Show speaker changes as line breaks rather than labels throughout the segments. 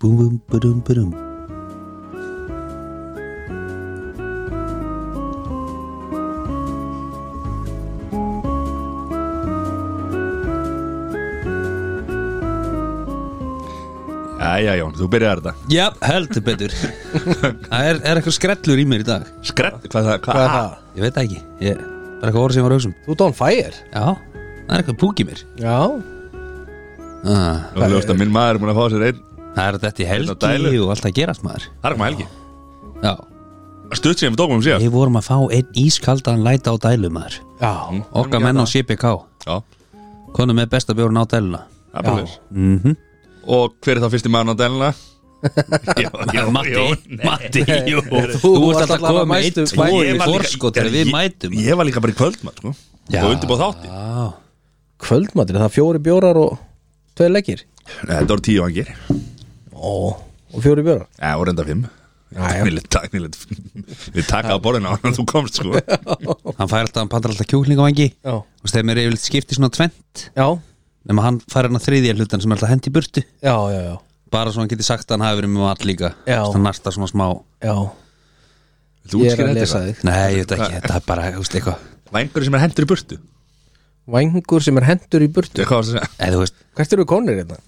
Búm, búm, budum, budum.
Jæja Jón, þú byrjar þetta
Já, heldur betur Það er, er eitthvað skrellur í mér í dag
Skrell, hvað, það- hvað,
Hvað er það?
Ég veit það ekki Ég bara eitthvað orð sem ég var auksum
Þú ert on fire
Já, það er eitthvað púk í mér
Já
ah,
það? Ljóst að minn maður er búin að fá sér einn
Það er þetta í
Þetta dælu.
helgi og allt að gerast maður
Það er komað helgi
Já,
Ah. Stutt síðan við tókum um síðan
við vorum að fá einn ískaldan læta á dælu maður
Já
Okkar menn á CPK
Já,
Konum með besta bjórn á dæluna
það er bara leis
mm
Og hver er þá fyrsti maður á dæluna? Já, já,
Matti,
já.
Matti, jú
Þú
Þú ert
varst
alltaf að
allavega
koma með
mættur-
eitt, tvo
mættur.
í
Ég var líka-
forskot sko, þegar við
ég-
mætum
Ég var líka bara í kvöldmatt, sko
Já.
Og undirbúð þátti
Já,
Kvöldmatur, það er fjóri bjórar og Tvei leggir
Nei, Þetta voru tíu angir
Ó Og fjóri bjórar
Já, og reynda fimm Taknilegt, taknilegt Við takaði borðin á hann að þú komst, sko
hann fær alltaf, hann pantar alltaf kjúklingavangi
Já
og þegar mér er yfirleitt skipt í svona tvent
Já
nema hann fær hann að þriðja hlutan sem er alltaf hendi í burtu
Já, já, já
bara svo hann geti sagt að hann hafi verið með mat líka
Já.
Þannig að narta svona smá
Já
Þú
Ég er
útskýrði
að
þetta
lesa
eitthvað.
þig
Nei, ég veit ekki, þetta er bara, þú veist, eitthvað
Vængur sem er hendur í burtu
Vængur sem er hendur í burtu
Hvað var það að segja?
Eða, þú veist,
Hvert eru konir hérna?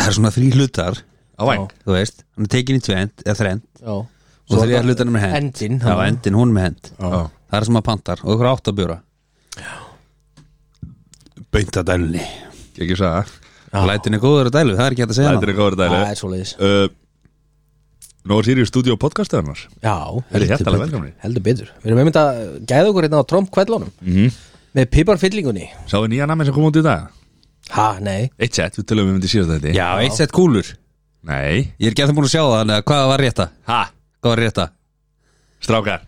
það er svona þrý hlutar
Á væng
þú veist, hann er tekin í tvent eða þrend
Já
og þriðja hlutanum er hend
Hendin
Já,
hann-
endin, hún er með hend
Já.
Það er sem að pantar og ykkur átt að bjóra Beinta dælunni
Ekki sagði það
Lætin er góður að dælu, það er ekki hægt að segja
Þetta er
hana
eitthvað voru
Það er
dæli
svoleiðis
Uh, Nú er Sirius Studio podcastið annars
Já
Það er
betur.
hjertalega velkomni
Heldur betur Við erum einmitt að gæða okkur hérna á Trump kveldlónum
Mhm.
Með piparfyllingunni
Sá við nýja namið sem kom út í dag
Ha, nei
Eitt set, við tölum við myndi síðast þetta
Já, eitt sett kúlur
Nei
Ég er ekki að það búin að sjá það, þannig að hvað var rétta?
Ha,
Hvað var rétta?
strákar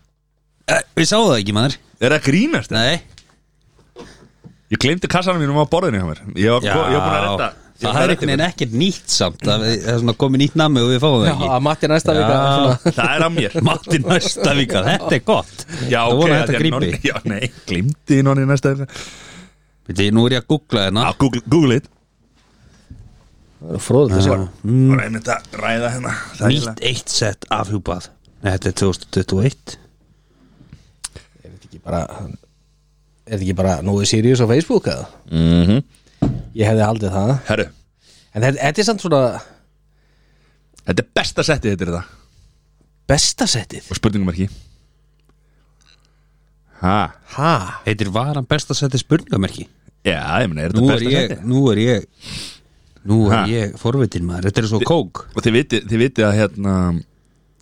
Eh, Við sáum það ekki, maður
Er það grínast?
Nei,
Ég glemdi kassanum mínum á borðinu hjá mér Ég var, ég var búin að redda ég var
Það
búinn að
er
redda
einhvern veginn ekkert nýtt samt að við- Það er svona komið nýtt nami og við fáum það
Já,
ekki
að Matti næsta vika
Já.
svona-
ykkur. Það er að mér
Matti næsta vika, þetta er gott
Já,
Það
ok
voru
af
þetta
því að
grípi
nonni- Já, nei, glemdi nonni næsta Já,
Veitir, nú er ég að googla hérna
Google, Google it
Það eru fróðilegt að sjá
Það var einmitt að ræða hérna
Mm. Nýtt eitt sett afhjúpað Nei, þetta er 2021
Er þetta ekki bara Er þetta ekki bara Nú er Sirius á Facebook eða?
Mhm.
Ég hefði haldið það
Herru,
En þetta, þetta er samt svona
þetta er besta settið þetta er það
besta settið
Og spurningumarki Ha,
Ha?
Heitir var hann best að setja spurningamerki
já, ég meina, er
Nú
þetta
er
besta
ég,
settið?
nú er ég Nú
Ha.
er ég forvitin maður Þetta er svo kók
og þið vitið, þið vitið að hérna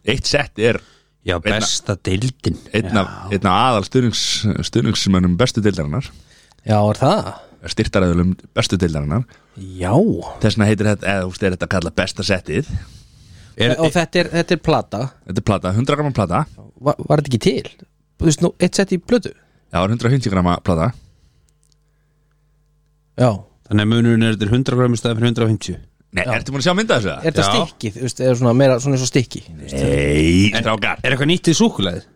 eitt sett er
Já,
Einna-
besta deildin
einna, einna aðal stuðnings, stuðningsmönnum bestu deildarinnar
Já, er það?
styrtaræðulum bestu deildarinnar
Já
þess vegna heitir þetta, eða þú veist, er þetta að kalla besta settið
er,
Og þetta er, þetta er plata
þetta er plata, 100 grama plata
Var, var þetta ekki til? Þú veist nú, eitt sett í blödu
já, 150 grama plata
Já
Þannig að munurinn er þetta 100 grammi staðið fyrir 150
nei, ertu búin að sjá mynda þessu?
Er þetta
Já.
stikki? Þú veist, er svona meira svona svo stikki
nei, strákar
Er eitthvað nýtt í súkulæðið?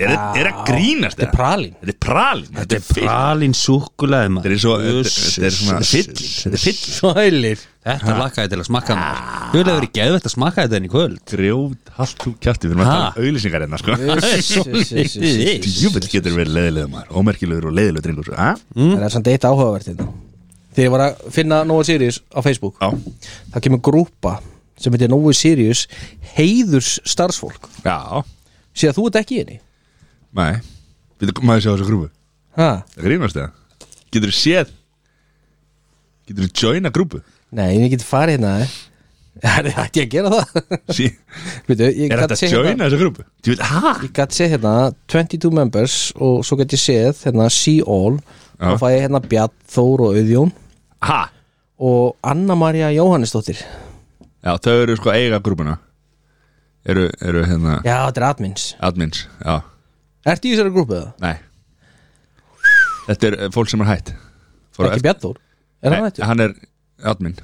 er þetta að grínast
Þetta er
þetta?
pralin
þetta er pralin, þetta er fyll
Pralin súkulæðið
þetta
maður
er svo, þetta er svona
Uss,
fyll
uss,
þetta er fyll
Sælir
Þetta lakkaði til að smakka maður
Ah.
Þú hefur verið geðvægt að smakka þetta enn í kvöld
grjóð, haldt þú kjátti við erum að
Ha?
tala um auðlýsingar hérna, sko
Það
Júfill getur verið leiðilega maður, ómerkilegur og leiðilega drengur ha?
er samt eitt áhugavert þetta Þegar ég var að finna Nóa Sirius á Facebook
Já,
það kemur grúpa sem heitir Nói Sirius heiðurs starfsfólk
já,
síðan þú ert ekki í henni
nei Býttu, maður sjá þessu grúfu,
ha?
það grínast það Getur þú séð Getur þú joina grúfu
nei, ég get farið hérna eh. Herri, ætti ég að gera það
sí,
Veitu, ég
Er
gat
þetta
séð
að joina
hérna,
þessu grúfu? Þú veit, ha?
ég gat séð hérna 22 members og svo get ég séð hérna see all
Já.
og fæ ég hérna Bjarn Þór og Auðjón
Ha?
og Anna-Maria Jóhannesdóttir
Já, þau eru sko að eiga grúfuna Eru, eru hérna
já, þetta er admins
admins, já,
ertu í þessari grúpu það?
nei Þetta er eh, fólk sem er hætt Fór á
ekki
eftir-
Bjarn Þór? er hann
Nei,
hættur?
hann er admin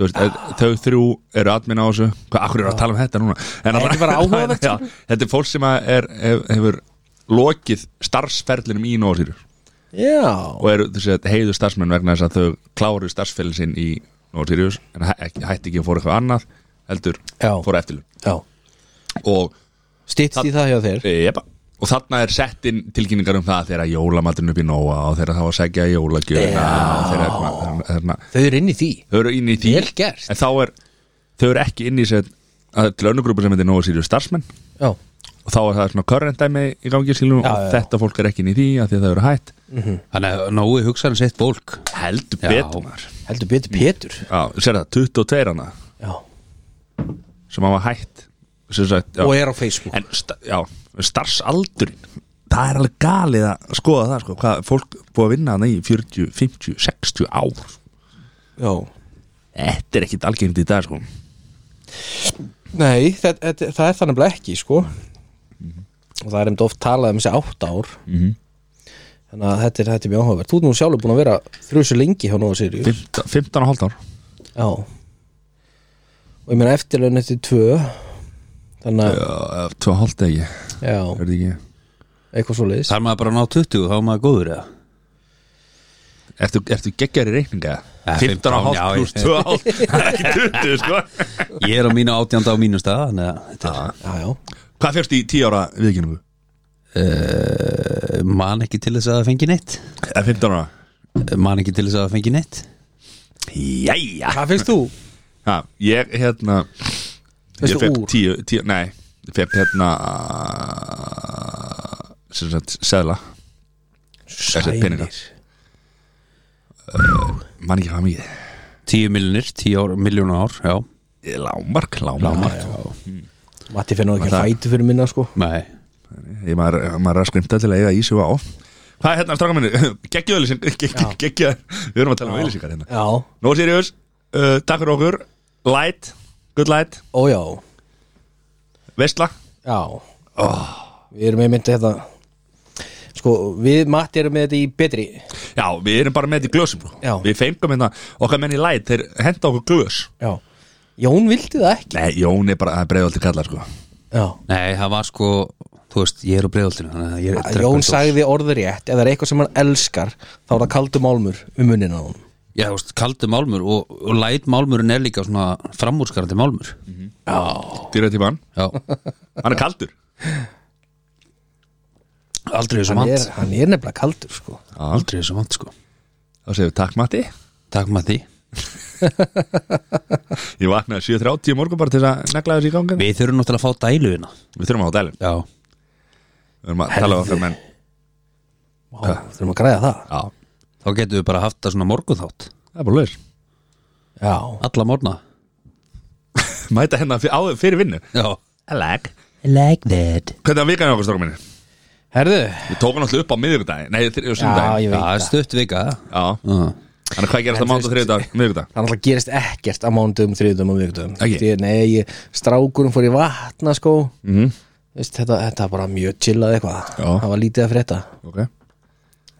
Þú veist, ah. þau þrjú eru admin á þessu Hvað, akkur eru að tala um þetta núna En
Nei,
alltaf-
þetta er bara áhugavert, sko.
Já, Þetta er fólk sem að er, hef, hefur lokið starfsferlinum í Nóasýru
já,
og eru þessi, heiðu starfsmenn vegna þess að þau kláru starfsferlin sinn í Nú er Sirius En hæ- ekki- hætti ekki að fóra eitthvað annað Heldur
Já.
fóra eftirlun
já
Og
Stýttst í það hjá þér
Jepa Og þarna er sett inn tilkynningar um það þegar jólamatinn upp í Nóa og þegar það var að segja jólagjöna og þegar þarna- þarna
Þau eru inn í því
Þau eru inn í því
Vel gert.
En þá er, þau eru ekki inn í sér að, til önnugrúpa sem heitir Nóa Sirius starfsmenn
Já,
og þá er það svona current dæmi í gangi sílum
Já,
og
já, já.
þetta fólk er ekki inn í því að því að það eru hætt
Þannig að nógu hugsaðan sitt fólk
heldur
Já.
betur maður.
heldur betur Pétur
Já, sér það, 22 hana
Já,
sem hafa hætt sem sagt, já.
og er á Facebook
en sta, já, starfsaldurinn það er alveg galið að skoða það sko, hvað fólk búið að vinna hana í 40, 50, 60 ár
Já
þetta er ekkit algengt í dag sko
Nei, það, það, það er þannig bara ekki, sko Og það er um oft talað um þessi átt ár
Mhm.
Þannig að þetta er, þetta er mjög áhugavert Þú ert nú sjálfur búin að vera þrjusu lengi hjá Nóa Sirius
15, 15 og hálft ár
Já Og ég meina eftirlaun eftir tvö Þannig að,
Já, 2 og hálft eða ekki,
já,
er þetta ekki
eitthvað svo leiðis
Þar maður bara að ná 20 þá er maður góður eða
Ertu, ertu geggar í reikninga?
Ja,
15 og
15,5,
hálft pluss
já,
2 og hálft Það er ekki 20 sko
Ég er á mínu átjánda á mínu stað Þannig að þetta er,
Já, já,
Hvað fyrst í 10 ára viðkynningu?
Eh, man ekki til þess að það fengi neitt
Eða 15 ára?
Eh, Man ekki til þess að það fengi neitt
Jæja
Hvað finnst þú?
ha, Ég hérna
Veistu
Ég fekk
úr?
10, 10 Nei, ég fekk hérna sem sagt, Seðla Þessi peninga. Man ekki hvað mikið
10 miljonir, 10 miljónu ár Já,
Lámark,
lámar
lámark
Matti finnur ekki að
Það-
fætu fyrir minna, sko
Nei,
Ég maður, maður er að skrimta til að eiga í sig á Hvað er hérna stráka minni? Gekkjöðlýsing Gekkjöð Við erum að tala um auðlýsingar hérna
Já,
Nó Sirius, uh, takk fyrir okkur Light, good light,
ó já,
veistla
já Við erum með myndið þetta Sko, við Matti erum með þetta í betri
Já, við erum bara með þetta í glösum sko.
Já.
Við fengum hérna, okkar menn í light Þeir henda okkur glös
Já Jón vildi það ekki
Nei, Jón er bara, það er breiðaldi kallar sko.
Já
Nei, það var sko Þú veist, ég er á breiðoltinu Þannig að ég er
Að Jón sagði orður rétt Ef það er eitthvað sem hann elskar Þá er það kaldur málmur við munnin á hún
Já, þú veist, kaldi málmur og, og læt málmurinn er líka svona framúrskarandi málmur
Dýra tíma hann,
Já,
hann er kaldur
aldrei þessu
hann er,
vant
hann er nefnilega kaldur, sko
Já,
Aldrei þessu vant, sko
þá segir við takk Matti
Takk maður því
Ég vaknaði 7.30 í morgun bara til þess að negla þessi í gangi
Við þurfum náttúrulega að fá dæluðina
Við þurfum að á dælum
Já,
Við erum að tala um okkar menn
Vá, þurfum að græða það
Já,
þá getum við bara haft það svona morgunþátt
það er bara laus
Já
Alla morgna
Mæta hérna fyr, á, fyrir vinnu
Já,
I like
like that
Hvernig að vikan hjá okkur strókum minni?
Herðu
Við tókum alltaf upp á miðvikudaginn Nei, þri- á sunnudaginn
Já, ég
Já,
veit
það er stutt vika
Já,
uh.
þannig að hvað gerast að mánda þriðdag, miðvikudag?
Það náttúrulega gerist ekkert á mándum, þriðdum og vikdum
Ekki?
Nei, ég, strákurum fór í vatna sko
Mhm.
mm. Veist, þetta, þetta var bara mjög chillað eitthvað
Já.
Það var lítið að frétta
Ok,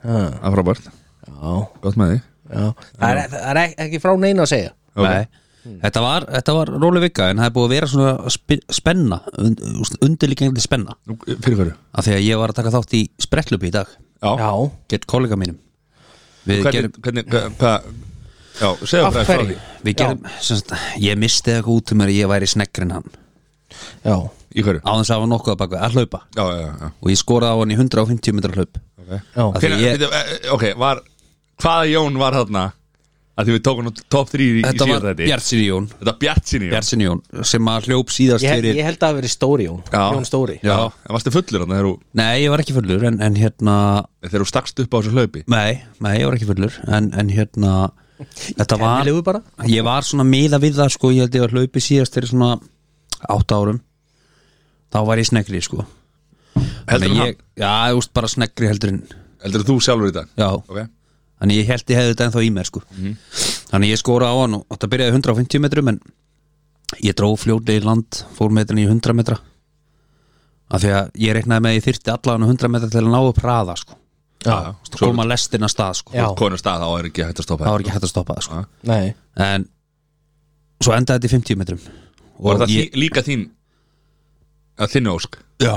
það er frábært,
Já,
gott með því
já Það er, það er ek- ekki frá neina að segja
Ok.
Nei, þetta var, þetta var róli vika en það er búið að vera svona spi- spenna und, undirlíkengli spenna
Nú, Fyrir hverju?
af því að ég var að taka þátt í sprettlupi í dag
Já,
Já,
gett kollega mínum Við
hvernig, hvernig, hvað hva, Já, segðu
Af
bara frá
hverju?
því
gerum, við gerum sem sagt, ég misti eitthvað út um mér að ég væri sneggrin hann
já,
Í hverju?
á þess að hafa nokkuð að baka að hlaupa
Já, já, já
og ég skoraði á hann í 150 metra hlaup
okay.
já
Af því
Fyrir,
ég-
ég... eh, ok, var Hvaða Jón var þarna að því við tókum nú top 3 í, í
Þetta
síðan
var
þetta
Bjartsin Jón
Þetta var Bjart sinni Jón
Bjartsin Jón sem að hljóp síðast
Ég,
fyrir
ég held að það hafi verið Stóri Jón
Já.
Jón Stóri
Já.
En varstu fullur þarna þegar þú-
Nei, ég var ekki fullur en, en hérna
þegar þú stakst upp á þessu hlaupi
Nei, nei, ég var ekki fullur en, en hérna Þetta var
Kennilegu bara
Ég var svona miða við það sko Ég held ég að hlaupi síðast fyrir svona átta árum Þá var ég sneggri sko
Heldur
Þannig
þú
ég, Já, þú veist bara sneggri heldur en
Heldur þú sjálfur í dag?
Já,
Ok
þannig ég held ég hefði þetta ennþá í mér sko
Mhm.
Þannig ég skora á hann og þetta byrjaði 150 metrum en ég dró fljótið í land fór metrin í 100 metra af því að ég reiknaði með að ég þyrfti allan 100 metra til að ná upp hraða sko
Já,
Svo koma lestin að stað sko
Já.
Konur stað þá er ekki hægt að stoppa
það
þér.
var ekki hægt að stoppa það sko.
nei
en svo endaði þetta í 50 metrum
Var það
ég,
þí- líka þín að þinni ósk?
já,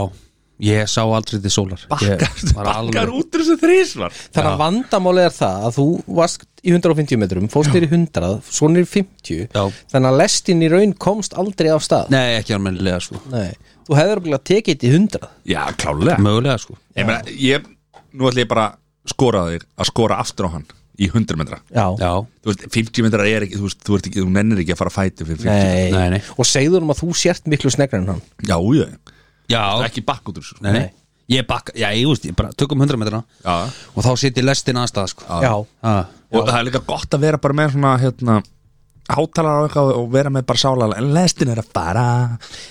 Ég sá aldrei til sólar
Bakkar,
Ég var
bakkar
alveg-
út úr þessu þrísvar
Þannig að vandamálið er það að þú varst í 150 metrum, fórst nýri 100 svo nýri 50,
Já.
þannig að lestin í raun komst aldrei af stað
Nei, ekki almennilega sko
Nei. Þú hefur örugglega tekið þetta í 100
Já, klálega
Mögulega sko
Ég meina, ég, nú ætlum ég bara að skora á þér að skora aftur á hann í 100 metra
Já,
Já,
Þú veist, 50 metrar er ekki, þú veist, þú, ert ekki, þú nennir ekki að fara að fæti fyrir 50
Nei.
Nei, nei.
Og segður um að þú sért miklu sneggri en hann
Já, já,
já
ekki bakk út úr þessu sko.
Nei, nei. Ég bakka, já, ég veist, ég bara tökum 100 metrana
Já.
Og þá setjum lestin aðstæða sko
Já.
Já,
ah.
Og það er líka gott að vera bara með svona, hérna hátalara og eitthvað og vera með bara sála en lestin er að fara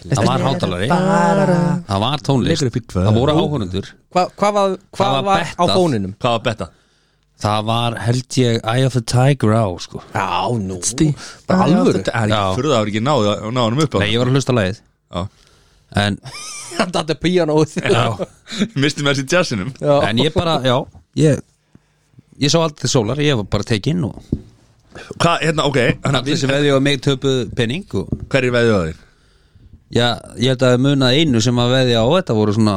Það var hátalari,
bara
það var tónlist
Leikur upp í tvö.
Það voru áhörundur
Hva, hvað var, hva
Það var
var á
bettað.
fóninum?
Hvað var betta?
Það var held ég Eye of the Tiger á sko
Já, nú
Bara
Bara alvöru
Þetta er
Já.
ekki fyrir það er ekki náð náðum upp á
Nei, ég var að hlusta á lagið
það
En,
Hann dætti píanóð
já,
Misti með þessi jazzinum
en ég bara, já Ég, ég sá aldrei til sólar Ég var bara tekinn og
Hvað, hérna, ok hérna,
Allir sem veði og mig töpuð penning og
Hverjir veðið á þér?
Já, ég held að það munað einu sem að veði á Þetta voru svona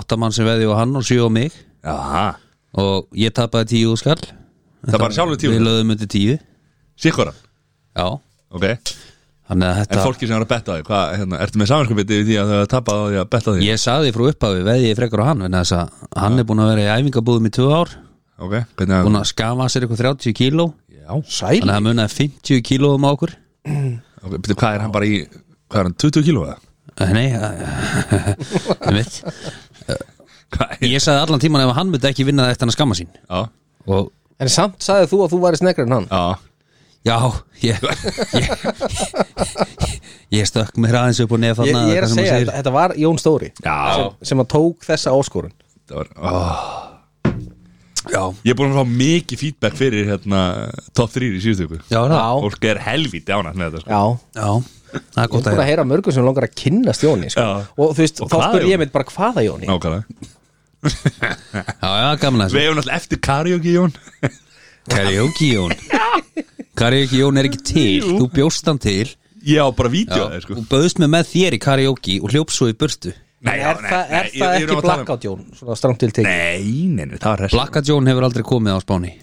áttamann sem veði á hann og sjö á mig
Jaha
Og ég tapaði tíu skall
Það bara sjálfur tíu?
Við löðum undir tíu
Sikkoran
Já,
Ok
þannig að
En
þetta
fólki sem er að betta á því Hvað, hérna, ertu með samanskupið yfir því að þau hafa tappað á því að betta á því?
Ég saði frá upphafi veði ég frekar á hann Þannig að þess að hann er búin að vera í æfingabúðum í tvö ár
Ok, hvernig að
Búin að skafa sér eitthvað 30 kíló
Já
Sæl
Þannig að það munaði 50 kílóum á okkur
Ok, betur, hvað er hann bara í Hvað er hann, 20 kíló eða?
Eh, Nei, það mitt
Hvað er
Ég saði allan tíman ef hann myndi ekki vinna það eftir hann að skamma sín
Já,
Og
En samt sagði þú að þú væri sneggri en hann
já
já, ég Ég, ég stökk mér aðeins upp og nefn
Ég,
þarna
ég er
það
að
sem hann
segja,
segir.
þetta, þetta var Jón Stóri
Já.
sem að tók þessa áskorun
Það var oh.
Já,
Ég er búin að fá mikið feedback fyrir hérna Top 3 í síðustu ykkur
já, það.
Já,
Fólk er helvítið ánægt með þetta sko.
já
já Það er
Ég er
gott að
búin að
heyra
heyra mörgum sem langar að kynnast Jóni sko.
Já.
Og þú veist,
Og
þá
hvaða
spur
Jóni?
ég mitt bara hvaða Jóni
Nákvæmlega
Já, já, gaman að
Við
þessu
hefum alltaf eftir karaoke Jón
Karaoke Jón Karaoke Jón er ekki til,
Jú.
þú bjóst hann til
Já, bara vídeo
Já,
það sko
og bauðst mig með þér í karaoke og hljóps svo í burtu
Nei, já,
Er,
nei,
það, er
nei,
það
ég- ég er að tala
ekki
um-
blackout Jón, svona strangt til tekið
Nei, nei, nei, það var rest
Blakka Jón hefur aldrei komið á Spáni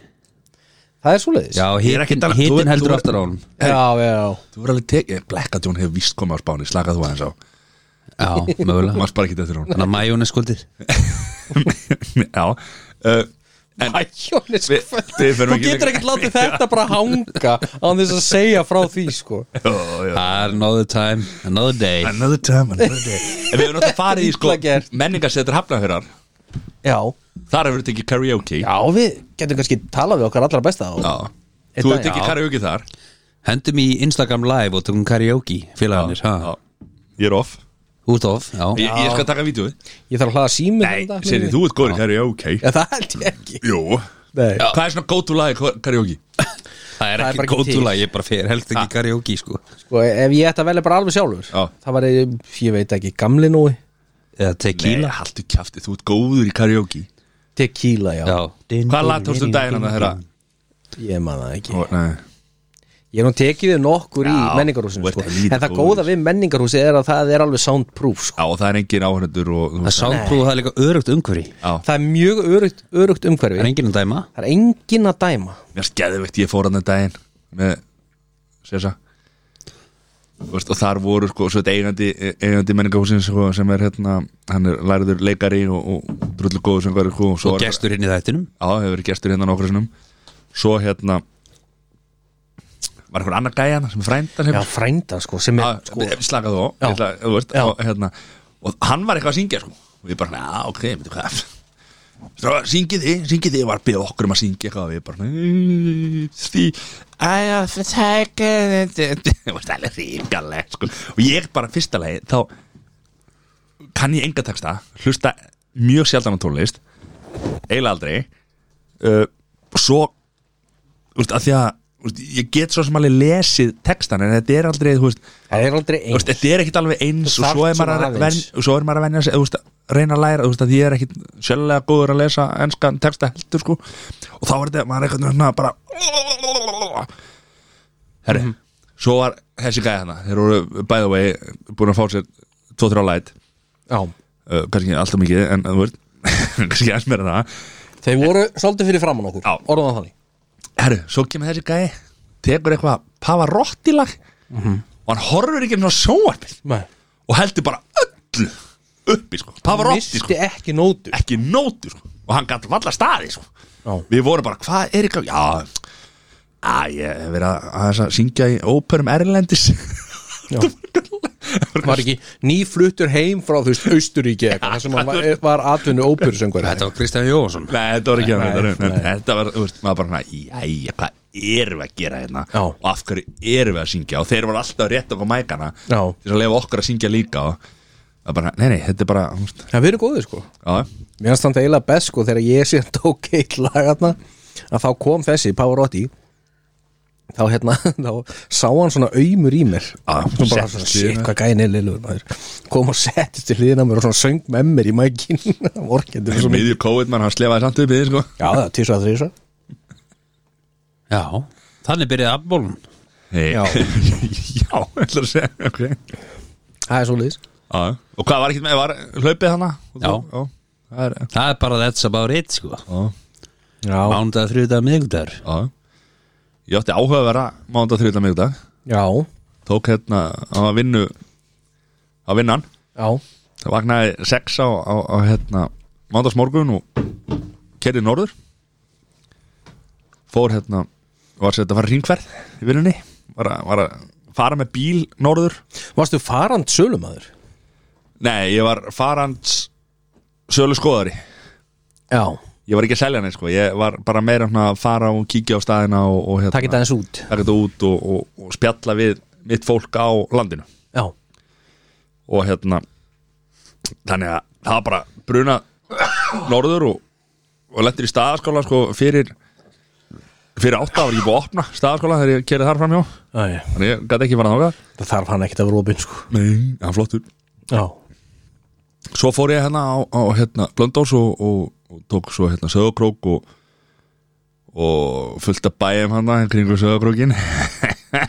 Það er svoleiðis
Já,
Ég er ekki að
hitin,
tala- þú-
hitin
þú-
heldur
þú-
aftur á honum
já, já.
Þú verður alveg tekið Blackout Jón hefur víst komið á Spáni Slakað þú aðeins á
Já, mögulega
Mást bara ekki þetta
Þannig að majónis skuldið
hún Já uh, En
Æ, Jónis,
Við- við förum
sko. þú
ekki
getur
lengra.
ekkert látið þetta bara hanga án þess að segja frá því sko
Ó, já.
Another time, another day
Another time, another day En við höfum náttúrulega farið í sko
Illa gert.
Menningarsetur hafnafjörðar
Já,
Þar hefur við tekið karaoke
já við getum kannski talað við okkar allra besta og...
Já.
Einn
Þú
dag,
hefur tekið
já.
karaoke þar
Hendum í Instagram live og tökum karaoke félagarnir, ha?
Já. Ég er off
Út of, já
Ég, ég skal taka vídeo
Ég þarf að hlaða sími
Nei, séri, þú ert góður í karaoke
Já, það held ég ekki
Jú
Nei.
Hvað er svona go to lagi ka- karaoke?
Það er
Það er bara
ekki
ekki til.
góttúlega, ég bara fer helst ekki karaoke, sko
Sko, ef ég ætti að velja bara alveg sjálfur
Já.
Það var, ég veit ekki, gamli núi
Eða tequila
haldu kjafti, þú ert góður í karaoke
Tequila, já,
Já
Hvað lag tókstu um daginn hann að þeirra?
Ég man það ekki
Nei
Ég er nú tekið við nokkur í
Já,
menningarhúsinu
þú ert
sko.
helvítið
En það
góður.
góða við menningarhúsi er að það er alveg soundproof sko.
Já, og það er engin áhörnendur og þú
Það sándprúð, það er líka örugt umhverfi
Já,
Það er mjög örugt, örugt umhverfi
Það er enginn að dæma
Það er engin að dæma
mér skeðvikt ég fór hann en daginn með Sessa Vist, og þar voru sko svo þetta eigandi, eigandi menningahúsin sko, sem er hérna, hann er læriður leikari og, og drullu góður sem hverju sko, og svo
Og
er-
gestur hinn í þættinum
Já, hefur verið gestur hérna nokkru sinnum Svo hérna Var einhver annar gæja hana sem er frændan
Já, frænda sko, sem er sko,
sko. Slaka þú á
Já.
ég ætla- þú veist,
Já.
og, hérna, og hann var eitthvað að syngja sko. Og við bara, já, ok, veitum hvað Svo syngið þið, syngið þið Var að byrja okkur um að syngja eitthvað og Við bara, "Nei, því Æja, það tækja Það var stærlega ríkalegt sko. Og ég bara, fyrsta leið, þá Kann ég enga texta Hlusta mjög sjaldan á tónlist Eiginlega aldrei uh, Svo Þú veist, að því að þú veist, Ég get svo sem alveg lesið textan En þetta er aldrei, þú veist
það er aldrei
Þú veist,
eins
þetta er ekkit alveg eins
Þú
og svo er
þarft
maður
svona
að
aðeins.
venja, og svo er maður að venja sig, þú veist, að reyna að læra, þú veist, að ég er ekkit sjálflega góður að lesa enskan texta heldur, sko og þá er þetta, maður er eitthvað svona bara Herri,
Mhm.
svo var þessi gæði hana, þeir voru by the way, búin að fá sér 2-3 light
Já,
uh, kannski alltaf mikið en þú veist, kannski aðeins meira en það
Þeir voru svolítið fyrir framann okkur
Já.
Orðan þannig
herru, svo kemur þessi gæi tekur eitthvað pavarottilag mm
Mhm.
og hann horfur ekki enn á sjóarpil
Nei.
og heldur bara öllu uppi sko, pavarotti sko
Misti ekki nótu
ekki nótu sko og hann gæti valla staði sko
Já.
við vorum bara, hvað er ekki já, að ég hef verið að, að, að syngja í óperum Erlendis
Var ekki nýfluttur heim frá þú veist Austuríki eitthvað Það sem hann var, var atvinnu óperusöngur
Þetta var Kristján Jóhansson
Nei, þetta var ekki hann
Nei,
þetta var-
nei.
Þetta var, þú veist, maður bara svona, Jæja, hvað erum við að gera hérna
Já.
Og af hverju erum við að syngja Og þeir voru alltaf rétt okkur mækana
Já.
Til að lefa okkur að syngja líka Og það bara, nei, nei, þetta er bara þú veist,
Það verið góðið sko
Já,
Mér finnst þannig eiginlega best sko þegar ég sé að tók eitt lagarna að þá kom þessi Pavarotti þá hérna, þá sá hann svona aumur í mér
Já,
og bara
settist
svona,
við
shit,
mér."
hvað gæin er lillur maður kom og settist til hliðina á mér og svona söng með mér í mækin orkendur
þessu
svona
miðju COVID, mann, hann slefaði samt upp í því, sko
Já, það er tísa að þrísa
Já, þannig byrjaði abbólun
hey.
Já.
Já, ætlar að segja, ok
Það er svo liðis
Já, og hvað var ekki með, var hlaupið hana?
Já.
Já, það er,
Það er bara that's about it sko
já,
Já,
Mándag, þriðdag, miðgudagur
já Ég átti áhuga að vera mánda þrjóðlega miðugdag
já,
Tók hérna, hann var vinnu á vinnan
já
Það vaknaði sex á, á, á hérna, mándagsmorgun og kerði norður fór hérna var sér þetta var ringverð í vinnunni var að, var að fara með bíl norður
Varstu farand sölumadur?
nei, ég var farans sölu skoðari
Já,
ég var ekki að selja henni sko, ég var bara meira svona að fara og kíkja á staðina og, og hérna,
takk þetta aðeins út
taka þetta út og, og, og spjalla við mitt fólk á landinu
Já,
og hérna þannig að það var bara bruna norður og, og lendir í staðaskóla sko fyrir fyrir átta var ég búið að opna staðaskóla þegar ég kerði þar framhjá
Æ,
þannig ég gæti ekki fara þáka
það þarf hann ekkert að vera opinn sko
nei, það var flottur
Já,
svo fór ég hérna á, á hérna Blöndós og, og, og tók svo hérna sögokrók og og fullt að bæjum hérna hana kringu sögokrókin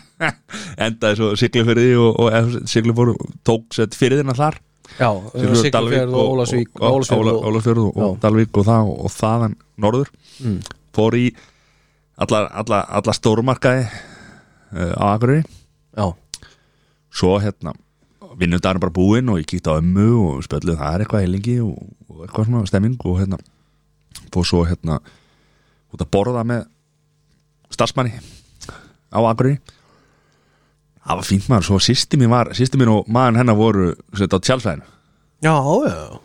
endaði svo siglufyrði og, og siglufór tók sett fyrðina þar
já,
Sigurður
Siglufjörð og Ólasvík
og, og, og,
Ólafsvík og-
Ólafsfjörð og, og
Já. Mm.
Dalvík og það og, og þaðan norður fór í alla, alla, alla stórmarkaði uh, á Akureyri
Já,
svo hérna vinnundarinn bara búinn og ég kíkti á ömmu og spjöldið það er eitthvað heilingi og, og eitthvað svona stemming og hérna fór svo hérna út að borða með starfsmanni á Akureyri það var fínt maður, svo sýsti mín var sýsti mín og maðurinn hennar voru sett á tjálsvæðinu
já, já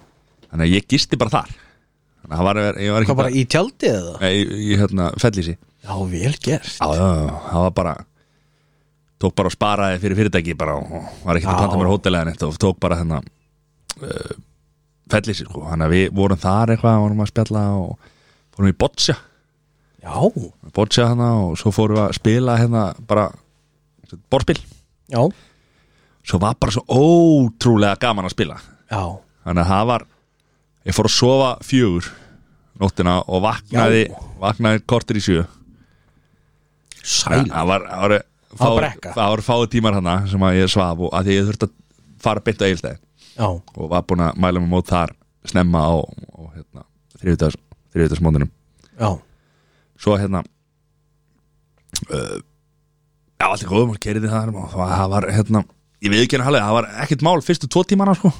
þannig að ég gisti bara þar þannig að það var, ég var ekki
Hvað bara í tjaldi eða?
Nei, ég, ég hérna, fellísi já,
Já, vel gert
já, já, það var bara tók bara og sparaði fyrir fyrirtæki bara og- og var ekki að
Já.
planta mér hótelega neitt og tók bara hérna uh, fellísi, sko, þannig að við vorum þar eitthvað, vorum að spjalla og fórum í boccia,
Já,
boccia hérna og svo fórum við að spila hérna bara borspil,
já,
svo var bara svo ótrúlega gaman að spila
já
þannig að það var ég fór að sofa fjögur nóttina og vaknaði
Já.
vaknaði kortir í sjö
Sæl
það það var, það var,
var
fáir-
brekka.
það var fáið tímar hana sem að ég svaf og að því ég þurfti að fara beint á eilstæði
Já,
og var búin að mæla mig mót þar snemma á, á hérna, þriðutags, þriðutagsmóndunum
já,
svo hérna uh, já, allt er góðum og kerði það og það það var hérna, ég veit ekki hérna halveg það var ekkert mál fyrstu tvo tímana sko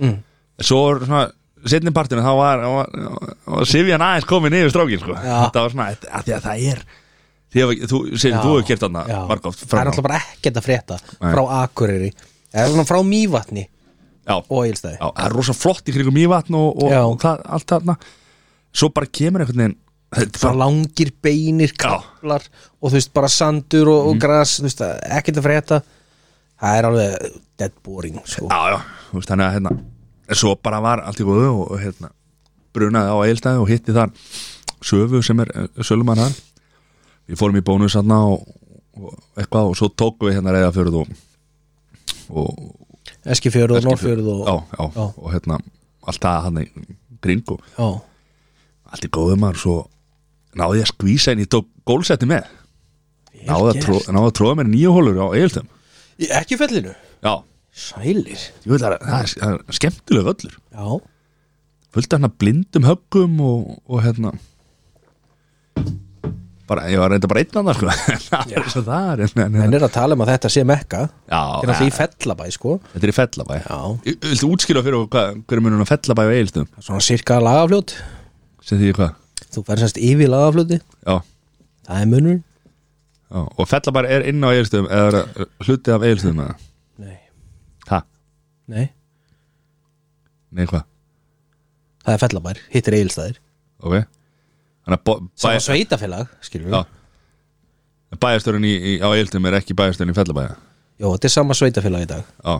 Mm.
En svo var svona setni partinu þá var, var, var Sivjan aðeins komin yfir strákin sko
Já.
það var svona, að því að það er því að þú, Sivjan,
já
þú hefur kert þarna
já.
margóft
Það er alltaf bara ekkert að frétta
Nei.
frá Akureyri Það er svona frá Mývatni
já,
og Egilstæði
já, það er rosa flott í kringum Mývatn og, og,
Já.
og það, allt þarna svo bara kemur einhvern veginn þetta
Frá
var
langir beinir, kaplar og þú veist, bara sandur og,
Mhm.
og gras þú veist, ekkert að frétta Það er alveg dead boring sko.
já, já, þú veist, þannig að hérna en svo bara var allt í góðu og, og hérna brunaði á eilstæði og hitti þar Söfu sem er sölumann hann við fórum í bónus hann og, og eitthvað og svo tókum við hérna reyða fyrir þú og,
Eskifjörð og Norrfjörð og
já, já,
Já.
og hérna allt það hann í kring og
já,
allt í góðu maður svo náði ég að skvísa en ég tók gólsetti með náði að,
gert.
tró, náði að tróða mér nýju hólur á eilstöðum
Í- Ekki í fellinu?
já,
Sælir
Jú, það, er, það, er, það er skemmtileg völlur
Já
fullt af hérna blindum höggum og, og hérna bara, ég var reynda bara einn annar sko, það er svo það er en, en,
En er að tala um að þetta sé mekka
já,
Þetta er alltaf í fellabæ sko
þetta er í Fellabæ
Já
Ég- Viltu útskýra fyrir okkur hvað- hverju munum að Fellabæ og Egilstum
Svona sirka lagafljót
sem því hvað
Þú verður semst yfir lagafljóti
já,
Það er munur
já, og Fellabæ er inn á Egilstum eða er hlutið af Egilstum eða
Nei
ha,
Nei
nei hvað,
Það er fellabær Hittir eigilstæðir
ok þannig að bo-
Sem að
bæ,
sveitafélag Skilur
já
við
bæjarstörun í, í, á Egilstum er ekki bæjarstörun í Fellabæ já,
Jó, þetta er sama sveitafélag í dag
já,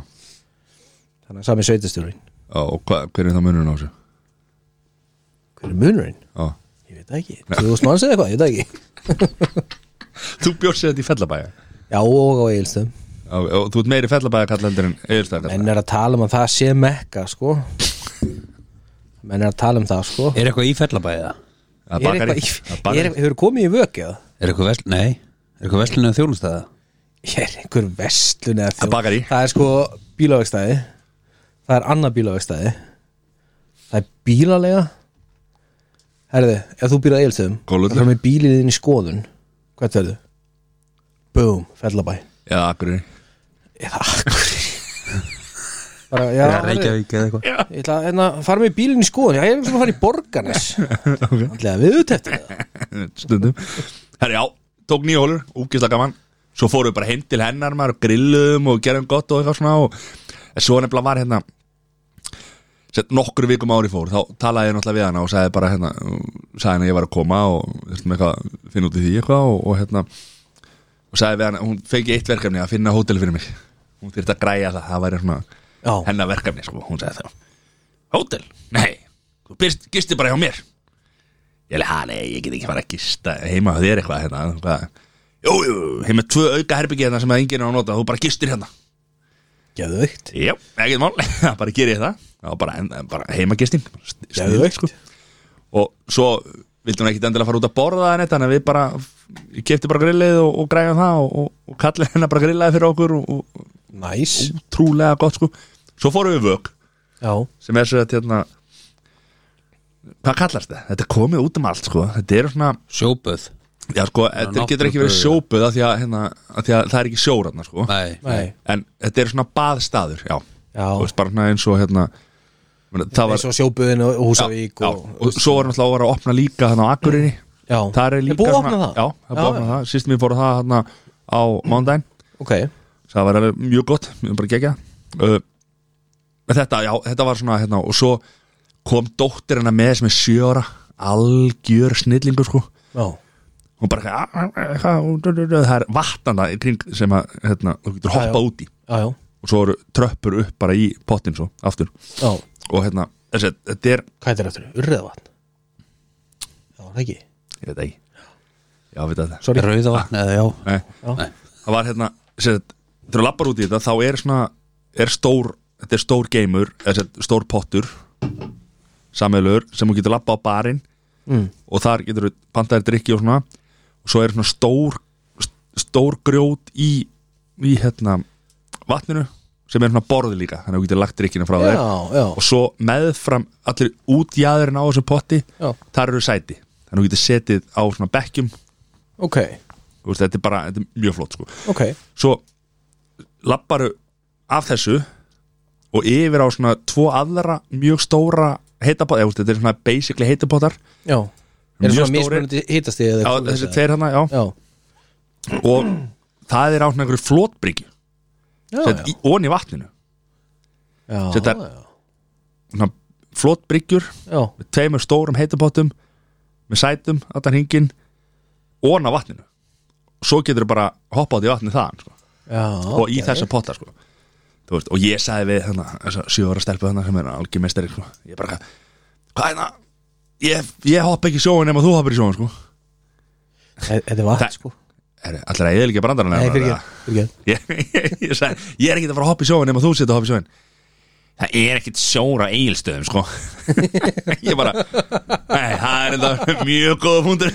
Þannig að sami sveitastjórinn
og hva, hverju það munum á þessu
Hver er munurinn?
já,
Ég veit það ekki 2000 manns eða eitthvað, ég veit það ekki
þú bjóst sér þetta í Fellabæ
Já, og á eigilstöðum
Já, og þú ert meiri fellabæða kallendur en eðurstæða
Menn er að tala um að það sé mekka, sko Menn er að tala um það, sko
Er eitthvað í fellabæða?
kallendur
Er eitthvað, í- er eitthvað, hefur komið í vöki eða?
Er eitthvað vesl... Nei Er eitthvað veslunum þjónustæða?
Ég er einhver vestlun eða
Að bakarí.
Það er sko bílavegstæði Það er annað bílavegstæði Það er bílalega Herðu, ef þú býr að eilstöðum
Golfvöllur.
Það er með bílinn þinn í skoðun Hvert verðu? Búm, fellabæ
Já, akkur
Eða akkur Bara, já,
Er Reykjavík eða eitthvað?
Ég ætla að hérna, fara með bílinn í skoðun Já, ég er svona að fara í borganes Þannig að við auðvitað eftir það
Stundum Herri, já, tók nýja hólur, úkislega gaman Svo fórum við bara heim til hennar maður og grilluðum og gerðum gott og eitthvað svona og en svo nefnilega var hérna sett nokkur vikum ári fór þá talaði ég náttúrulega við hana og sagði bara hérna sagði henni að ég var að koma og þurftum eitthvað að finna út í því eitthvað og, og hérna og sagði við hana, hún fengi eitt verkefni að finna hótel fyrir mig hún þyrfti að græja það, það væri svona
Já,
hennar verkefni sko, hún sagði þá Hótel? Nei, þú byrst, gistir bara hjá mér Ég leið, hæ, nei, ég get ekki fara að gista heima á þér eitthvað hérna hvað. Jú, jú, heima tvö auka herbyggi hérna sem að enginn er að nota, þú bara gistir hérna
geðveikt
Jú, ekkert mál, bara gerir ég það Já, bara, en- bara heima gisting
Geðveikt.
sko. Og svo vildi hún ekkit endilega fara út að borða en þetta, þannig að við bara ég kefti bara grillið og, og græðum það og, og, og kallið hennar bara grillaði fyrir okkur og, og
Næs
trúlega gott sko Svo fórum við í vök
Já
sem er svo að hérna hvað kallast það? Þetta er komið út um allt sko. þetta er svona,
Sjóböð?
já sko þetta getur ekki verið sjópuð af því að, hérna, af því að það er ekki sjóranna sko.
Nei
Nei,
en þetta er svona baðstaður já,
já,
þú veist bara svona eins og hérna mena, það var
eins og sjóbuðin og Húsavík
já,
og, Mm.
og svo var náttúrulega var að opna líka þannig á Akureyri
já.
það er líka
búið að
svona-
opna það?
já, það er búið að opna það, sístum við fórum það hérna á mándaginn
Ok,
Svo það var alveg mjög gott, mjög bara gegja uh, en þetta, já, þetta var svona hérna, og svo kom dóttir hennar með sem er sjö ára algjör snillingur sko
já,
hún bara "Ah, ah, ah, ah, ah, ah, ah." það er vatnanda í kring sem að hérna, þú getur
Já,
hoppa
já.
út í
já, já,
og svo eru tröppur upp bara í pottin svo, aftur
já.
og hérna, þessi, þetta er
Hvað er þetta eftir? Urriðavatn Já, það ekki
ég veit ekki, já, veit að það
Sorry.
Rauðavatn eða já
Nei.
Já.
Nei. það var hérna sem sagt, þegar þú lappar út í þetta þá er svona er stór, þetta er stór geimur eða sem sagt, stór pottur samveilur sem þú getur lappa á barinn
Mm.
og þar getur þú pantaðir drikki og svona og svo er svona stór stór grjót í, í hérna vatninu sem er svona borð líka þannig að þú getur lagt drikkina frá þér
Já, já,
og svo meðfram allir útjæðurinn á þessum potti
já,
þar eru sæti þannig að þú getur setið á svona bekkjum
ok,
Þú veist, þetta er bara, þetta er mjög flott sko
ok
svo lapparu af þessu og yfir á svona tvo aðra mjög stóra heitabótar, eða þetta er svona basically heitabótar
Já, er það
Mjög
svona
stórir.
mismunandi hitastig
já,
eða
þessi tveir hana, já,
Já,
og það er á svona einhverju flótbryggju
já, já,
sett í ón í vatninu
já,
sem þetta er-
já,
svona flótbryggjur
já,
með tveimur stórum heitabótum með sætum, allan hingin ón á vatninu svo getur þú bara hoppað út í vatni þaðan sko.
já
og í þessa potta sko. Þú veist, og ég sagði við þarna, þessa sjöfara stelpu þarna sem er algjör mestari sko. ég bara, hvað er það ég, ég hopp ekki í sjóin nema þú hoppir í sjóin sko.
Þe- Þetta er vatn,
Það-
sko
Herri, allir að ég er ekki brandarinn
Nei,
eða
fyrir
bara-
ekki, fyrir ekki
ég, ég, ég, sagði, ég er ekki að fara að hoppa í sjóin nema þú setur að hoppa í sjóin það er ekkit sjóra eigilstöðum sko. ég bara nei, það er enda mjög góða punktur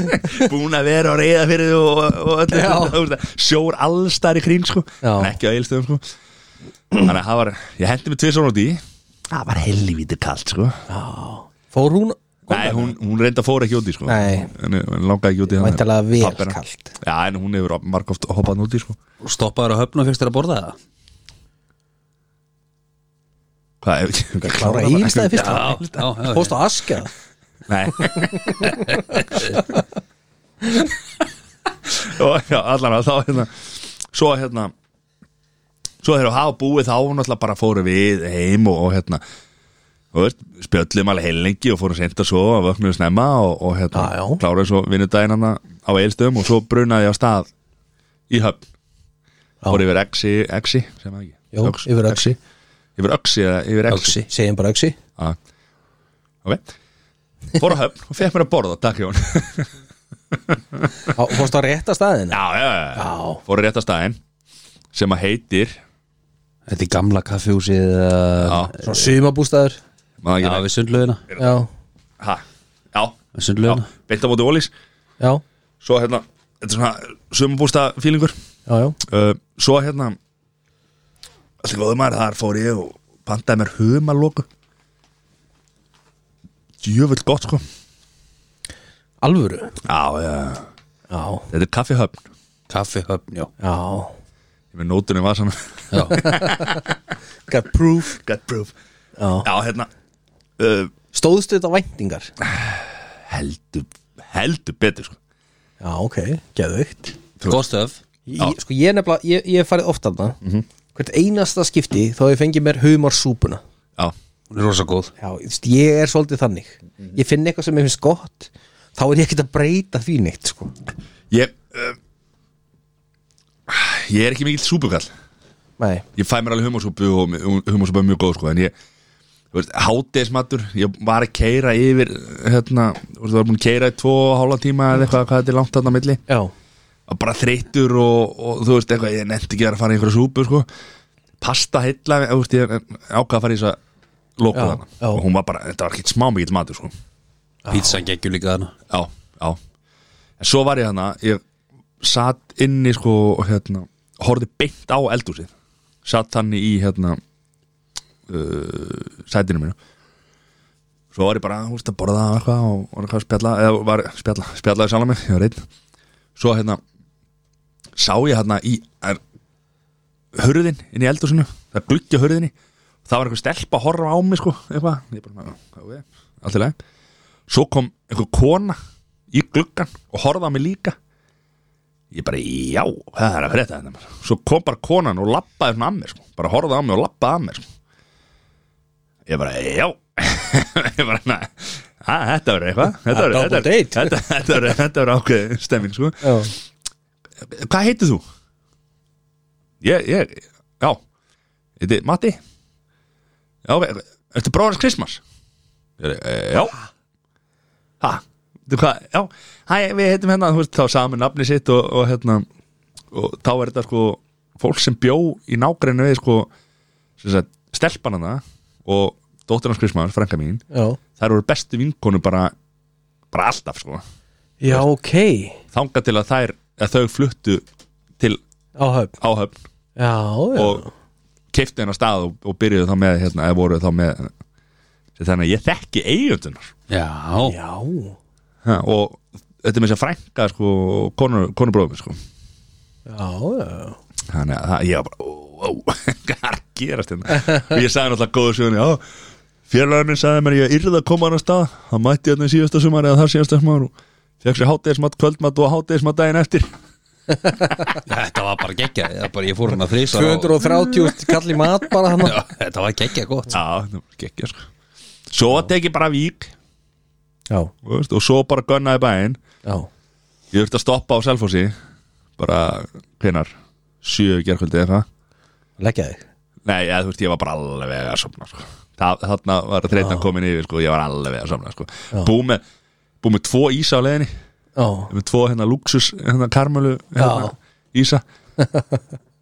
búin að vera og reyða fyrir og, og öllu
Já.
Þú veist það, sjór allstar í kring sko.
Já.
en ekki á eigilstöðum sko. Þannig að það var, ég hendi mig tvið svona út í Það var helvítið kalt sko
Fór hún
Nei, hún, hún reynda fór ekki út í sko
Nei.
En hún langaði ekki út í
Væntanlega vel
Pappina.
kalt.
Já, en hún hefur margóft hoppað út í sko
Stoppaður á höfn og fyrst þér að borða það
Hvað, ef ekki
Klára ílstaði fyrst
Já, já, já, já.
Fórst á askja
Nei Og já, allan að þá hérna Svo hérna Svo þegar hafa búið þá náttúrulega bara fóru við heim og, og hérna og veist, spjöllum alveg heilengi og fórum senda svo og vöknuðu snemma og, og hérna,
Já, já.
kláraði svo vinnudaginn hana á eilstöðum og svo brunaði ég á stað í höfn fór yfir Exi, Exi sem það ekki
Jó,
Öx-
yfir öksi
yfir Öxi eða yfir Exi
Segjum bara öksi
Já. ok fór á höfn og fekk mér að borða takk Jón
Á- Fórst á rétta staðina
já, já, já, já. fóru rétt að staðinn sem að heitir
Þetta er gamla kaffjúsið uh,
já,
Svo sumabústaður
maður
Já,
ekki
við sundlaugina
Já,
nefn- ha, já,
Við
já
sundlaugina
beint á móti ólís
já,
svo hérna, þetta er svona sumabústa fílingur
já, já
uh, svo hérna allt góðum maður, þar fór ég og pantaði mér humaloku djöfull gott sko
Alvöru
já, já,
Já,
þetta er kaffihöfn
Kaffi höfn, já
já
ég með nótunum var svona
Got proof
got proof
Já
já, hérna uh,
Stóðstu þetta væntingar
heldur, heldur betur sko
Já, ok, geðveikt
Góð stöf
Ég- Sko ég nefnilega, ég, ég hef farið oft alna Hvert einasta skipti þá hef ég fengið mér humarsúpuna
já,
Hún er rosa góð
Já, Mhm. þú veist, ég er svolítið þannig Ég finn eitthvað sem ég finnst gott Þá er ég ekkert að breyta því neitt sko.
Ég uh, Ég er ekki mikill súpukall
Nei,
Ég fæ mér alveg humarsúpu og humarsúpu er mjög góð sko En ég, þú veist, hátíðismatur Ég var að keira yfir hérna, þú veist, var búin að keira í tvo og hálfa tíma eða eitthvað, hvað þetta er langt þarna á milli
já,
Og Bara þreyttur og, og þú veist eitthvað Ég nefndi ekki að vera að fara í einhverja súpu sko Pasta heilla, þú veist, ég ákvað að fara í þess að Loku
Já,
þarna
já.
Og hún var bara, þetta var ekki smá mikill matur sko
Pítsan geggjur líka þarna
já, já en svo var ég hana, ég satt inni sko og hérna horfði beint á eldhúsið satt þannig í hérna uh, sætinu mínu svo var ég bara, hú veist, að borða og eitthvað og var eitthvað að spjalla, eða var spjalla spjallaði sjálf mig, ég var einn svo hérna, sá ég hérna í er, hurðin inn í eldhúsinu, það gluggja hurðinni það var eitthvað stelpa að horfa á mig sko eitthvað, ég bara, hvað er allt í lagi svo kom einhver kona í gluggan og horfaði á mig líka ég bara, já, það er að frétta þetta maður. svo kom bara konan og lappaði svona að mér sko. bara horfaði á mig og lappaði að mér sko. ég bara, já ég bara, næ þetta verður eitthvað þetta verður-
Double
þetta verður-
date.
þetta- þetta verður- þetta verður ákveð stemming sko.
já,
hvað heitir þú? Ég, ég, já Þetta er Matti Já, ok, ertu bróðars Kristmas? Ég, e, já Ha, þú hvað, já Hæ, við heitum hérna, þú veist, þá saman nafni sitt og, og hérna og þá er þetta sko fólk sem bjó í nágrinni við sko sem sagt, stelpanana og dóttir hans Kristmas, frænka mín
já
þær voru bestu vinkonu bara bara alltaf sko
Já, ok,
þangað til að þær, að þau fluttu til
áhöfn
áhöfn
Já, já,
og keifti hennar stað og, og byrjuðu þá með hérna, eða voru þá með Sér þannig að ég þekki eigundunar
Já
já
og þetta er með sér frænka sko, konur, konubróðum sko.
Já, já,
þannig að það, ég var bara ó, ó, hvað er að gerast hérna og ég sagði náttúrulega góðu sögunni já, fjarlæðurinn sagði mér ég yrði að koma hann að stað hann mætti hérna í síðasta sumar eða þar síðasta sumar og fekk sér hátegismat, kvöldmat og hátegismat daginn eftir
Þetta var bara geggja Ég, bara, ég fór hann að þrýsa
230 kall í mat bara hann
Þetta var geggja gott
já, það var gekkja sko. svo teki bara vík
Já,
þú veist, og svo bara gönnaði bæinn
já,
Ég þurfti að stoppa á Selfossi Bara, hvenar Sjö gerkvöldi eða það
leggja þig
Nei, ég, þú veist, ég var bara alveg að sofna sko. Þa, Þarna var þreytan komin yfir sko. Ég var alveg að sofna sko. Bú með, bú með tvo ísa á leiðinni
Já,
Með tvo hérna luxus, hérna karmölu hérna, Ísa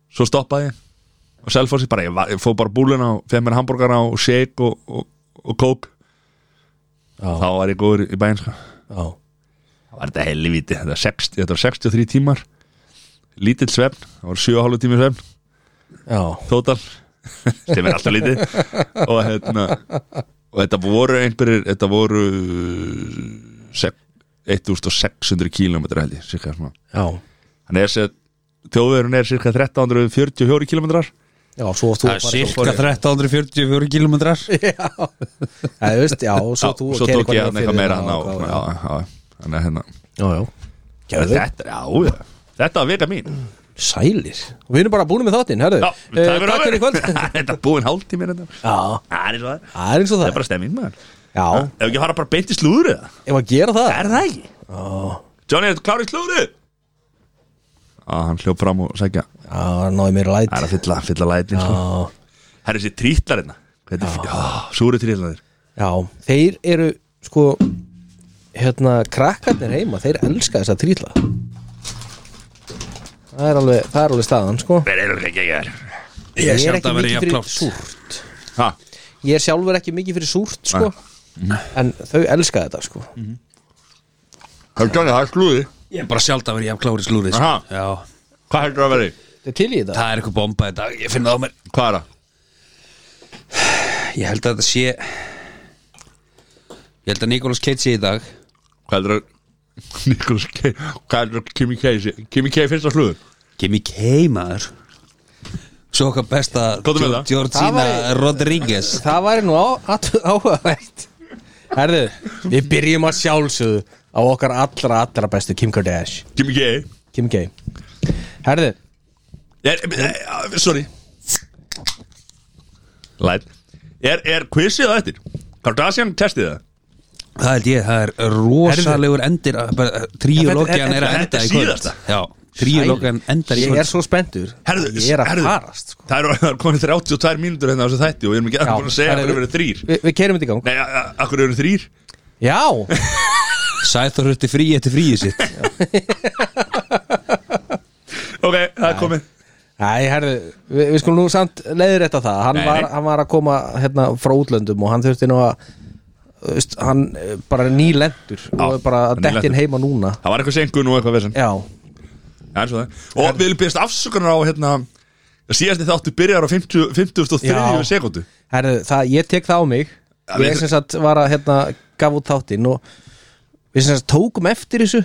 Svo stoppaði ég Og Selfossi bara, ég, var, ég fóð bara búluna og Fem mér hambúrgara og shake og, og, og kók
Já.
Þá var ég góður í bæinn sko.
já,
Það var þetta helvíti, þetta var, 60, þetta var 63 tímar Lítill svefn, það var 7,5 tími svefn
já
Tótal, sem er alltaf lítið og hérna og þetta voru einhverjir þetta voru se- 1600 km held ég cirka svona
Já,
hann er sér þjóðverun er cirka 1344 km
já svo þú
Það er cirka 1344 kilometrar
Já, þú veist, já, svo þú
svo
keyrir
tók ég
eitthvað
hann
fyrir
eitthvað meira
það
hann á
og hvað,
svona, já, já, þannig að hérna
Já, já Gerðu
þetta, já, já, þetta var vika mín
Sælir Og við erum bara búin með þáttinn, herðu
já,
Eh,
takk
Takk fyrir í kvöld
þetta er búin hálftími hérna
Já,
það er svo það er.
það er eins og
það
það
er bara stemming maður
Já,
ef ekki að fara bara beint í slúður eða
ef að gera það
er það ekki Johnny, er þetta klárið slúður að hann hljóf fram og segja
Já, það náði mér að
það er
læt
að fylla, fylla lætin sko.
Já,
það er þessi trítlar hérna Hvernig- já, súru trítlarnir
já, þeir eru sko Hérna, krakkarnir heima Þeir elska þess að trýla Það er alveg, það er alveg staðan, sko
þeir eru ekki ekki þær
Ég
er
sjá
ekki
þetta að vera
mikið
jafn
fyrir
klárt.
súrt
Ha,
Ég er sjálfur ekki mikið fyrir súrt, sko En þau elska þetta, sko
það er Johnny, það er slúður
Ég er bara sjálft að vera jafn klári slúrið sko.
Aha.
Já,
hvað heldur það að vera í?
Þetta er til í þetta
það er eitthvað bomba í dag Ég finn það á mér
hvað er það?
Ég held að þetta sé Ég held að Nikolas Cage sé í dag
hvað heldur það Nicholas K hvað heldur það Kimi K sé? Kimi K finnst það slúður
Gimme K maður Svo okkar besta
Komdu
Gio-
með það.
Georgina
Það
Rodriguez
Það væri nú á- at- áhugavert Herðu, við byrjum að sjálfsögðu á okkar allra, allra bestu Kim Kardashian
Kimi K
Kim K Herðu,
er, er, er, sorry læt er, er quizið það eftir? Kardashian testið það?
Það held ég, það er rosalegur endir eh, Tríológian er að
Þetta
enda
er
í kvöld
síðasta.
Já, tríológian endar í
ég
kvöld
er svo spenntur
Herðu,
Ég er að
herðu.
farast sko.
Það eru það eru komin 32 mínútur hérna á þessu þætti og við erum ekki aðeins búin að segja að
herðu,
það eru verið þrýr
Við, við kerum þetta í gang
Nei, a- a- af hverju eru þrýr?
Já,
Sæþór hurti frí eftir fríið sitt
Ok, það er komið
Æ, herðu, við, við skulum nú samt leiðir þetta það hann,
Nei,
var,
nei.
hann var að koma hérna, frá útlöndum og hann þurfti nú að þú veist, hann eh, bara er nýlendur og er bara
hann er
dettin
nýlentur.
heima núna
Það var eitthvað senkun og eitthvað vesen
Já,
Það er svo það Og við viljum byrjast afsökunar á hérna Síðasti þáttu byrjar á 50
Já.
53 sekundu
herðu, það, ég tek það á mig
Já, við-
Ég sem sagt var að hérna, gaf út þáttinn og við sem sagt tókum eftir þessu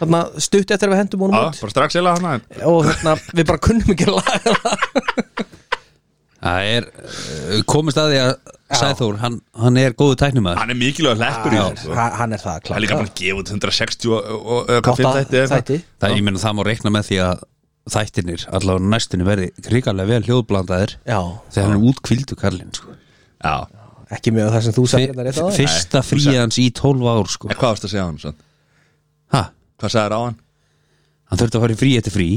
þarna stutt eftir að við hendum honum
Já,
út
bara strax eila hana en-
og hérna, við bara kunnum ekki að laga það
Það er uh, komist að því að Sæþór, hann, hann er góðu tæknumæður
Hann er mikilvæg hleppur í þessu sko.
Ha- hann er það
Það er
klart
líka bara að gefa út 160 og- og- og eitthvað fimm þætti eða eitthvað.
þætti
Það ég meina það má reikna með því að þættinir allavega næstinni verði ríkarlega vel hljóðblandaðir
já,
þegar hann er útkvildu kallinn sko.
Já
ekki mjög það sem þú sagði hérna rétt á það
Fyrsta fríðans í 12 ár sko.
En hvað varst að segja á hann? Svend?
ha,
Hvað sagði á hann?
Hann þurfti að fara í frí eftir frí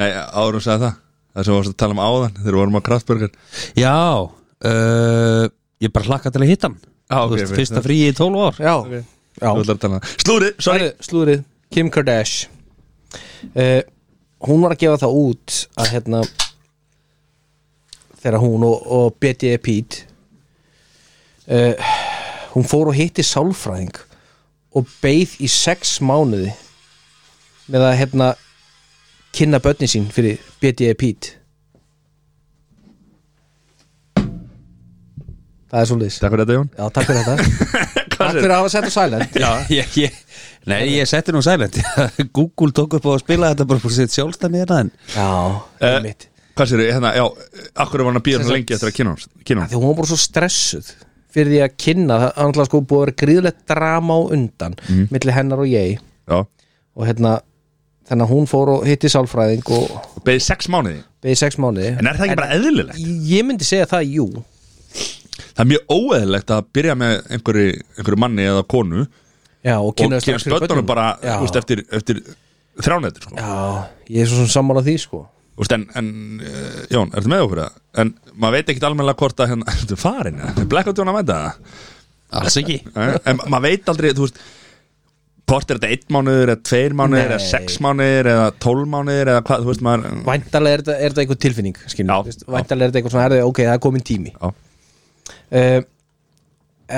Nei, árum sagði það Það sem varst að tala um áðan þegar við vorum á Kraftburger
Já uh, Ég bara hlakka til að hitta hann
Já,
Þú
ok,
veist,
fyrir-
Fyrsta frí í 12 ár
já, já
Þú ætlar að tala- Slúrið, sorry
Herðu, slúrið, Kim Kardashian uh, hún var að gefa það út að hérna þegar hún og, og Betty Pete uh, hún fór og hitti sálfræðing og beið í sex mánuði með að hérna kynna börnin sín fyrir Betty Pete það er svo liðs
Takk fyrir þetta Jón
Já, takk fyrir þetta Takk fyrir að hafa sett á silent
Já, ég, ég, nei, ég setti nú sælend Google tók upp á að spila þetta bara fyrir sitt sjálfstæmi hérna en
Já,
Eh,
uh, mitt
Hvað sér þið, hérna, já, akkur var hann að býja
Sem
hann
sagt-
lengi eftir að kynna hans- kynna hann
Því hún var bara svo stressuð fyrir því að kynna það er náttúrulega sko búið að vera gríðlegt drama á undan
Mhm.
milli hennar og ég
Já,
og hérna þannig að hún fór og hitti sálfræðing og
og beðið sex mánuði
beðið sex mánuði
En er það ekki bara eðlilegt?
Ég myndi segja það, jú
Það er mjög óeðlilegt að byrja með einhverju, einhverju manni eða konu
Já, og
og
kynna
kynast börnunum bara,
Já,
þú veist, eftir, eftir þrjánættur, sko
já, ég er svo sem sammála því sko
Þú veist, en, en uh, Jón, ertu með okkur það? En maður veit ekkit almennilega hvort að hérna, ertu farin, eða? er blekkátt Jón að mæta það?
Alls ekki
Eh, en ma- maður veit aldrei, þú veist hvort er þetta einn mánuður eða tveir mánuður eða
Nei.
sex mánuður eða tólf mánuður eða hvað, þú veist maður
Væntalega er þetta, er þetta einhver tilfinning
Já,
skilur, veist,
já.
Væntalega er þetta einhver svona herði, ok, það er komin tími
Já.
uh,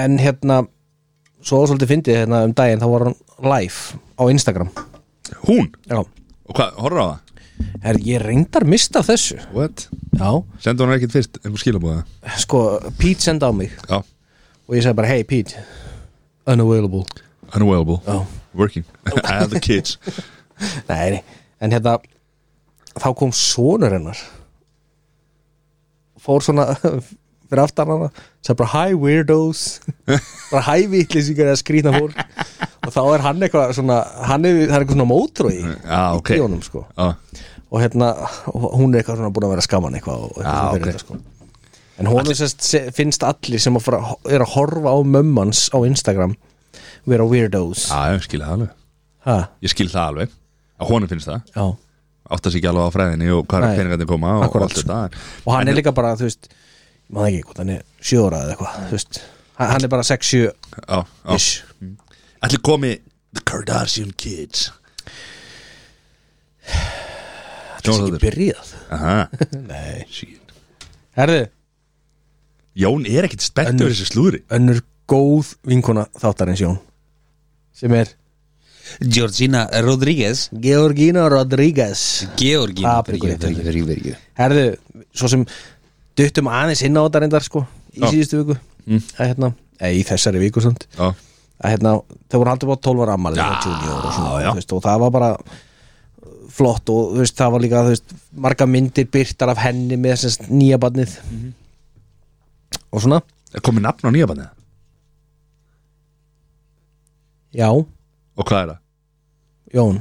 En hérna Svo var svolítið fyndið hérna um daginn Þá var hann live á Instagram
hún,
Já,
og hvað, horfður á það?
er ég reyndar mista af þessu
What?
já,
Sendu hann ekkert fyrst, einhver skilabóða
sko, Pete senda á mig
Já,
og ég sagði bara, hey Pete unavailable
unavailable
já.
Working, I have the kids
Nei, nei, en hérna þá kom sonur hennar fór svona fyrir aftan hana sagði bara hi weirdos bara hi vitlýsingar eða skrýna fólk og þá er hann eitthvað svona hann er, það er eitthvað svona mótrói
Já, ok
í honum sko
Já,
og hérna og hún er eitthvað svona búin að vera skaman eitthvað, og eitthvað
Já,
svona
ok.
fyrir þetta, sko. en hún allir. Sest, se- finnst allir sem að fara, er að horfa á mömmans á Instagram vera weirdos
Já, ég skil það alveg
ha,
Ég skil það alveg Að honum finnst það
já
Átta sig ekki alveg á fræðinni og hvað
Nei. sko.
er peningarnir koma og, og
Akkúrat,
allt þetta
og hann er líka bara, þú veist ég maður ekki, hvort hann er sjö ára eða eitthvað þú veist, hann hann er bara 6-7
Já, já
ish
Ætli komi The Kardashian Kids
það er ekki byrjað
Aha Nei Shit.
herðu,
Jón er ekkit spennt
Önnur.
yfir þessu slúðri
önnur góð vinkona þáttarins Jón sem er
Georgina Rodríguez
Georgina Rodríguez
Georgina
Ah, fyrir guð, fyrir
fyrir fyrir
herðu, svo sem duttum aðeins inn á þetta reyndar sko í
Já. Mm.
síðustu viku að hérna, eða í þessari viku samt
Já
að hérna, þau voru haldið bara 12 ára ammali
Já,
og, svona,
já.
þú veist, og það var bara flott og þú veist, það var líka þú veist, marga myndir byrtar af henni með þessast nýja barnið
Mhm.
og svona
Er komið nafn á nýja bannið?
já,
Og hvað er það?
Jón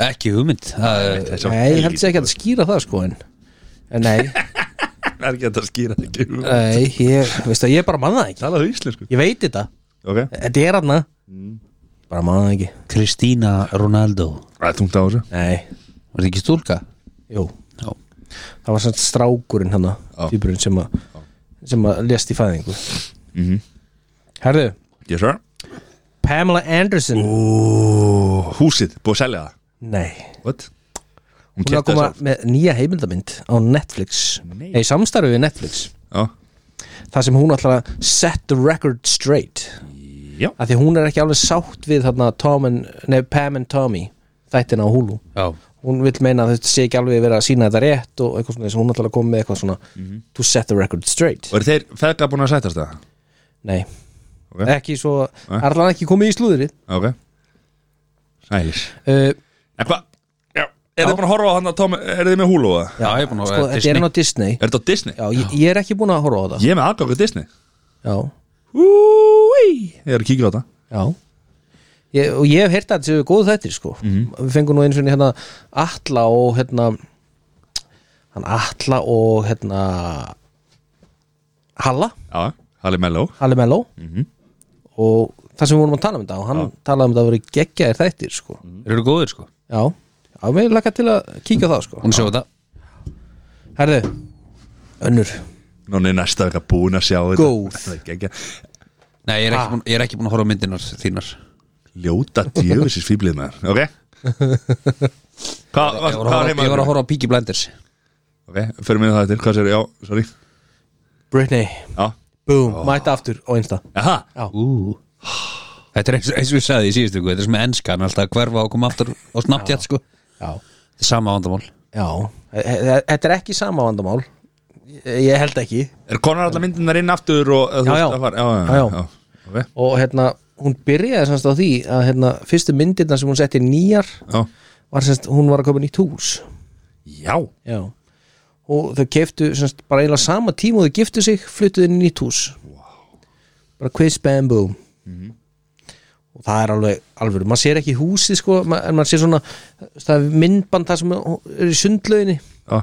Ekki hugmynd Það-
Þessi á
nei, ég held
helvíti.
sér ekki að skýra það sko en, en nei,
Það er ekki hægt að skýra það ekki
nei ég, veist það, ég bara manna það ekki
Talaðu íslensku
ég veit þetta,
Ok
þetta er hann bara manna það ekki
Kristína Ronaldo
Það er tungt á þessu
nei,
Var það ekki stúlka?
jú,
Já
það var svona strákurinn hann
Já.
týpurinn sem að sem að lést í fæðingu
Mhm.
herðu
Yes sir
Pamela Anderson
Ó, Húsið, búið að selja það
Nei,
What?
hún er að
keypti
koma
það sjálf.
með nýja heimildamind á Netflix
Nei.
Nei, samstarfið við Netflix Það sem hún ætlar að set the record straight
Já Já
Af því hún er ekki alveg sátt við þarna Tom and, nei, Pam and Tommy þættina á Hulu
Já
Hún vill meina að þetta sé ekki alveg verið að sína þetta rétt og eitthvað svona þess að hún ætlar að koma með eitthvað svona to set the record straight
Og eru þeir feðga búin að sætast það?
Nei,
Ok.
ekki svo
Nei.
Það er allan ekki komið í slúðri
Ok Sælis
uh,
En hvað? Já Er þið búin að horfa á hann að Tom Er þið með húlu það?
Já, ég er búin að
Sko, þetta er hann á Disney
Er þetta á Disney?
Já, ég, ég er ekki búin að horfa á það
Ég er með aðgangu á Disney
Já
Úi Ég er að kíkja á það
Já ég, Og ég hef heyrt að þetta séu góð þættir sko Við fengum nú eins og hérna Atla og hérna hann Atla og hérna Halla,
Já Halli Mello
Halli Mello og það sem við vorum að tala um þetta og hann talaði um þetta að vera geggjaðir þættir sko
Þeir eru góðir sko
Já, já, við lakka til að kíkja á það sko
Hún sjá þetta
Herðu, önnur
Núna er næsta vika búin að sjá þetta
Góð.
Það er geggja
Nei, ég er ekki, búin, ég er ekki búin að horfa á myndinar þínar
Ljóta djöfisins fýblið maður Ok Hvað
Ég
hvað-
var að
hvað er
horfa,
heima?
ég var að horfa á Peaky Blinders
Ok, förum við það eftir Hvað sér, já, sorry
Britney,
Já
boom, mæta aftur og einsta
Aha
Ú Þetta er eins, eins og við sagði í síðustu viku, Þetta er sem með enskan alltaf að hverfa og koma aftur og snabbtjátt sko
Já,
Þetta er sama vandamál
já, e- e- þetta er ekki sama vandamál Ég ég held ekki
Er konar allar myndinar inn aftur og eða þú
Já,
veist,
já.
það var- Já, já,
Já, já.
já, já. Ok,
og hérna, hún byrjaði semst á því að hérna, fyrstu myndirna sem hún setti nýjar
já.
var semst, hún var að koma nýtt hús
Já,
já og þau keftu semst bara eiginlega sama tíma og þau giftu sig, fluttuðu inn í nýtt hús wow. bara quiz bam boom
Mhm.
og það er alveg alveg, maður sér ekki húsið sko ma- en maður sér svona, það er myndband það sem er í sundlauginni
já.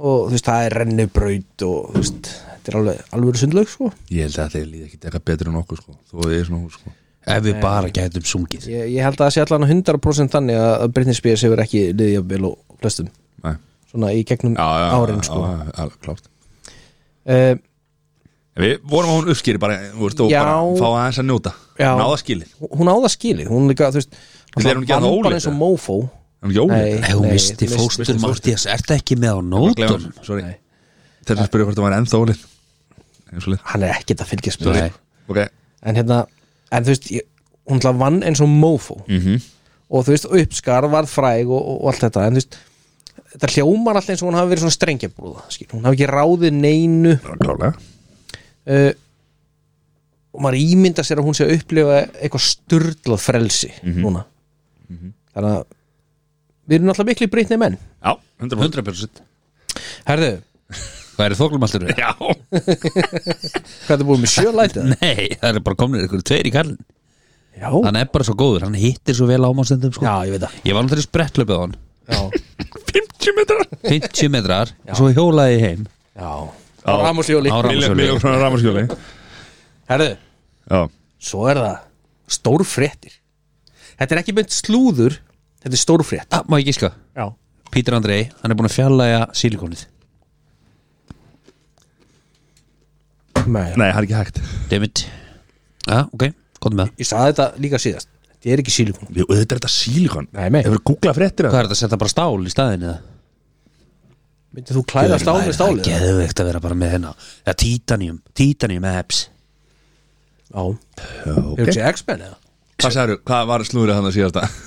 og þú veist, það er rennubraut og þú veist, þetta er alveg alveg sundlaug sko
Ég held að þeir líði ekki eitthvað betur en okkur sko Þú er svona hús sko
Ef við bara gætum sungið
Ég, ég held að það sé allan 100% þannig að að Britney Spears hefur ekki liðið jafn vel og flestum
Nei.
svona í gegnum
Já, já,
árin
já,
sko.
já, já, alveg klárt
uh,
En Við vorum að hún uppskýri bara, þú veist, og
Já.
bara fá aðeins að njóta
Já.
Náða skilið,
Hún á það skilið, hún líka þú veist
En er hún ekki að það
vann bara
ólétt,
eins og
eða?
mófó
hann jólið
Nei.
Ef hún misti
þú mist-
fóstur Mattias Ertu ekki með á nótum?
Sorry, þess að spyrja hvort það var ennþá ólið Eins og lið
Hann er ekkert að fylgjast með
Nei.
þessu.
Ok,
En hérna, en þú veist ég, hún líka vann eins og mófó
mhm,
og þú veist, uppskar varð fræg og, og allt þetta en þú veist, þetta hljómar alltaf eins og hún hafi verið svona strengjabrúða skil. hún hafi ekki ráðið neinu
Klálega
uh, og maður ímynda sér að hún sé að upplifa eitthvað sturdlað frelsi
Mhm.
núna þannig að við erum alltaf miklu breytni menn
Já, 100%, 100%.
herðu,
Hvað eru þoklum alltaf?
Já,
hvað er búið með sjölætið?
Nei, það eru bara komnir ykkur tveir í kallin
já,
Hann er bara svo góður, hann hittir svo vel ámástendum sko.
já, ég veit það
Ég var náttúrulega sprettlöpið á hann
já,
50 metrar
50 metrar, svo hjólaði ég heim
já, á
Á
rámusjóli
Milljón-
rafmagnsvölu.
milljón krónar rafmagnshjóli.
herðu,
Já,
svo er það stórfréttir þetta er ekki beint slúður þetta er stórfrétt
ah, Má ég gíska?
já,
Pítur Andrei, hann er búin að fjallæja sílikonið
með
nei, það er ekki hægt
Dammit Já, ok, komdu með það
ég saði þetta líka síðast þetta er ekki sílikon
Við auðvitað er þetta sílikon
Nei, nei.
Hefur googlað fréttir að
Hvað er þetta að setja bara stál í staðinu það?
myndið þú klæða stál með
Það
stálið
er geðveikt að vera bara með hérna Já, titanium, titanium apps
já, hefur þessi X-Men eða?
Hvað sagður, hvað var slúrið hann að síðast að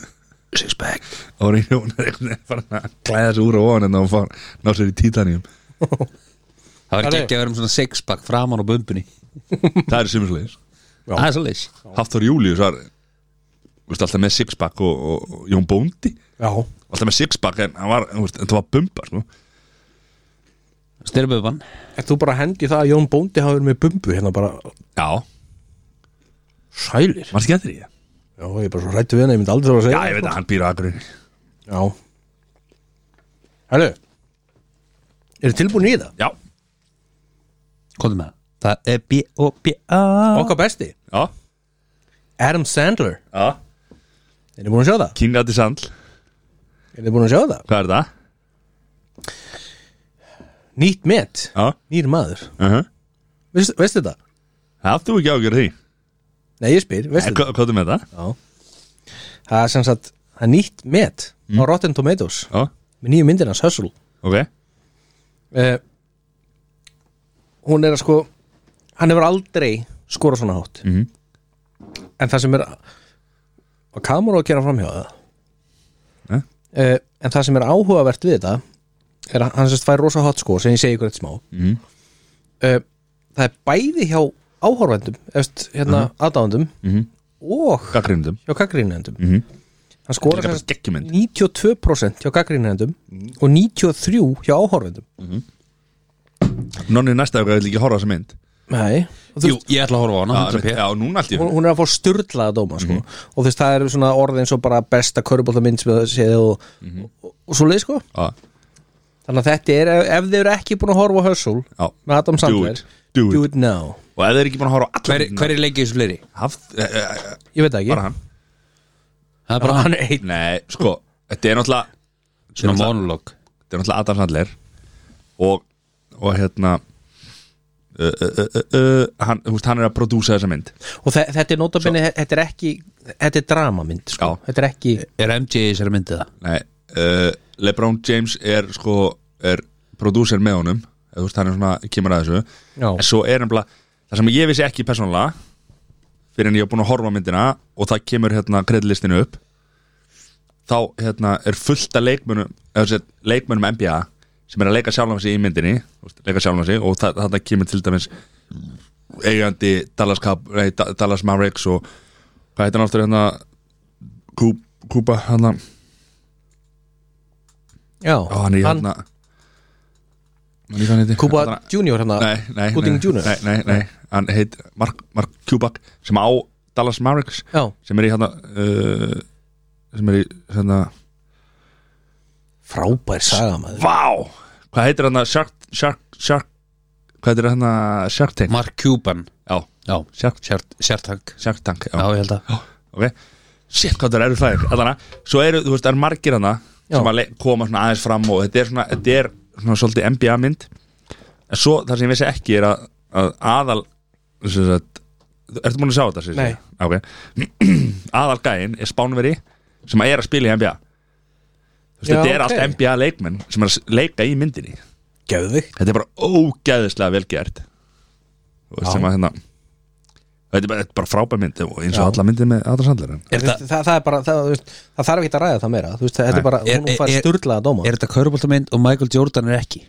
Sixpack
Og hún er hún er einhvern veginn farin að klæða sig úr og ofan En þá hún fór, ná sér í titanium
Það var
Herri.
ekki að vera um svona sixpack framan á bumbunni
Það er sumisleis
Það er svo leys
Hafþór Július var veist, Alltaf með sixpack og, og, og Jón Bóndi
já,
Alltaf með sixpack en hann var, þú veist, en það var bumba sko.
Styrböfban
er þú bara að hendi það að Jón Bóndi hafa verið með bumbu hérna bara
Já,
sælir
mann skemmtir í það
já, ég er bara svo rættu við hana, ég myndi aldrei að
Já,
segja sko.
ég veit að hann býr á akkurinn
já herru eru tilbúin í það?
Já,
Komdu með það Það er B-O-B-A
okkar besti,
já,
Adam Sandler
já
er þið búin að sjá það?
King Addy Sandl,
er þið búin að sjá það?
hvað er það?
nýtt met,
Já,
nýr maður
uh -huh.
Veist, veistu þetta?
hafðu ekki ágjör því
Nei, ég spyr, veistu þetta?
Hvað hvað er með það?
Já Það er sem sagt, það er nýtt met á Rotten Tomatoes
Já,
með nýju myndinans Hustle
ok
uh, Hún er að sko hann hefur aldrei skorað svona hátt
Mhm.
En það sem er og kamera á að gera framhjá það
Nei.
uh, En það sem er áhugavert við þetta er að hann sérst fær rosa hátt skor sem ég segi ykkur eitt smá
Mhm.
uh, Það er bæði hjá áhorfendum eftir hérna aðdáðendum
Mhm.
og
Gaggrindum
hjá gaggrínendum
Mhm.
hann skora
Líka bara
sem sagt
geggjumynd.
92% hjá gaggrínendum
Mhm.
og 93% hjá áhorfendum
Nonni næsta ykkur vil ekki horfa á þessa mynd
nei Og þú
Jú,
veist,
ég ætla að horfa á hana 100p.
Já, núna allt í
hún, hún er að fá styrlaða dóma sko.
Mhm.
og þú veist það eru svona orðin svo bara besta körbóltamind sem það séð og,
Mhm.
og, og svo leið sko
Já,
þannig að þetta er, ef þið eru ekki búin að horfa á Hustle
já
með Adam Sandler
it. Do it.
do it now
Og ef þeir eru ekki búin að horfa á allar
Hver, hver er leikið þessu fleiri?
Hafð eh,
ég veit það ekki
Bara hann
Það er bara hann
er einn
Nei, sko Þetta er náttúrulega
Svona
Þetta-
monolog
Þetta er náttúrulega Adam Sandler Og, og hérna Uh, uh, uh, uh, uh, hann, þú veist, hann er að prodúsa þessa mynd
og þe- þetta er notabene, þetta er ekki þetta er dramamynd sko.
Já.
þetta er ekki
Er MJ í þessari myndið það?
Nei, uh, Lebron James er sko er prodúser með honum eða, þú veist, hann er svona, kemur að þessu
já,
en svo er nefnilega, það sem ég vissi ekki persónulega fyrir en ég hef búin að horfa á myndina og það kemur hérna kreddlistinu upp þá hérna er fullt af leikmönum eða þessi leikmönum NBA sem er að leika sjálfan sig í myndinni þú veist, leika sjálfan sig og það, þarna kemur til dæmis eigandi Dallas, Cap, nei, Da- Dallas Mavericks og hvað heitir hann aftur hérna Kú- Kúba hérna,
já.
ó, hann er hérna Man, ég, hvað hann heitir?
Kuba
Hérna-
Junior hérna
nei, nei,
Gooding
nei,
Jr.
nei, nei, nei, hann heit Mark, Mark Kubak sem á Dallas Mavericks
Já,
sem er í hérna uh, sem er í hérna
frábær saga maður
Vá, hvað heitir hann Shark, Shark, Shark hvað heitir hann Shark Tank
Mark Cuban
Já,
Já,
Shark,
sértak
Shark Tank
Já,
já.
ég held að
ok Shit, hvað það eru fæðir Allana, Svo eru, þú veist, það eru margir hana
Já.
sem að le- koma svona aðeins fram og þetta er svona, þetta er svona svolítið NBA mynd en svo það sem ég vissi ekki er að, að aðal sem sagt, Ertu múin að sjá þetta? sem
Nei.
ég segi? Ok. aðal gæinn er spánveri sem að er að spila í NBA Þú veist,
Já,
Þetta er
ok.
allt NBA leikmenn sem er að s- leika í myndinni
Gjöðvig
Þetta er bara ógæðislega vel gert Þú veist,
Já.
sem að hérna þetta er bara, þetta er bara frábær mynd og eins og
Já.
alla myndir með Adam Sandler en
Er
Þú veist, það, það, er bara, það, þú veist, það þarf ekki að ræða það meira Þú veist, þetta
Nei.
er bara,
Er-
hún fær
er-
styrlaða dóma
Er þetta köruboltamynd og Michael Jordan er ekki
já,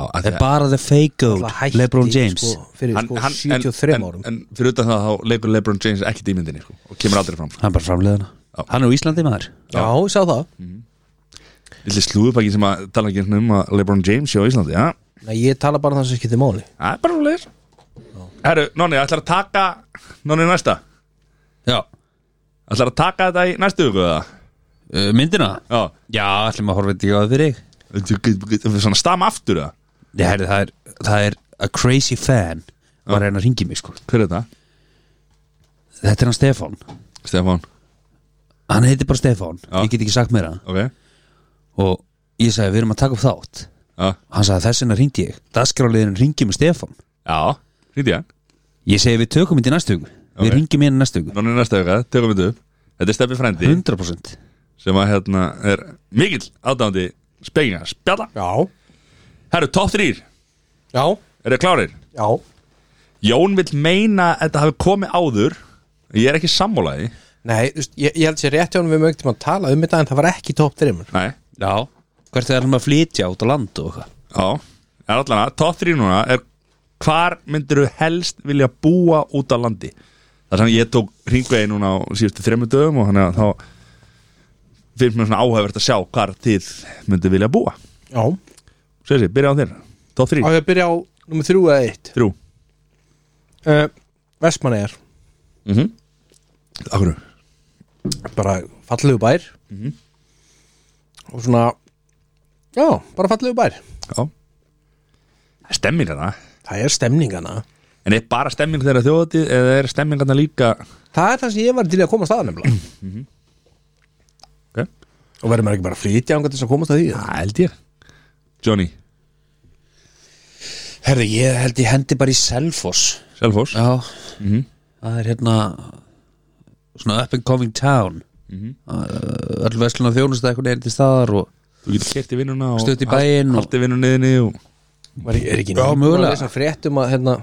að
Er
því að-
bara the fake goat
Náttúrulega hætti,
Lebron James
sko, Fyrir
hann-
sko,
hann- en-
73
en-
árum
en fyrir utan það þá leikur Lebron James ekki í myndinni sko, og kemur aldrei fram sko.
Hann bara framleiðana
Já.
Hann er úr Íslandi maður
Já, ég sá það
Lilli slúðupakki sem að tala ekki um að Lebron James sé á Íslandi, já
Nei, ég tala bara um það sem skiptir máli
Það er bara úr leir Herru, Nonni, ætlar að taka Nonni næsta
Já
Ætlar að taka þetta í næstu viku eða?
uh, Myndina
Já
Já, ætlum að horfa þetta ekki á það fyrir þig
Þú get- get- Svona stam aftur eða?
Nei, herri, það er, það er a crazy fan var hérna að ringi mig sko
Hver er þetta?
Þetta er hann Stefán
Stefán
Hann heiti bara Stefán
Já.
Ég get ekki sagt meira
Ok Já
Og ég sagði við erum að taka upp þátt Hann sagði þess vegna ringdi ég Dagskráliðin ringi með Stefán
Já Hrýndi ég
Ég segi við tökum þetta í næstu hugu
Ok.
Við ringjum hérna næstu hugu
Nonni næsta vika Tökum við upp Þetta er Steffi frændi
100%
Sem að hérna er mikill aðdándi Spekinga Spjalla
Já,
Herru, top 3
já,
Er þið klárir?
já
Jón vill meina að Þetta hafi komið áður Ég er ekki sammálaði
Nei, þú veist, ég, ég held sér rétt hjá hann við mögum að tala um þetta en það var ekki top 3
Nei
Já Hvert er hann að flytja út á land og eitthvað
Já, er allan að top 3 núna er hvar myndir þú helst vilja búa út á landi þar sem ég tók ringvegi núna á síðustu þremmu dögum og þannig að þá finnst mér svona áhæfvert að sjá hvar þið myndir vilja búa
Já, á
Sér sér, byrja á þér, top 3
ég að byrja á nummer 3 eða 1
Þrjú Eh,
uh, Vestmannegar,
mm -hmm. Akkur
bara fallegu bær og svona já, bara fallegu bær
Já Það er Stemming hana
það er stemningana
En er bara stemming þeirra þjóðatíð eða er stemming hana líka
það er það sem ég var til í að komast að nefnilega
Ok.
og verður maður ekki bara að flytja ánga til þess að komast að því
Það held ég Johnny,
Herði, ég held ég hendi bara í Selfoss
Selfoss
Já Það er hérna Svona up and coming town
Mhm.
uh, Öll veslun og þjónust að eitthvað er til staðar og
Þú getur kert í vinnuna og
Stutt í bæinn og-
Haldið vinnunni þinni og
Var, er ekki
Já,
nýbúin
mögulega.
að lesa fréttum að hérna,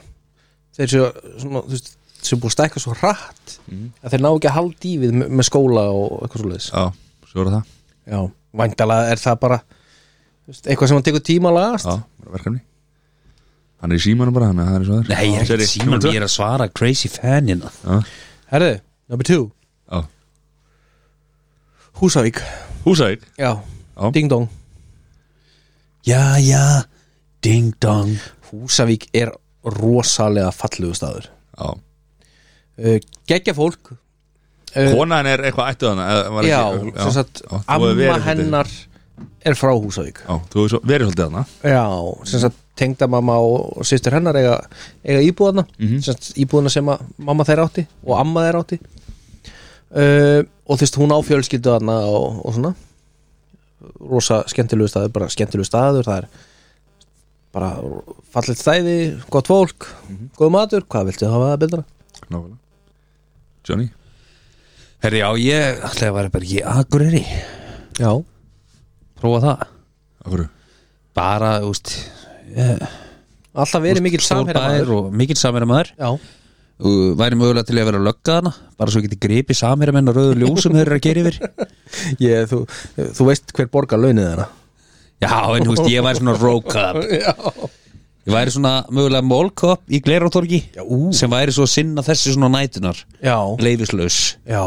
þeir séu svona, þú veist, sem búið að stækka svo hratt að þeir ná ekki að halda í við með, með skóla og eitthvað svo leiðis
Mhm. Já, svo er það
Já, væntalega er það bara þú veist, eitthvað sem hann tekur tíma að lagast
Já, bara verkefni Hann er í símanum bara, hann er svo þar
Nei, ég er ekki síman Ég er að svara crazy fan hérna
Herðu, number two,
Já.
Húsavík
Húsavík
Já,
Já.
ding dong
Já, já Ding dong
Húsavík er rosalega fallegu staður
Já.
uh, Geggja fólk uh,
Konan er eitthvað ættu þannig
Já, sem sagt,
Já, þú hefur verið svolítið-
amma hennar er frá Húsavík
Já, þú hefur svo, verið svolítið þannig
Já, sem sagt tengdamamma og, og sýstur hennar eiga, eiga íbúðana sem sagt íbúðana sem að mamma þeir átti og amma þeir átti uh, og þú veist hún á fjölskyldu þarna og, og svona rosa skemmtilegu staður, bara skemmtilegu staður það er bara fallit stæði, gott fólk góð matur, hvað viltu hafa það betra?
Nákvæmlega Johnny
Herri, já, ég ætlaði að vera bara Ég akureyri
Já,
Prófa það
Akkur
Bara, úst
alltaf verið mikill samherja maður.
og Mikill samherja maður
Já,
og væri mögulega til að vera að lögga hana bara svo ég geti gripi samherja menn að rauðu ljósum þeir eru að gera yfir
ég, þú, þú veist hver borgar launið þeirra
Já, en þú veist, ég væri svona rogue-up
Já,
Ég væri svona mögulega mólkopp í Glerátorgi
Já, ú.
sem væri svo að sinna þessi svona nætunar
já,
leifislaus
já,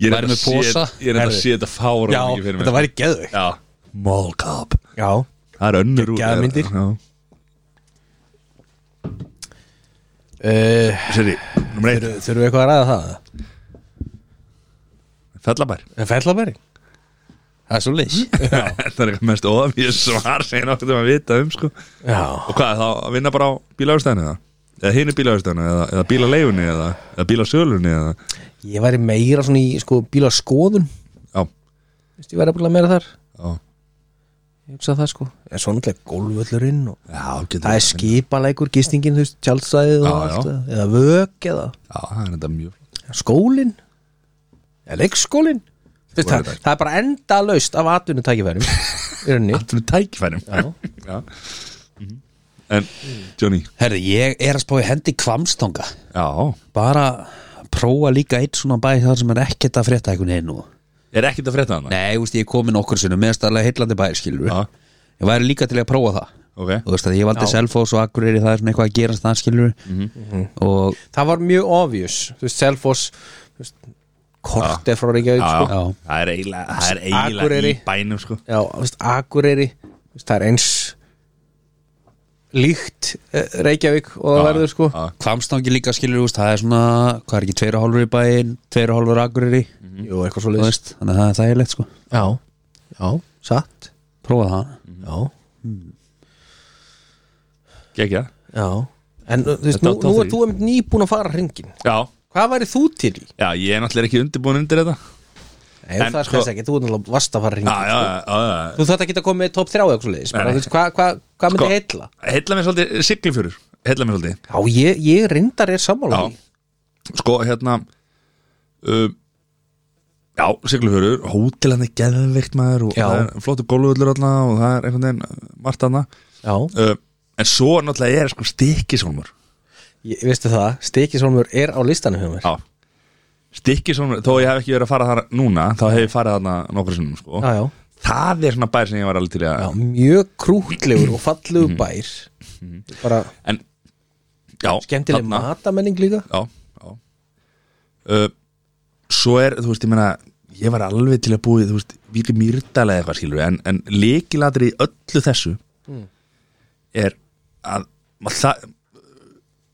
Ég
Væri
enda
með
að sé-
posa.
Ég er þetta að
Herri.
sé þetta fára
já þetta væri geðveik
Já Mallcop
Já,
Það er önnur út
Geggjaðar myndir.
Já
uh,
Seri, nummer eitt
Þurfum við eitthvað að ræða það?
Fellabær
Fellabæri?
Það er svo leis
Það er eitthvað mest óafíð svar sem ég nokkuð um að vita um sko
Já
Og hvað, þá að vinna bara á bílaugstæðinu eða? Eða hinu bílaugstæðinu eða, eða bílaleifunni eða, eða bílasölunni eða
Ég væri meira svona í sko, bílaskoðun
Já,
Vist, Ég væri bara meira þar
já,
Ég hugsa það sko En svo náttúrulega golfvöllurinn og
já getur
Það er skipaleikur, gistingin, þú veist, tjálsæðið og
Já,
allt
já.
það. Eða vök eða
Já, það er þetta mjög flott.
skólinn Eða leikskólinn Þú veist,
væri
það, það er bara enda laust af atvinnutækifærum Í rauninni
Allt fyrir tækifærum
Já.
já. En Johnny
Herri, ég er að spá í hendi kvamstonga
Já
Bara prófa líka eitt svona bæ þar sem er ekkert að frétta einhvern veginn og
Er ekkert að frétta hana?
Nei, þú veist, ég er komin okkur sinnum meðstæðlega heillandi bæ, skilur
Já,
Ég væri líka til að prófa það
ok
Þú veist að ég valdi Selfoss og Akureyri það er svona eitthvað að gerast það, skilur
Mhm.
Og
það var mjög obvious þú veist, Selfoss þú veist, kort er frá
Já,
Reykjavík
já.
sko.
Já.
Það er eiginlega Það er eiginlega í
Akureyri.
bænum sko
já, þú veist, Akureyri þú veist, það er eins líkt eh, Reykjavík og það
Já,
verður sko
já.
Kvamstangi líka, skilur, þú veist, það er svona Hvað er ekki, tveira hálfur í bæinn, tveira hálfur Akureyri
jú, eitthvað svo
Þú
leiðist
veist, þannig að það er þægilegt, sko
já, já, satt
Prófa það
já,
Gekja
já en þú veist,
Þetta
nú,
átti á
nú
því.
er þú einmitt nýbúin að fara hringin
Já
hvað væri þú til í?
Já, ég er náttúrulega ekki undirbúin undir þetta
Nei, en,
En
það er
sko-
sko, ekki, þú er náttúrulega vast að fara hringin
Já, já, já, já,
þú þarf ekki að koma með top 3 eitthvað svo leiðis
Nei.
hvað hva, hva myndi
Sko-
heilla?
já Heilla mér svolítið Siglifjörur Heilla mér svolítið
Já, ég, ég reyndar er sammála
Já.
því.
Sko, hérna um, Já, Siglifjörur Hótelan er geðveikt maður og
Já.
það er flottu gólfvöllur allna og það er einhvern veginn uh, margt annað
Já,
uh, En svo náttúrulega er sko stikkisólmur
ég, veistu það, Stikisólmur er á listanum hjá mér
Já Stikkisólmur, þó ég hef ekki verið að fara þar núna þá hef ég farið þarna nokkru sinnum sko.
já, já.
Það er svona bær sem ég var alveg til í að
já mjög krútlegur og
Mhm.
fallegur bær bara
En já,
skemmtileg
þarna-
matamenning líka
Já, já uh, Svo er, þú veist, ég meina Ég var alveg til að búið, þú veist Víri Mýrdal eða eitthvað skilur En, en leikilatri í öllu þessu
Mm.
Er að Maður það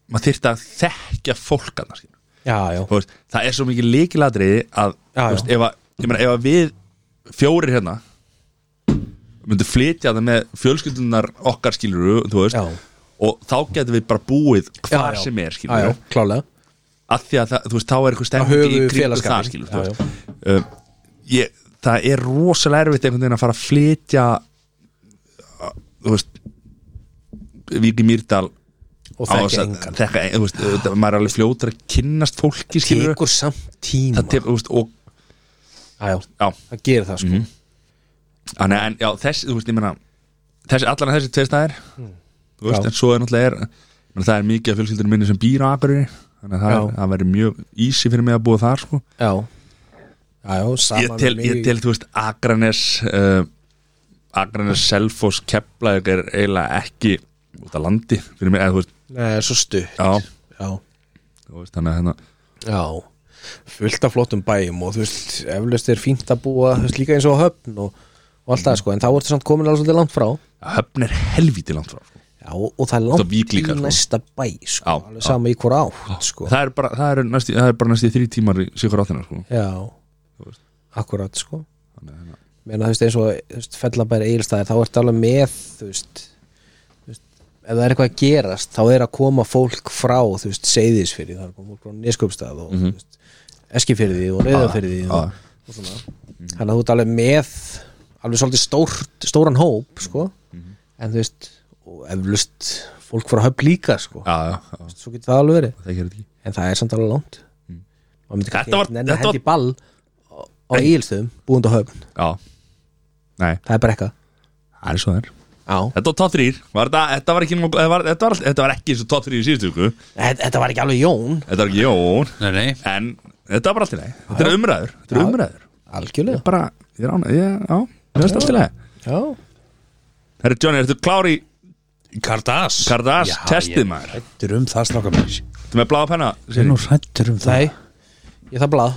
Maður þyrfti að þekkja fólk annars skilur
Já, já,
Þú veist, það er svo mikið líkilatriði að,
Já,
þú veist, ef að, ég meina, ef að við fjórir hérna myndum flytja það með fjölskyldunar okkar skiluru, þú veist
Já.
og þá getum við bara búið
Já,
hvað
já.
sem er,
já, já,
skiluru
klálega
að því að það, þú veist, þá er eitthvað
Að
stemming
höfuðu
í kringu
félagsskapur.
það, skilur, þú
Já,
veist um, ég, það er rosalega erfitt einhvern veginn að fara að flytja uh, þú veist Víki Mýrdal
Og
á þess
þekki
að-
engan
þekka en- þú veist, auðvitað, maður er alveg fljótur að kynnast fólki, skilur
Tekur samt tíma
það tekur, þú veist, og
Já, já,
já, Mhm.
það gerir það sko
Þannig, en já, þessi, þú veist, ég meina þessi, allan að þessi tveir staðir þú veist,
Hmm. Já.
en svo er náttúrulega er menn, það er mikið af fjölskyldunum minni sem býr á Akureyri þannig að það,
Já.
er- það verður mjög ísi fyrir mig að búa þar, sko
Já, já, já, saman
ég tel,
með
ég
mig-
tel, þú veist, Akranes uh, Akranes, Selfoss, Keflavík er eiginlega ekki út af landi fyrir mig, eða þú veist,
Nei, svo stutt
já,
já,
þú veist, þannig að hérna
já Fullt af flottum bæjum og þú veist Eflaust er fínt að búa, þú veist, líka eins og á höfn og, og allt það sko, en þá ertu samt komin alveg svolítið langt frá
höfn er helvíti langt frá, sko
Já, og það er
Það er vík
langt
líka,
í
sko.
næsta bæ sko,
Já, já.
alveg sama í hvora átt sko.
það er bara, það er næstu, það er bara næstu þrý tímar í sigur áttina, sko
Já, akkurat sko
hérna,
Meina, þú veist, eins og þú veist, fellabæri eigilstæðir þá ertu alveg með þú veist, þú veist, ef það er eitthvað að gerast þá er að koma fólk frá þú veist, seyðisfyrir, það er að koma fólk frá neskjöpstað
Mhm.
og mm veist, eskifyrði og reyðafyrði
Já,
og, og svona þannig að þú ert alveg með alveg svolítið stórt, stóran hóp sko,
Mhm.
en þú veist og eflust fólk frá höfn líka sko,
já, já, já,
svo getur það alveg verið
það gerir þetta ekki
en það er samt alveg langt maður myndi
Mhm. Þetta
kannski
var-
ekki nenni að
þetta var-
hendi ball á, á eigilstöðum búin á höfn,
Já, nei,
það er brekka
það er svo það er
já,
Þetta var top 3, var þetta, þetta var ekki nokkuð- þetta var, þetta, var, allt- þetta var ekki eins og top 3 í síðustu viku
þetta, þetta var ekki alveg Jón
Þetta var ekki jón,
Nei, nei
en þetta var bara allt í leið Þetta er umræður, þetta er
Já.
umræður Ég
algjörlega,
bara, ég rána, ég, já, mér finnst allt í leið
já,
Herri Johnny, ertu klár í
Kardas
Kardas testið maður?
Hættur um það stráka mér
Þú með bláða penna,
Ég er
sér
nú hættur um það
nei ég það blað,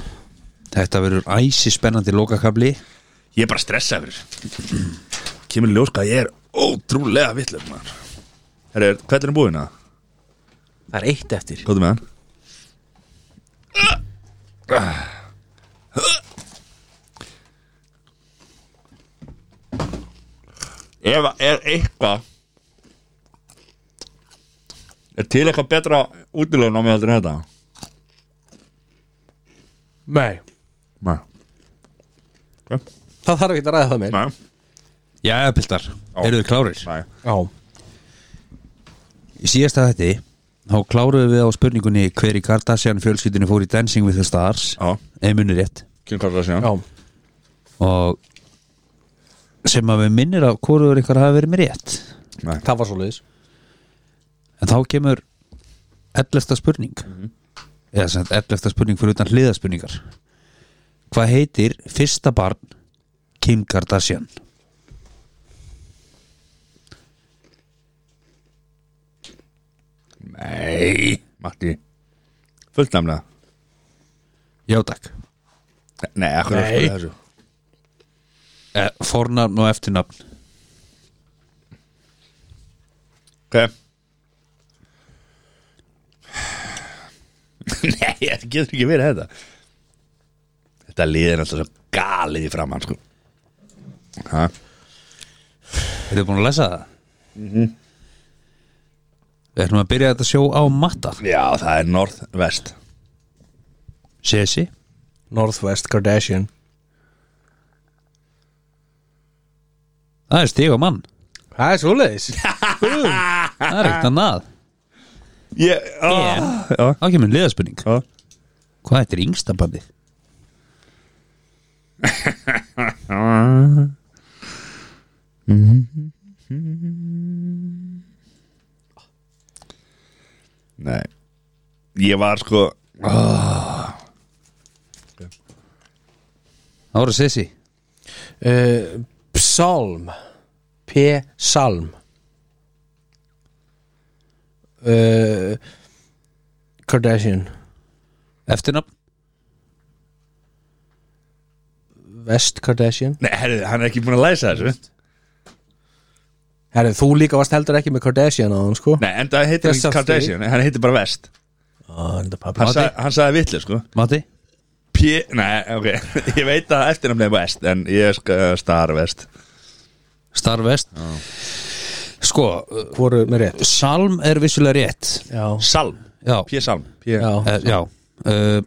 Þetta verður æsi spennandi lokakabli
Ég er bara stressað fyrir Kemur í ljós hvað ég er ótrúlega vitlega maður Herri, er- hvernig er búin að?
það er eitt eftir
Kóttu með hann Ef að er eitthvað Er til eitthvað betra útilegum á mig heldur en þetta?
nei,
Nei
það þarf ekki að ræða það meir
Nei
Jæja, piltar Eru þið klárir?
Nei
já,
Í síðasta þætti þá kláruðum við á spurningunni hver í Kardashian fjölskyldinu fór í Dancing with the Stars
Já
eða munir rétt
Kim Kardashian
já,
og sem að við minnir að hvoruður ykkar hafi verið með rétt
Nei
það var svo leiðis
en þá kemur 11. spurning eða sem sagt 11. spurning fyrir utan hliðaspurningar hvað heitir fyrsta barn Kim Kardashian
Nei, Matti Fullt namna
já takk
Nei, akkur er
Nei.
skoðið þessu
eh, fornafn og eftirnafn
Ok Nei, þetta getur ekki verið þetta Þetta liðið er alltaf svo galið í framann sko Ha?
Þetta er búin að lesa það Mhm. Við ætlum að byrja þetta sjó á matta
Já, það er norð-vest
Sesi
Northwest Kardashian
Það er stig á mann
Það er svoleiðis
Það er ekkert að nað
yeah.
Yeah.
Já,
Þá kemur liðaspurning
já
Hvað þetta er yngsta bandið?
Nei Ég var sko
Það voru Sesi
uh, Psalm P-Salm uh, Kardashian
Eftirnafn
West Kardashian
Nei, herri, hann er ekki búin að læsa þessu
Herri, þú líka varst heldur ekki með Kardashian á hann sko
Nei, en það heitir
Þessa
ekki Kardashian Hann heitir bara vest
Ó, Ah, þetta pappi.
Hann, sag, hann sagði vitlu sko
Mati
P, nei, ok Ég veit að eftirnafnið er sko vest En ég skal star vest
Star West Sko uh,
Hvoru með rétt
Salm er vissulega rétt
Já,
Salm,
Já
P. Salm P.
já,
Eh, Já uh,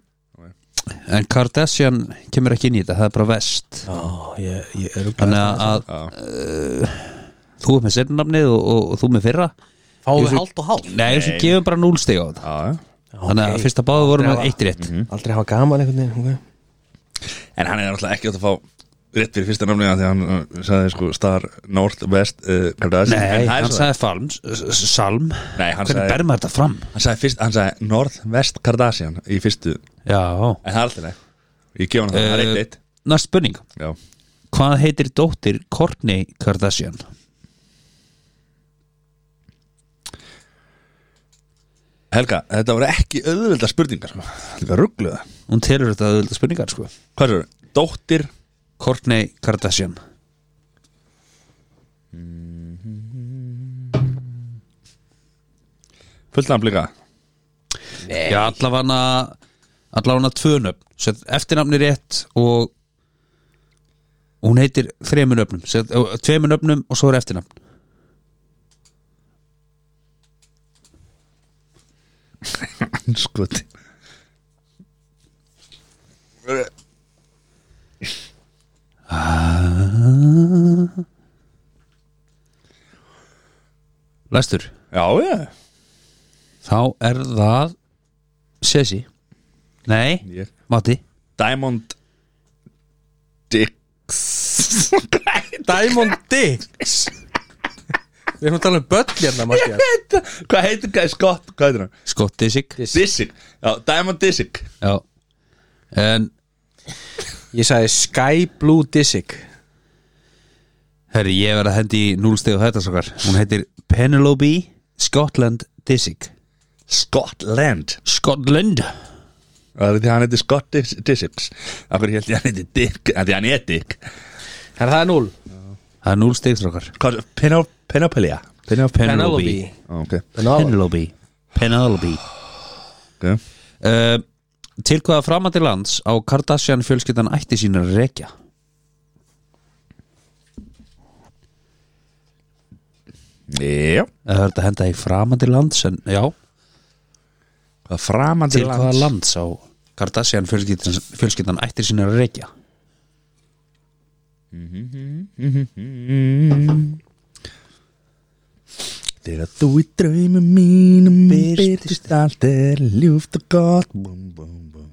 En Kardashian kemur ekki inn í þetta Það er bara West
já ég, ég er
Þannig að, að uh, Þú er með sennamnið og, og, og þú með fyrra
Fáðu
Ég-
hálft og hálft
Nei, þessu gefum bara núlstig á þetta
Já, já
Þannig að fyrsta báðu vorum við eitt rétt
Mhm.
Aldrei hafa gaman einhvern veginn ok.
En hann er náttúrulega ekki átt að fá rétt fyrir fyrsta namlega því að hann uh, sagði sko star, north, west, uh, Kardashian
Nei,
En það er
hann
svo-
sagði Falm, s- s- Salm
Nei, hann
Hvernig
sagði,
ber maður þetta fram?
hann sagði fyrst, hann sagði north, west, Kardashian í fyrstu En
Já
það er alltaf leið Ég gef hann það, það er
Eh,
eitt eitt
Næst spurning
Já
Hvað heitir dóttir Kourtney Kardashian?
Helga, þetta voru ekki auðvölda spurningar sko. Helga, ruggluða
Hún telur þetta auðvitað spurningar sko
Hvað er það? Dóttir
Kourtney Kardashian
fullnafn líka
Já, allavega allavega tvö nöfn Set eftirnafni rétt og og hún heitir þremur nöfnum Set, ö, tveimur nöfnum og svo er eftirnafn
Skoti
Læstur
Já, já
Þá er það Sessi Nei,
Ég.
Matti
Diamond Dicks
Diamond Dicks Við erum að tala um börn hérna Mattias.
Hvað heitir hvað er skott? Hvað heitir hann?
Scott Disick
Disick Já, Diamond Disick
Já En,
Ég sagði Sky Blue Disick
herri, ég verð að hendi í núlstegu þetta svo hvar Hún heitir Penelope Scotland Disick
Scotland
Scotland
Það er því að hann heitir Scott Dis- Disick Af hverju ég held ég að hann heitir Dick af Því að hann er Dick
Herra, það er 0
Það er núlstegu svo hvar
Hvað er Penop Penopelia?
Penelope
Ó, Ok,
Penelope
Penelope Penelope
ok
uh, Til hvaða framandi lands á Kardashian fjölskyldan ætti sínar að rekja
Já
Eða Það Eh, er þetta að henda í framandi lands en, Já,
Hvað framandi
til hvaða lands á Kardashian fjölskyldan, fjölskyldan ætti sínar að rekja
Þegar þú í draumum mínum Byrtist allt er ljúft og gott búm, búm, búm.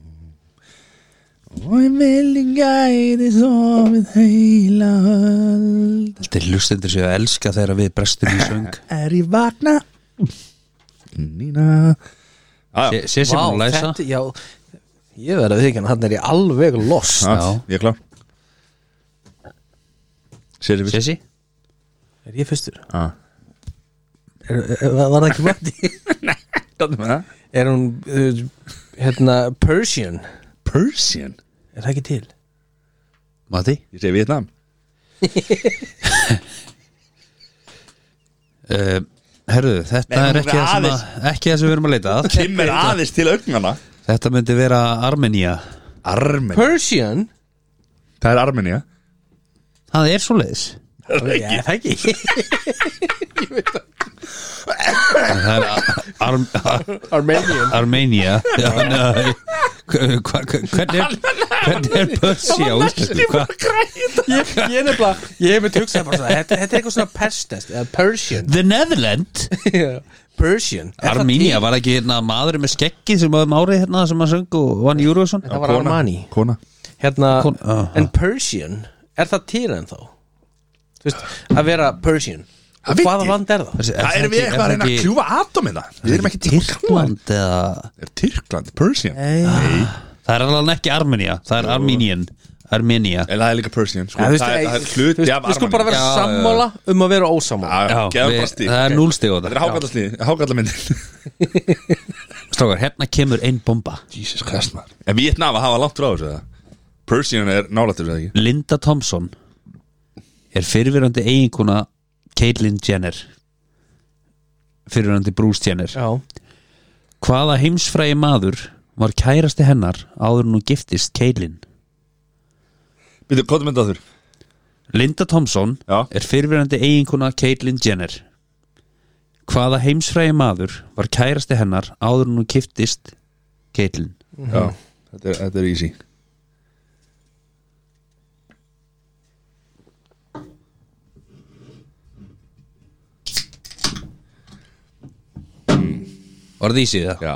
Og ég vil ég gæti Sofið heila höld
Þetta er lustendur sér að elska þegar við brestum í söng
Er ég vakna Nína Já, já,
Sé- sé sem hún læsa
þetta, já Ég verði að viðkjanna, hann er ég alveg lost
já, ah, ég er klár Sér Ah. við
Sessi
Er ég fyrstur?
Já.
Er, er, var það ekki mætti?
Gátum við það?
er hún, uh, hérna, Persian?
Persian
Er það ekki til?
Mati
Ég segi Vietnam
uh, Herðu, þetta
Nei,
er
hún
ekki það,
er
sem að, ekki það sem við erum að leita að
Kim er aðeins til augnana
Þetta myndi vera Armenia
Armenia
Persian?
Það er Armenia
Það er svoleiðis
Já, það ekki
Það er Ar Ar
Armenian
Armenia Þannig að- hva- hva- Hvernig er Hvernig er Persia á Íslandu? Hva-
Ég, ég er nefnilega, ég hef með tugsað bara svona Þetta, þetta er eitthvað svona perstest eða Persian
The Netherlands
Já, Persian Er það
Armenia
til?
var ekki hérna maður með skeggið sem aðum árið hérna sem að söng og vann Eurovision
Það var Armani
Kona
Hérna,
Kon- Aha.
en Persian Er það til en þá? Þú veist, að vera Persian
Það
Og
veit
hvaða
ég.
land er það?
Það erum við eitthvað að reyna að kljúfa atomina Við erum ekki Tyrkland
Tyrkland eða
Er Tyrkland, Persian
Eh,
Nei
Það er alveg ekki Armenia Það er Armenian Armenia
En það er líka Persian sko.
þú veist,
Það er-
ei,
það er
þú
hluti
veist,
af
Við skulum bara
Armani
vera
Já, já, já.
sammála um að vera ósammála
Já,
Já,
gefum
við-
bara stík
það er
Ok.
núllstig á þetta.
Þetta er hákallastíð, hákallamyndin
Strákar, hérna kemur ein bomba
Jesus Christ man En Vietnam að hafa langt frá þessu eða? Persian er nálættur eða ekki
Linda Thompson er fyrirverandi eiginkona Caitlyn Jenner fyrirverandi Bruce Jenner
Já,
hvaða heimsfrægi maður var kærasti hennar áður en hún giftist Caitlyn
Býttu, hvað er myndað þurr?
Linda Thompson
Já.
er fyrirverandi eiginkona Caitlyn Jenner hvaða heimsfrægi maður var kærasti hennar áður en hún giftist Caitlyn
Já, þetta er, þetta er easy
Var það ísið það?
Já,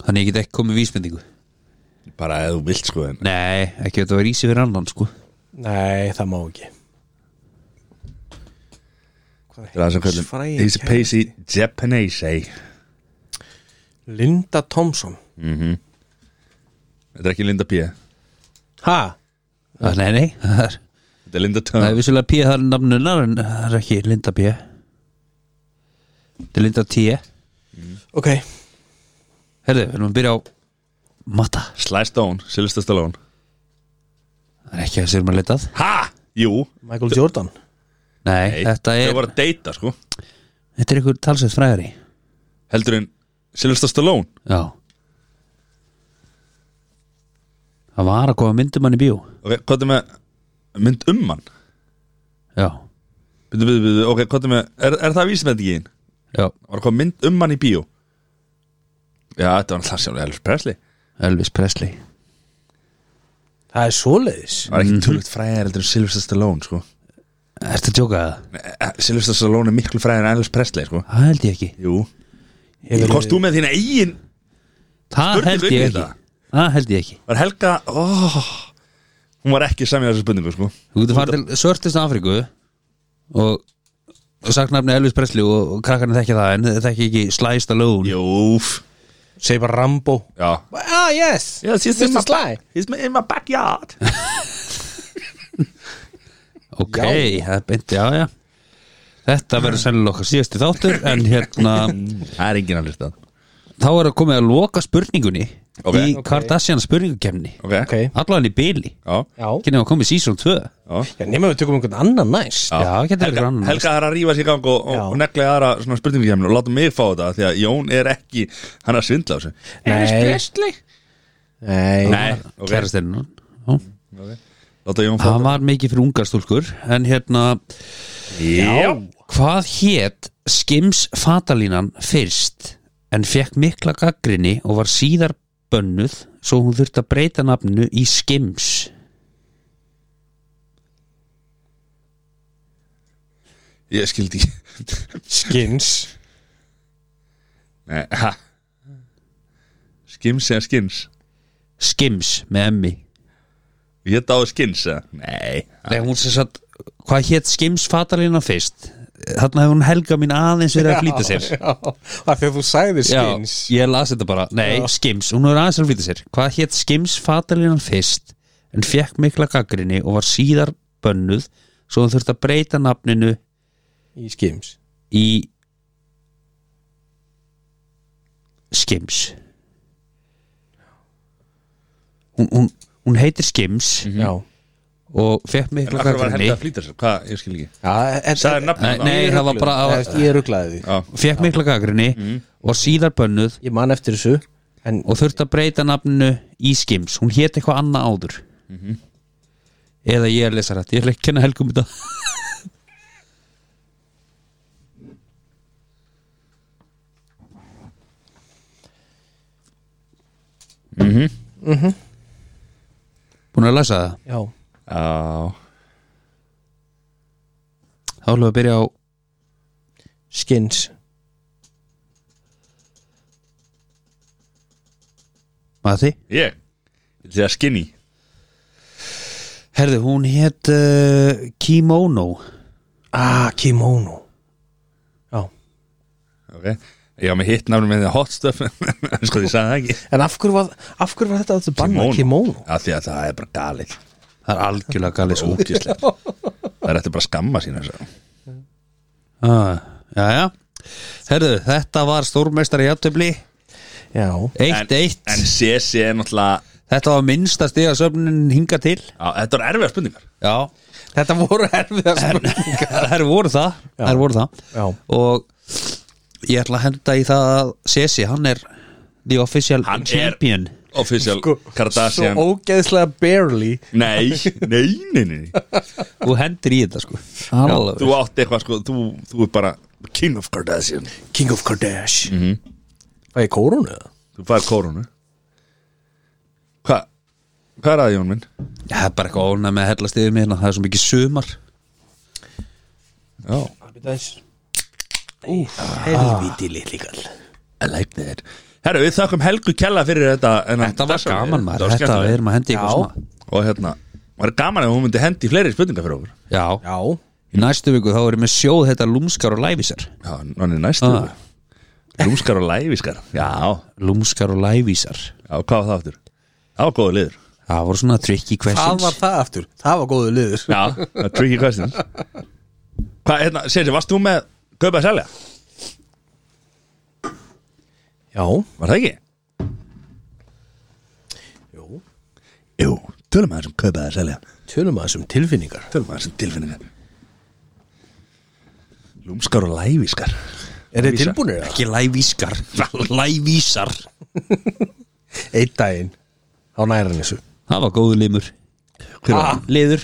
Þannig ég get ekki komið vísmyndingu
bara ef þú vilt sko en
Nei, ekki þetta var ísið fyrir annan sko
nei, það má ekki
Það er það sem kallum
Frægi
Easy Pacey Japanese eh? ei.
Linda Thompson
Þetta er ekki Linda P
Ha?
Ah, Nei, nei, það er
Þetta er Linda
Það er
Tön
vissulega P það er nafnunar en það er ekki Linda P Það er Linda T
Ok
Herðu, við erum að byrja á Mata
Sly Stone, Sylvester Stallone
Það er ekki það sem við erum að leitað
Ha? Jú
Michael Jordan
Nei,
Nei,
þetta
Þau
er
voru að deyta sko
Þetta er ykkur talsveit fræðari
Heldur en Sylvester Stallone
Já Það var að koma myndum hann í bíó
Ok, hvað er með mynd um hann?
Já,
Býttu, býttu, býttu, ok, hvað er með Er, er það vísmyndingin?
já,
Var hvað mynd um hann í bíó? Já, þetta var alltaf sjálf Elvis Presley
Elvis Presley
Það er svoleiðis
Það var ekki mm. tölvöld fræðar heldur en Sylvester Stallone sko
Ertu að tjóka það?
Nei, eh, Sylvester Stallone er miklu fræðar en Elvis Presley sko
Það held ég ekki
Jú Kost þú með þína eigin
Það
Spurningu
held
inn í
ég ekki
þetta.
Það held ég ekki
Var Helga oh, Hún var ekki samið þessu spurningu sko
Þú getur farið til Sörtist Afriku og, og sagt nafni Elvis Presley og, og krakkarnir þekkja það en þeir þekkja ekki Sly Stallone
Jóf
Segir bara Rambo
Já
Ah, yes
Yes, he's
Mr. Sly
He's in my backyard
Ok, það er beint, já, já Þetta verður sennilega okkar síðasti þáttur en hérna,
Mm, Það er enginn að hlusta
þá er að komið að loka spurningunni
Ok.
í
Ok.
Kardashian spurningukemni
Ok
Ok
Allan í byli,
Já,
Já
ekki nefnum að komið season 2
já.
Já, nema við tökum einhvern annan næst
Já, getur verið
Helga,
grann
Helga þarf að rífa sér í gang og, og,
Já.
og negla í aðra svona spurningum og láta mig fá þetta því að Jón er ekki hann er að svindla á þessu
Nei Nei
Nei, ok
Kærastinn okay.
Láta Jón fá
Það var mikið fyrir ungar stúlkur en hérna,
Já
Hvað hétt Skims fatalínan fyrst en fekk mikla gaggrinni og var síðar bönnuð svo hún þurfti að breyta nafninu í Skims
Ég skildi ekki
Skins
Nei, ha. Skims eða skins
Skims með emmi
Ég dáði skins eða Nei
Nei, hún sem sagt, hvað hétt Skims fatalínan fyrst þarna hefur hún helga mín aðeins verið að flýta sér
já, af því að þú sagði skins
Já, ég las þetta bara Nei, Skims, hún var aðeins að flýta sér Hvað hétt Skims fatalinan fyrst en fekk mikla gaggrinni og var síðar bönnuð svo hún þurfti að breyta nafninu
í skims
í Skims Hún, hún, hún heitir Skims
Mhm.
já,
og fekk mikla
Akkur var
gaggrinni
helga að flýta sér, hvað, ég skil ekki
já en,
Sæði nafnum
Nei, nei, það var bara
Nei,
að,
veist, ég rugglaði því
Já,
fekk mikla gaggrinni
Mhm.
og var síðar bönnuð
ég man eftir þessu en
og þurfti að breyta nafninu í Skims hún hét eitthvað annað áður Mhm. eða ég er lesa rætt ég er ekki að kenna helgum þetta Mhm. Búin að lesa það
já,
já
þá ætlum við að byrja á
skins
Mati
Ég, því að skinny
Herðu, hún hét uh, Kimono
ah, kimono já,
okay. Ég var með hitt nafnum með hot stuff Sko, ég sagði það ekki
en af hverju var, af hverju var þetta að þetta banna kimono?
Já, því að það er bara galið
Það er algjörlega galið
Svo
sko
útislegt Það er eftir bara að skamma sína þessu
ah, Jæja Herðu, þetta var stórmeistari játtöfli
já,
Eitt, eitt
En CC er náttúrulega
Þetta var minnsta stiga söfnin hinga til
Já, þetta er erfiða spurningar
Já
þetta voru erfið að spurninga
Þær voru það, þær voru það.
Já.
Og ég ætla að henda í það að Sessi, hann er The Official
Hann er-
Champion
Official
sko,
Kardashian
svo ógeðslega barely
Nei, nei, nei, nei
Þú hendir í þetta sko Alveg.
Þú átt eitthvað, sko, þú, þú er bara King of Kardashian
King of Kardashian mm -hmm.
Mhm.
Það er kórunu eða?
Þú fær kórunu Hvað, hvað er það, Jón minn?
Það er bara eitthvað ónæð með að hellast yfir mig hérna, Það er svo mikið sumar
Já
Helvíti litli kall
I like that Herru, við þakkum Helgu Kjalla fyrir þetta en,
Þetta var
þessa-
gaman maður,
var
þetta
skemmtilegt.
við erum að hendi
Já.
eitthvað svona
Og hérna, var gaman ef hún myndi hendi í fleiri spurningar fyrir okkur
Já,
Já,
í næstu viku þá erum við sjóð þetta lúmskar og lævísar
Já, hann er næstu
Ah.
Lúmskar og læviskar Já,
Lúmskar og lævísar
já, hvað var það aftur? Já, góðu liður
Það voru svona tricky
það
questions
var það aftur Það var góðu liður
Já, það er tricky questions Hvað, hérna, Sessi, varst þú með Kaupa að selja?
Já,
Var það ekki?
Jú.
Jú, tölum að þessum kaupa að selja
tölum að þessum tilfinningar
Tölum að þessum tilfinningar Lúmskar og læviskar
Er þið
Vísa.
tilbúinir það?
Ekki lævískar, lævísar
Eitt daginn Á næran þessu
Það var góðu limur Hver var
Ah.
hann? Liður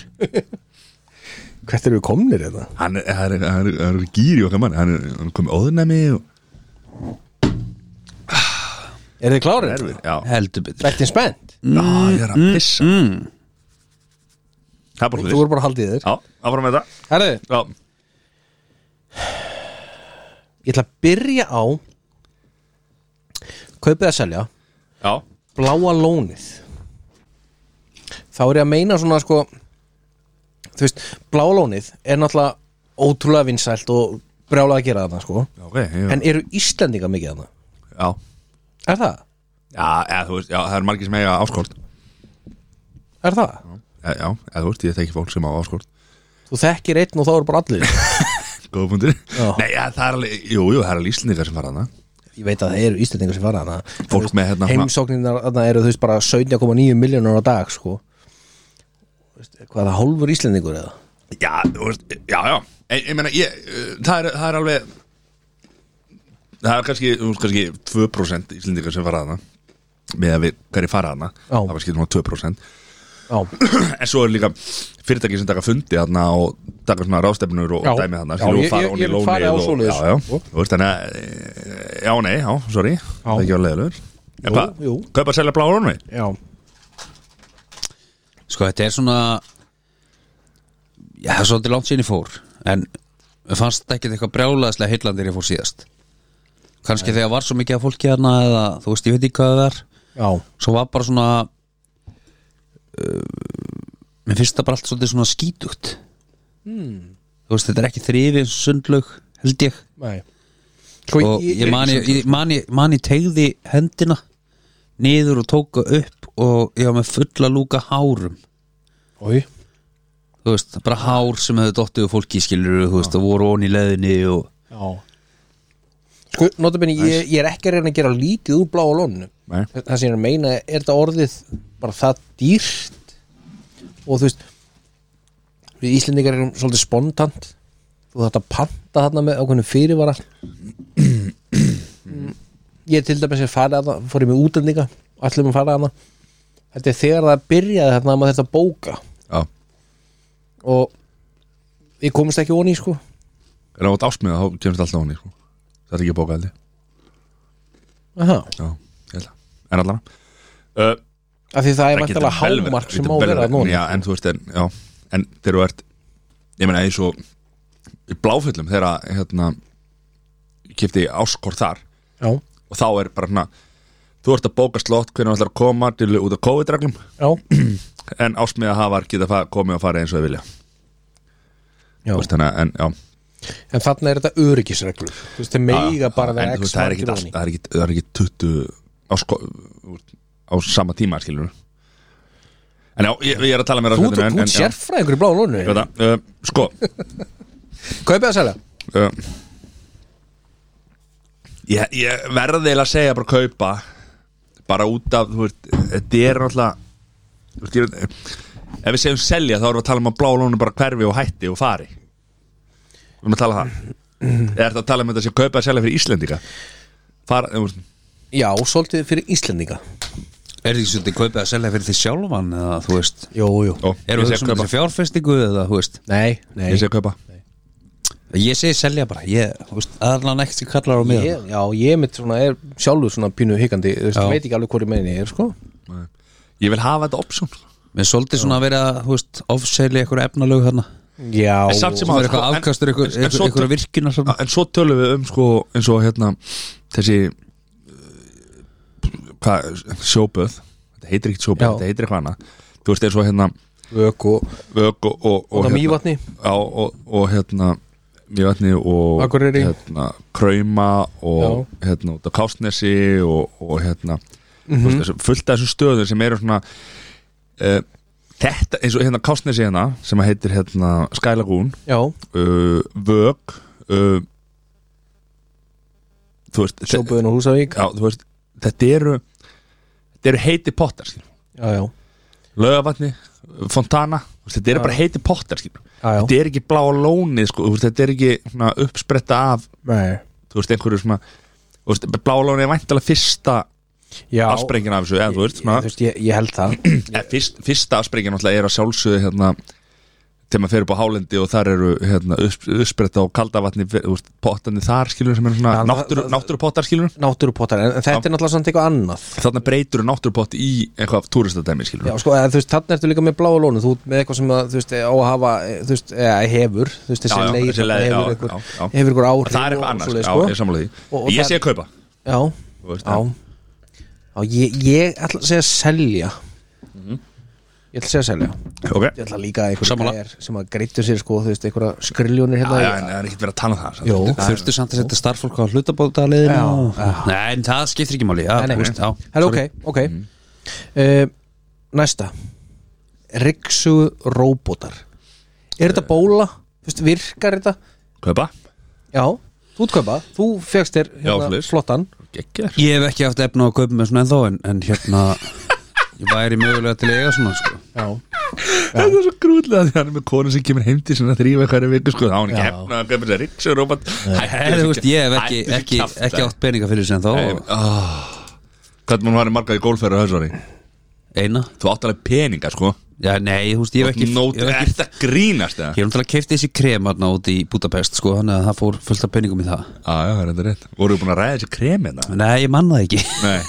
Hvert eru við komnir hérna? þetta?
Hann er, hann er, hann er, hann er gýr í okkar mann Hann er, hann er komið óðunæmi og
Er Mm, þið klárir?
erfið Já,
Heldur betur
Þetta er spennt
Já, ég er að pissa Það er bara
mm. Þú
hlut
voru bara haldið þér
Já, áfram með það
Herðu,
Já,
ég ætla að byrja á Kaupið að selja
já,
bláa lónið þá er ég að meina svona sko þú veist, bláa lónið er náttúrulega ótrúlega vinsælt og brjálega að gera þarna sko
já, ok já.
en eru Íslendinga mikið þarna?
Já,
Er það?
já, eða þú veist, já, það er margir sem eiga áskort
Er það?
Já, já, eða þú veist, ég þekki fólk sem á áskort
Þú þekkir einn og þá eru bara allir
Góða fundur
Já.
Nei, já, það er alveg, jú, jú, það er alveg íslendingar sem fara hana
ég veit að það eru Íslendingar sem fara þarna
Fólk með hérna-
heimsóknirnar þarna eru þú veist bara 17,9 miljónur á dag sko Þú veist, hvað er það hálfur Íslendingur eða?
Já, þú veist, já, já Ég, ég meina, ég, uh, það er, það er alveg Það er kannski, þú veist, kannski 2% íslendingar sem fara hana með að við hverju fara hana
Já.
það var um skilur nú 2%
Já,
en svo er líka fyrirtæki sem taka fundi þarna og taka svona rástefnur og
Já.
dæmi þarna
Já,
skilur,
ég-
og fara ofan
ég-
í
ég vil
lónið
fara á
og-
svoleiðis. Sko.
já, já, þú veist þannig að e, já, nei, já, sorry, það er ekki að leiðilegur en
Jú,
hvað,
jú.
kaupa að selja blá rónu
já,
Sko þetta er svona Já, það er svolítið langt sín ég fór En mér fannst ekkert eitthvað brjálaðislega heillandir ég fór síðast Kannski þegar var svo mikið af fólki hérna Eða þú veist, ég veit ekki hvað það er
já,
Svo var bara svona uh, Mér finnst það bara allt svolítið svona skítugt þú veist þetta er ekki þrifin sundlaug held ég
Nei Sko,
og ég man ég, ég, man ég, man ég tegði hendina niður og tóka upp og ég var með fulla lúka hárum
Oj,
þú veist, bara hár sem hefði dottið og fólki skilur, þú veist, og voru ón í leðinni og
já Sko, notabene, ég, ég er ekki að reyna að gera lítið úr bláa lónu
Nei.
Það sem ég er að meina, er þetta orðið bara það dýrt og þú veist við Íslendingar erum svolítið spontant þú þátt að panta þarna með ákveðnum fyrirvara Mm, Ég til dæmis að fara að það fór ég með útlendinga, allir að fara að það Þetta er þegar það byrjaði þarna að maður þetta bóka
Já,
og við komumst ekki onni sko
er það átt ásmiða þá kemst alltaf hann í sko. Það er ekki að bóka held ég
Aha.
Já, ég held það En allan uh,
af því það er
það getur
vantilega
vel verið-
hámark sem
getur
má
vel
vera
verið-
núna
Já, en þú veist, en, já, en þegar þú ert Ég meina, eins og í bláföllum þegar að, hérna ég kipti áskor þar
já,
og þá er bara hérna þú ert að bóka slott hvernig þú ætlar að koma til út af COVID-reglum
já,
en ásmiða hafar geta fa- komið og farið eins og þau vilja
já.
Þú veist, þannig, að- en, já,
en þarna er þetta öryggisreglu þú veist, þeir meiga bara
en,
vera
þú veist,
x
það er
margir
ekkit allt,
onni
það er ekkit, það er ekkit 20 á, sko, á sama tíma skilur en já, ég, ég er að tala meira
þú
um þetta, en- en-
þú ert
já,
sérfræðingur í bláa lónu
ég veit það, uh, sko
kaupið að selja
uh, ég, ég verði eiginlega að segja bara kaupa bara út af þú veist, þetta er náttúrulega þú veist, ég veit- ef við segjum selja þá erum við að tala um að blá lónu bara hverfi og hætti og fari við erum að tala um það eða ertu að tala um þetta sem kaupa að selja fyrir Íslendinga fara, þú veist,
já, svolítið fyrir Íslendinga
er því svolítið kaupið að selja fyrir því sjálfan eða þú veist,
jú, jú,
ó,
erum við
ég
um
segi
sem
kaupa
þessi fjárfestingu eða þú veist,
nei, nei
ég segi kaupa
ég segi selja bara ég, þú veist, aðlan ekkert sem kallar á mig
Ég, já, ég mitt svona er sjálfur svona pínu hikandi, þú veist,
Já.
veit ekki alveg hvori meðin ég er, sko
ég vil hafa þetta option
mér er svolítið svona að vera, þú veist, ofselja eitthvað efnalög þarna,
já,
En samt sem
sem er
áður, sko, en-
eitthvað afkastur
en- en svo-
eitthvað virkinar
Já, en svo tölum við um sko eins og hérna þessi uh, hvað, sjóböð þetta heitir ekkert sjóböð,
Já.
þetta heitir eitthvað annað þú veist eins og hérna
vök og,
vög og, og,
og
og,
það
hérna,
mývatni
á, og, og hérna mjöðni og
Akureyri.
hérna krauma og hérna út á kásnesi og, og hérna mm
Mhm.
veist, þessu, fullt af þessum stöðum sem eru svona uh, þetta eins og hérna kásnesi hérna sem heitir hérna Skælagún
já,
uh, vög uh, þú veist þe-
sjóböðin og húsavík
já, þú veist, þetta eru þetta eru heiti pottar skilur.
já, já,
lögavatni, fontana þú veist, þetta eru bara heiti pottar skilur.
já, já.
þetta er ekki blá lónið sko, þú veist, þetta er ekki svona, uppspretta af
Nei.
þú veist, einhverju svona þú veist, blá lónið er væntalega fyrsta
já.
afsprengin af þessu eða, þú veist, svona,
Þú veist, ég, ég held það
Eh, fyrst, fyrsta afsprengin náttúrulega er að sjálfsögðu hérna þegar maður fer upp á hálendi og þar eru hérna, upp, uppspretta og kaldavatni pottandi þar skilur sem er svona
Já, það-
náttúru,
það-
náttúrupottar skilur
náttúrupottar, en, en þetta er náttúrulega samt eitthvað annað
þannig breytur náttúrupott í eitthvað túristadæmi skilur
Já, sko, eða, þú veist, þannig ertu líka með bláa lónu þú ert með eitthvað sem að, þú veist, á að hafa eh, þú veist, eða hefur, þú veist, þessi
Já, já,
leið
þessi leið,
hefur
já,
einhver-
já, já.
hefur ykkur áhrif
það er
og
eitthvað annars,
svoleiðis, sko.
já, ég samla því
Og- og
ég
það-
sé að kaupa
Já,
þú veist,
já, já ég, ég ætla að segja selja
Mhm.
Ég ætla að segja selja
ok
Ég ætla líka að einhver
Sammála.
gæjar sem að greittu sér, sko, þú veist, einhverja skriljónir
Já,
hérna
já, en það er ekkert verið að tala um það samt.
Jó.
Það er-
þurftu samt að setja starffólk á hlutabótaliðinu
Já.
og... nei, en það skiptir ekki máli já,
Nei, nei.
þú veist, já,
Það er ok,
sorry.
ok
Mhm.
uh, Næsta Riksu róbótar
Eh.
Er þetta bóla? Þú veist, virkar þetta?
kaupa,
Já, þú útkaupa, þú fegst þér
Já,
hérna,
svoleiðis.
flottan
geggjör
Ég hef ekki haft efna á að kaupa með svona ennþá en, en hérna ég væri mögulega til að eiga svona sko.
Já,
það er svo grúðlega því að hann er með konu sem kemur heim til svona þrýfa hverju viku sko, þá á hann ekki
Já.
hefna að kaupa sér ríks og rópat
en, þú veist, Ég hef ekki, ekki, ekki átt peninga fyrir þessu
Nei,
ennþá
oh. Hvernig hún var í marga í gólferðu þessu ári?
eina
Þú átt alveg peninga sko
Já, nei, þú veist, ég hef ekki
Nót,
ég hef ekki-
ert að grínast eða?
Ég hef náttúrulega keift þessi krem hérna út í Budapest sko, þannig að það fór fullt af peningum í það
Ah, Já, já, það er þetta rétt Voruðu búin að ræða þessi kremi þetta?
Nei, ég manna það ekki
Nei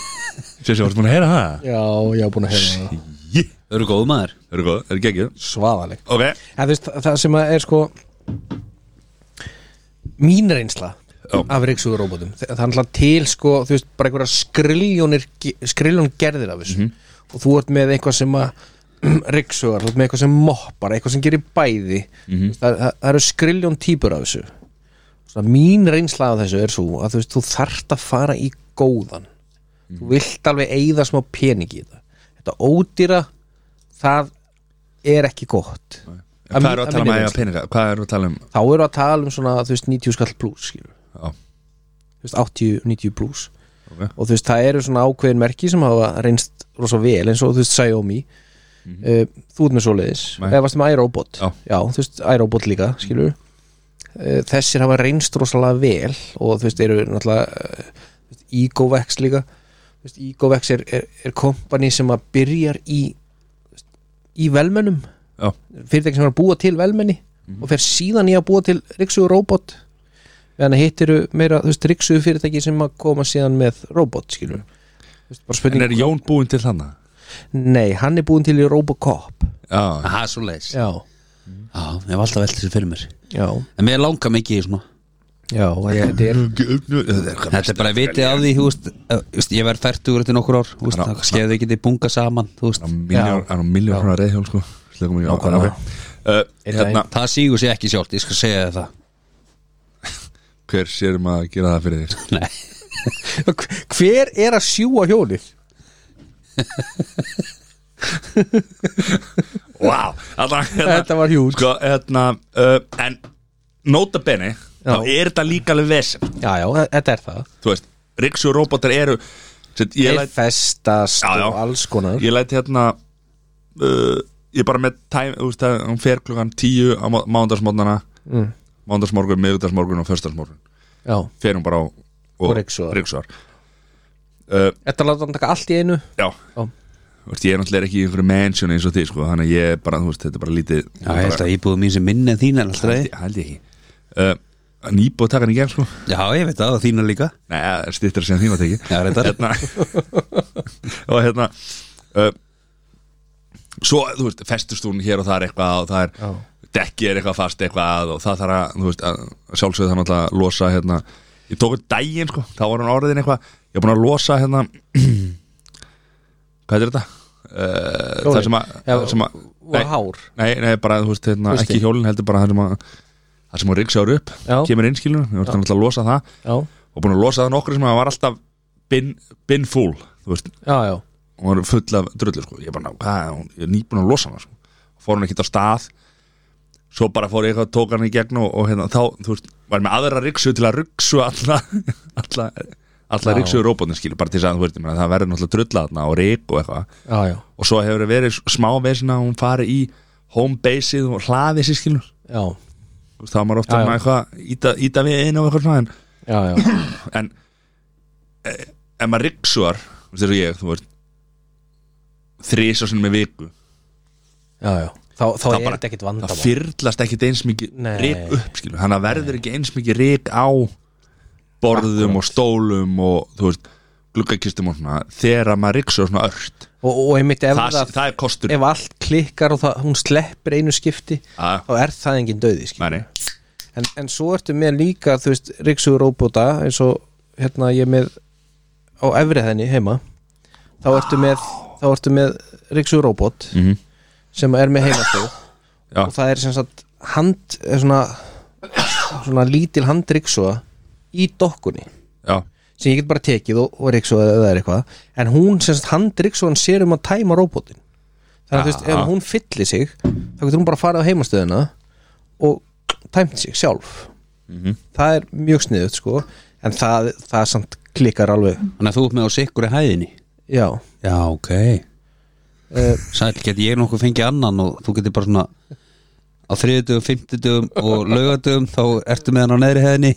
Sér sem varst búin að heyra það?
já, ég haf búin að hefða það
Jí
Þau eru góð maður
Það eru góð, það eru geggjum
Svaðaleg
Ok
Það, veist, það sem að er sko mín reynsla
Já.
af reyksugur róbótum það það er alltaf til sko, þú veist, bara einhverja skriljónir skriljón gerðir af þessu og þú ert með eitthvað sem að riksugar, þú ert með eitthvað sem moppar eitthvað sem gerir bæði mm -hmm. það, það, það eru skriljón típur af þessu Svona, mín reynsla af þessu er svo að þú, veist, þú þarft að fara í góðan þú vilt alveg eigða smá pening í það þetta ódýra það er ekki gott Að
Hvað
mín-
eru að tala um
minni
að eiga
reynslu.
peninga? Hvað eru að tala um?
þá eru að tala um svona þú veist 90 skall pluss skilur
Já,
þú veist, 80-90 pluss
Ok.
og þú veist, það eru svona ákveðin merki sem hafa reynst rosa vel eins og þú veist Xiaomi uh, þú ert með svoleiðis
Nei.
eða varst með iRobot
Já. Mm.
þú veist, iRobot líka, skilur uh, þessir hafa reynst rosalega vel og þú veist, eru náttúrulega uh, Egovex líka Þú veist, Egovex er, er, er kompani sem að byrjar í þú veist, í velmennum
já, Mhm.
fyrirtæki sem er að búa til velmenni og fer síðan í að búa til riksuðu robot meðan að hittiru meira þú veist riksuðu fyrirtæki sem að koma síðan með robot skilur Þú veist, bara
en
spurning,
er Jón búinn til þannig?
nei, hann er búin til í Robocop
Já,
Aha, svo leiðis Já,
já,
ég hef alltaf velt þessu fyrir mér
já,
En mér langar mikið í svona
já þetta er,
Þetta er bara að viti af því, þú veist eh, þú veist, Ég verð færtugur eftir nokkur ár, þú veist
Ná,
Það skefði ekki þið bunga saman, þú veist
miljón, hann er miljón svona reyðhjól sko Slökum við ákvæðan
Nákvæmlega.
ákvæðan Hérna,
Það sígur sér ekki sjálft, ég skal segja þér það
hver sér um að gera það fyrir þig?
Nei,
hver er að sjúa hjólið
Vá, allan
þetta var hjúl
Sko, hérna, uh, en Nota bene,
Já.
þá er þetta líka alveg vesen
já, já, þetta er það
Þú veist, riksu og robotar eru Sett, ég,
þeir
læt,
festast
Já, já.
og alls konar
ég læt hérna uh, Ég er bara með tæm, þú veist, það- hún fer klukkan tíu á mándagsmótnana
mm,
Mándagsmorgun, miðvitaðsmorgun og föstaðsmorgun
já,
Fer hún bara á
Og ryksugar.
ryksugar. Uh,
þetta láta hann taka allt í einu
Já
Já.
Þú veist, ég er náttúrulega ekki í einhverju mansion eins og því sko, þannig að ég er bara, þú veist, þetta er bara lítið
Já, ég held að íbúðum mín sem minni en þín en alltaf
held,
leið.
ég- held ég ekki uh, Nýbúið að taka hann í gegn sko
Já, ég veit það, og þína líka
Nei, eh, stýttir sem þín að teki
Já, reyndar
hérna, Og hérna uh, Svo, þú veist, festust hún hér og það er eitthvað og það er,
já,
dekki er eitthvað fast eitthvað og það þarf að, þú veist, að sjálfsögðu það náttúrulega að losa hérna Ég tók einn daginn sko, þá var hann orðin eitthvað Ég er búin að losa hérna Hvað er þetta? Uh, það
Hjólin.
sem að,
Já,
það sem að
og
nei.
hár
Nei, nei, bara, þú veist, hérna,
Hústi.
ekki hjólinn heldur bara það sem að það sem hún riksjáur upp,
Já.
kemur inn skilur við vartum alltaf að losa það
já,
og búin að losa það nokkur sem að var alltaf bin, bin full, þú veist,
já, já,
hún var full af drullu sko, ég bara, hvað, hún, ég er nýbúin að losa hana sko, fór hún ekki á stað svo bara fór ég eitthvað, tók hann í gegn og, og hérna, þá, þú veist, var með aðra riksu til að riksu alla alla, alla
Já.
riksu róbótin skilur, bara til þess að, þú veist, ég meina, það verður náttúrulega drulla þarna og rik og eitthvað
já, já,
og svo hefur verið smá vesina að hún fari í home baseið og hlaði sér skilur
já,
Þú veist, þá er maður ofta
Já, já.
með eitthvað íta, íta við einu og eitthvað svona en,
já, já.
en eh, ef maður riksuar þess að ég, þú veist þrís á sinni með viku
já, já. Þá, þá
Það
er
bara-
þetta ekkit
það
vandamál
fyrlast ekkit eins mikið
Nei.
rik upp skilur, þannig að verður ekki eins mikið rik á borðum og stólum og þú veist gluggakistum og svona, þegar að maður riksuar svona ört,
og, og einmitt ef,
það,
það,
það, er kostur
ef allt klikkar og það, hún sleppir einu skipti
að,
þá er það engin döði skilur.
mæni,
en, en svo ertu með líka þú veist, riksugur róbóta eins og hérna ég er með á efrið henni heima þá ertu með, þá ertu með riksugur róbót
mm -hmm.
sem er með heima þau
Já.
og það er sem sagt hand, eh, svona, svona lítil handriksuga í dokkunni
já,
sem ég get bara tekið og, og riksu eða er eitthvað en hún, sem sagt, hann riksu hann sér um að tæma róbótin þannig að þú veist,
Aha.
ef hún fyllir sig þá getur hún bara að fara á heimastöðina og tæmt sig sjálf það er mjög sniðut sko en það, það samt klikkar alveg
Þannig að þú ert með á sikkur í hæðinni
já,
Já, ok
Eh.
Sæll, get ég nokkuð fengið annan og þú getur bara svona á þriðutugum, fimmtutugum og laugatugum þá ertu með hann á neðri hæðinni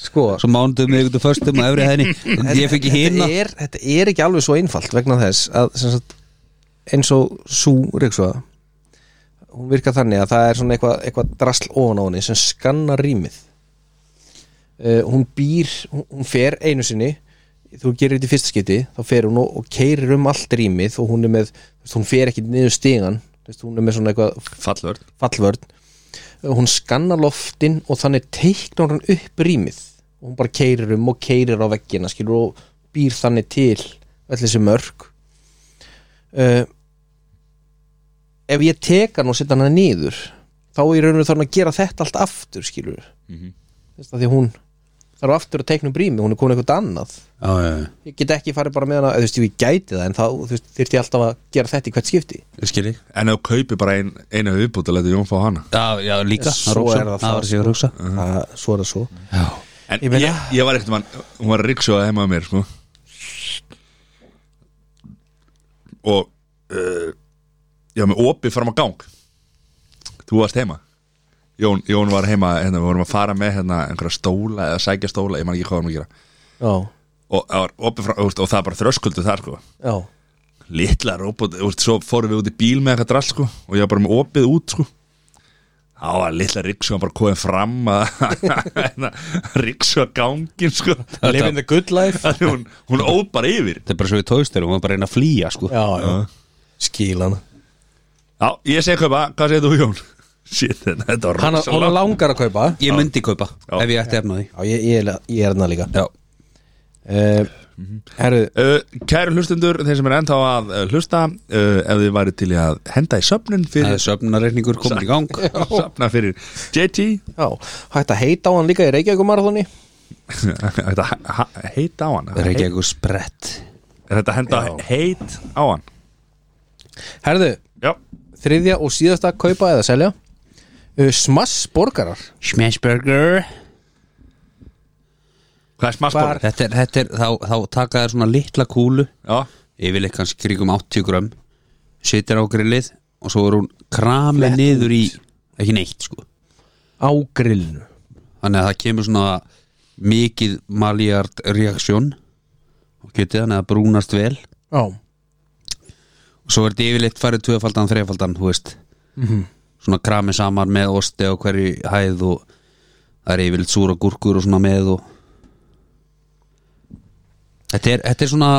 sko
svo mánudugum, miðvikudum, föstum og efri hæðinni ég fengi
þetta
hérna
er, þetta er ekki alveg svo einfalt vegna þess að sem sagt, eins og sú riksuða hún virkar þannig að það er svona eitthvað, eitthvað drasl ofan á henni sem skannar rýmið uh, hún býr hún, hún fer einu sinni þú gerir þetta í fyrsta skiti, þá fer hún og, og keirir um allt rýmið og hún er með þú veist, hún fer ekki niður stigan þú veist, hún er með svona eitthvað
fallvörð
fallvörn Eh, hún skannar loftin og þannig teiknar hann upp rýmið og hún bara keirir um og keirir á veggina skilur og býr þannig til öll þessi mörg uh, ef ég teka hann og setja hann nýður þá er rauninu þarf hann að gera þetta allt aftur skilur mm
Mhm.
-hmm. því að hún þarf aftur að teiknum brími hún er komin eitthvað annað
já, já, já,
ég get ekki farið bara með hana eða, þú veist, jú, ég gæti það en þá þú veist, þyrfti ég alltaf að gera þetta í hvert skipti
ég skil ég
En ef þú kaupir bara ein, einu viðbútt að leta Jón fá hana
Já, já, líka,
Svo
hugsa.
er
það
það það,
var sér að hugsa
það, svo er það svo
Já,
En
Ég
ég,
meina-
ég, var ekkert mann, hún var ríksjóða heima að mér sko. Og uh, Ég var með opið fram að gang Þú varst heima Jón, Jón var heima, hérna, við vorum að fara með hérna, einhverja stóla eða sækja stóla, ég man ekki hvað hann að gera
já,
og, það var opið frá, og, og það var bara þröskuldu þar sko.
já,
litla robot úst, svo fórum við út í bíl með eitthvað drall sko, og ég var bara með opið út sko. þá var litla Ríksu bara komið fram að Ríksu að gangin sko.
living the good life
Þannig hún, hún óð bara yfir
þetta er bara svo við tóðstöru, hún var bara að reyna að flýja sko.
já, já, skílan
já, ég segi kaupa, hvað segir þú Jón? Shit, þetta þetta var
hann,
rosa
hann
langt.
langar að kaupa
Ég myndi kaupa,
Já.
ef ég ætti efna því
já, ég, ég, er- ég er hérna líka
Já,
uh, herru,
Uh, kæru hlustendur, þeir sem er ennþá að uh, hlusta uh, ef þið væri til í að henda í söfnun
það
fyrir,
er söfnareikningur komin í gang
söfna fyrir JT
já, hægt að heita á hann líka í um Reykjavíkumarathoni
Þetta ha- ha- heit á hann
Það er ekki eitthvað sprett
Er þetta að henda heit á hann?
herru,
Já
þriðja og síðasta kaupa eða selja uh, smass borgarar
Smashburger
Hvað er smassbólar?
Þetta er, þetta er þá, þá taka þér svona litla kúlu
Já,
Yfirleitt kannski kringum 80 grömm Sittir á grillið Og svo er hún kramið niður í Ekki neitt sko
á grillinu
Þannig að það kemur svona mikið maljart reaksjón Og getið þannig að það brúnast vel Og
já,
svo er þetta yfirleitt farið tvöfaldan, þrefaldan Þú veist
Mhm.
Svona kramið saman með osti á hverju hæð Og það er yfirleitt súra gúrkur og svona með og Þetta er, þetta er svona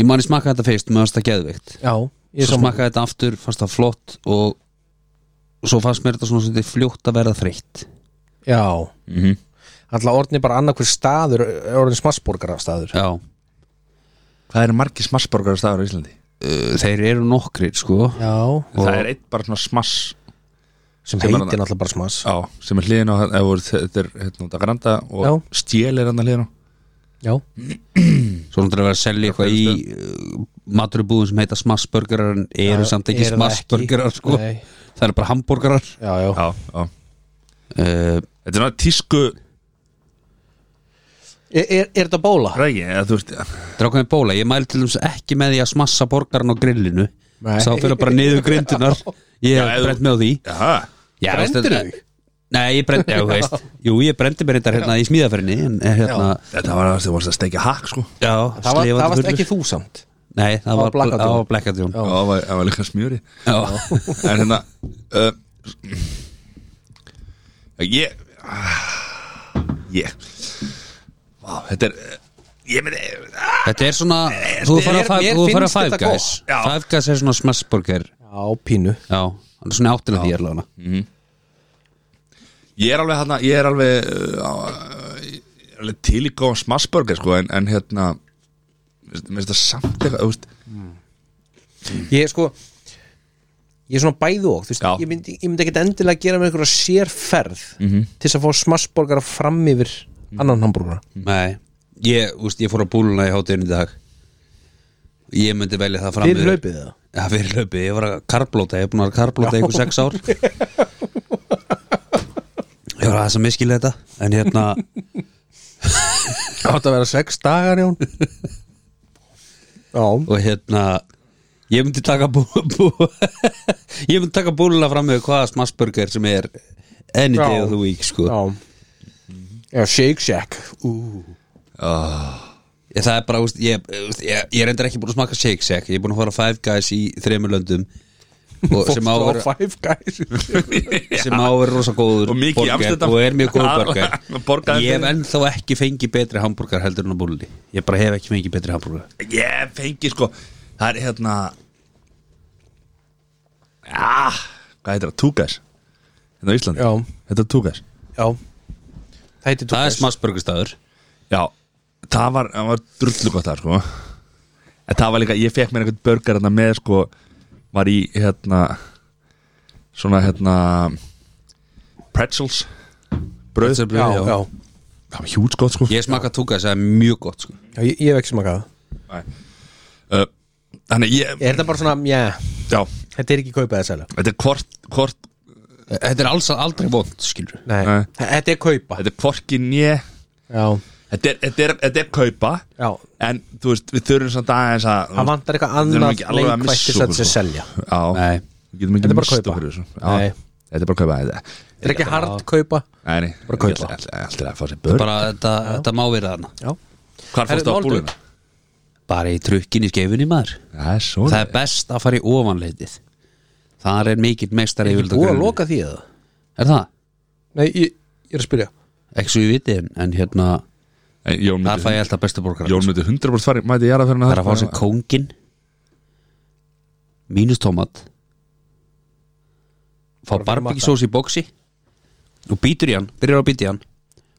Ég mani smaka þetta fyrst með það geðveikt
já, ég
svo
saman
smakaði þetta aftur, fannst það flott og, og svo fannst mér þetta svona svolítið fljótt að verða þreytt
já,
mm -hmm.
alltaf orðinni bara annarkur staður er orðin smassborgarar staður
já,
hvað eru margir smassborgar staður á Íslandi?
uh, þeir eru nokkrir sko
já,
Og-
Það er eitt bara svona smass Sem
sem
er
heitir
þarna.
náttúrulega bara smass
á, sem er hliðin á eða voru þe- þetta er hérna út að granda og
Já.
stjél er hann að hliðin á
já,
svo náttúrulega að vera að selja eitthvað í uh, maturubúðum sem heita smassburgerar en eru
Já,
samt ekki
eru það
smassburgerar
ekki.
sko
Nei.
það eru bara hambúrgarar
já, já.
Já, já
uh,
Þetta er náttúrulega tísku
Er, er, er þetta bóla?
rægi eða þú veist
drákaði bóla, ég mæli til þess ekki með því að smassa borgaran á grillinu
Nei.
sá fyrir bara niður grindunar ég
Já, ef
hef
þú-
brent með á því
Jaha
Já,
Brenndirðu
veist, þetta- Nei, ég brendi, já, þú veist Jú, ég brendi mér þetta hérna í smíðaferinni En eh, hérna,
Þetta var að þú varst að steikja hakk sko
já,
Það, var,
slefandi
það varst
fullur.
ekki þú samt
Nei, það var
var Black Hat
það
Jón.
var Black Hat Jón.
Já, það var, það var líka smjöri
Já.
En hérna uh, Ég ah, Ég Vá, þetta er eh, Ég myndi ah,
Þetta er svona Þú
mér-
fara að
mér
five- þú fara að
finnst
Five
þetta
Guys
gott.
Já.
Five Guys er svona smashburger
Já, pínu
Já, hann er svona áttina því erlega
Ég er alveg hérna, ég er alveg, uh, á- ég er alveg til í góðan smassburger sko, en, en hérna veist- mér finnst það samt eitthvað þú veist,
Ég er sko Ég er svona bæðu og þú veist,
Já.
ég, myndi, ég myndi ekkit endilega gera með einhverja sérferð til þess að fá smassborgara fram yfir annan hambúrgara
Nei, ég, úst, ég fór að búluna í hátinn í dag Ég myndi velja það fram
Fyrir
yfir-
hlaupið það
Já, fyrir hlaupið, ég var að karblóta, ég er búin að vera að karblóta í ykkur sex ár Ég var aðeins að miskila þetta En hérna,
Átt að vera sex dagar, Jón Já,
og hérna Ég myndi taka bú, bú Ég myndi taka búluna fram með hvaða smassburger sem er Any day
Já.
of the week, sko
já Já, shake shack
ég, Það er bara, úst, ég, úst, ég, ég er endur ekki búin að smaka Shake Shack Ég er búin að fara Five Guys í þremur löndum og, sem á að vera-
Five guys
sem á að vera rosa góður
Og mikið í
borger
Amsterdam.
og er mjög góður
Aðalega,
borgar
borgaði
ég hef
fyrir.
ennþá ekki fengið betri hambúrgar heldur en á búlunni ég bara hef ekki fengið betri hambúrgar
ég fengi sko það er hérna ja, ah, hvað heitir það, túgæs hérna á Íslandi,
Já.
þetta er túgæs
Já Það heitir
það er
Tukas.
smassburgarstaður
Já, það var, það var drullu gott það sko en það var líka, ég fekk mér einhvern burger hérna með sko var í hérna svona hérna pretzels bröð
Pretzel brauð,
já, já.
það var hjúts gott sko
Ég smaka túka þess að mjög gott sko.
já ég, ég hef ekki smakað það.
uh, þannig ég,
Eh.
er þetta bara svona, já,
já,
þetta er ekki kaupað að selja
þetta er hvort, hvort
Þetta er alls aldrei vond, skilur
nei,
Nei.
þetta er kaupa
þetta er hvorki nýja
já,
þetta er, þetta, er, þetta er kaupa
já,
en þú veist, við þurfum samt aðeins að
það vantar eitthvað
Við erum
annað
ekki alveg að missa
leikvætt til
okkur,
þess að
sko.
selja
já,
Nei.
við getum
Þetta
ekki
er bara
mist
kaupa.
okkur í þessu.
Nei.
já, þetta er bara kaupa þetta
þetta er ekki hard kaupa
Nei, nei,
Bara kaupa.
Allt- allt- Allt er að fá sér börn
Bara þetta, þetta má vera þarna
já,
Hvar fórstu á
Herru,
búluna?
Bara í trukkinni skeifinni maður
Það er svo
Það er best að fara í ofanleitið Þar er mikill meistar
ég
yfir
búið að loka því eða
Er það?
nei, ég, ég er að spyrja
Ekki svo ég viti en, en hérna
En Jón
Þar fæ
myndi,
ég alltaf bestu borgar
Jón myndi 100% fari, mæti ég aðra fyrir hann
Það er að fá sér kóngin Mínus tómat Fá barbekjusós í bóksi Og býtur í hann, byrjar á að býta í hann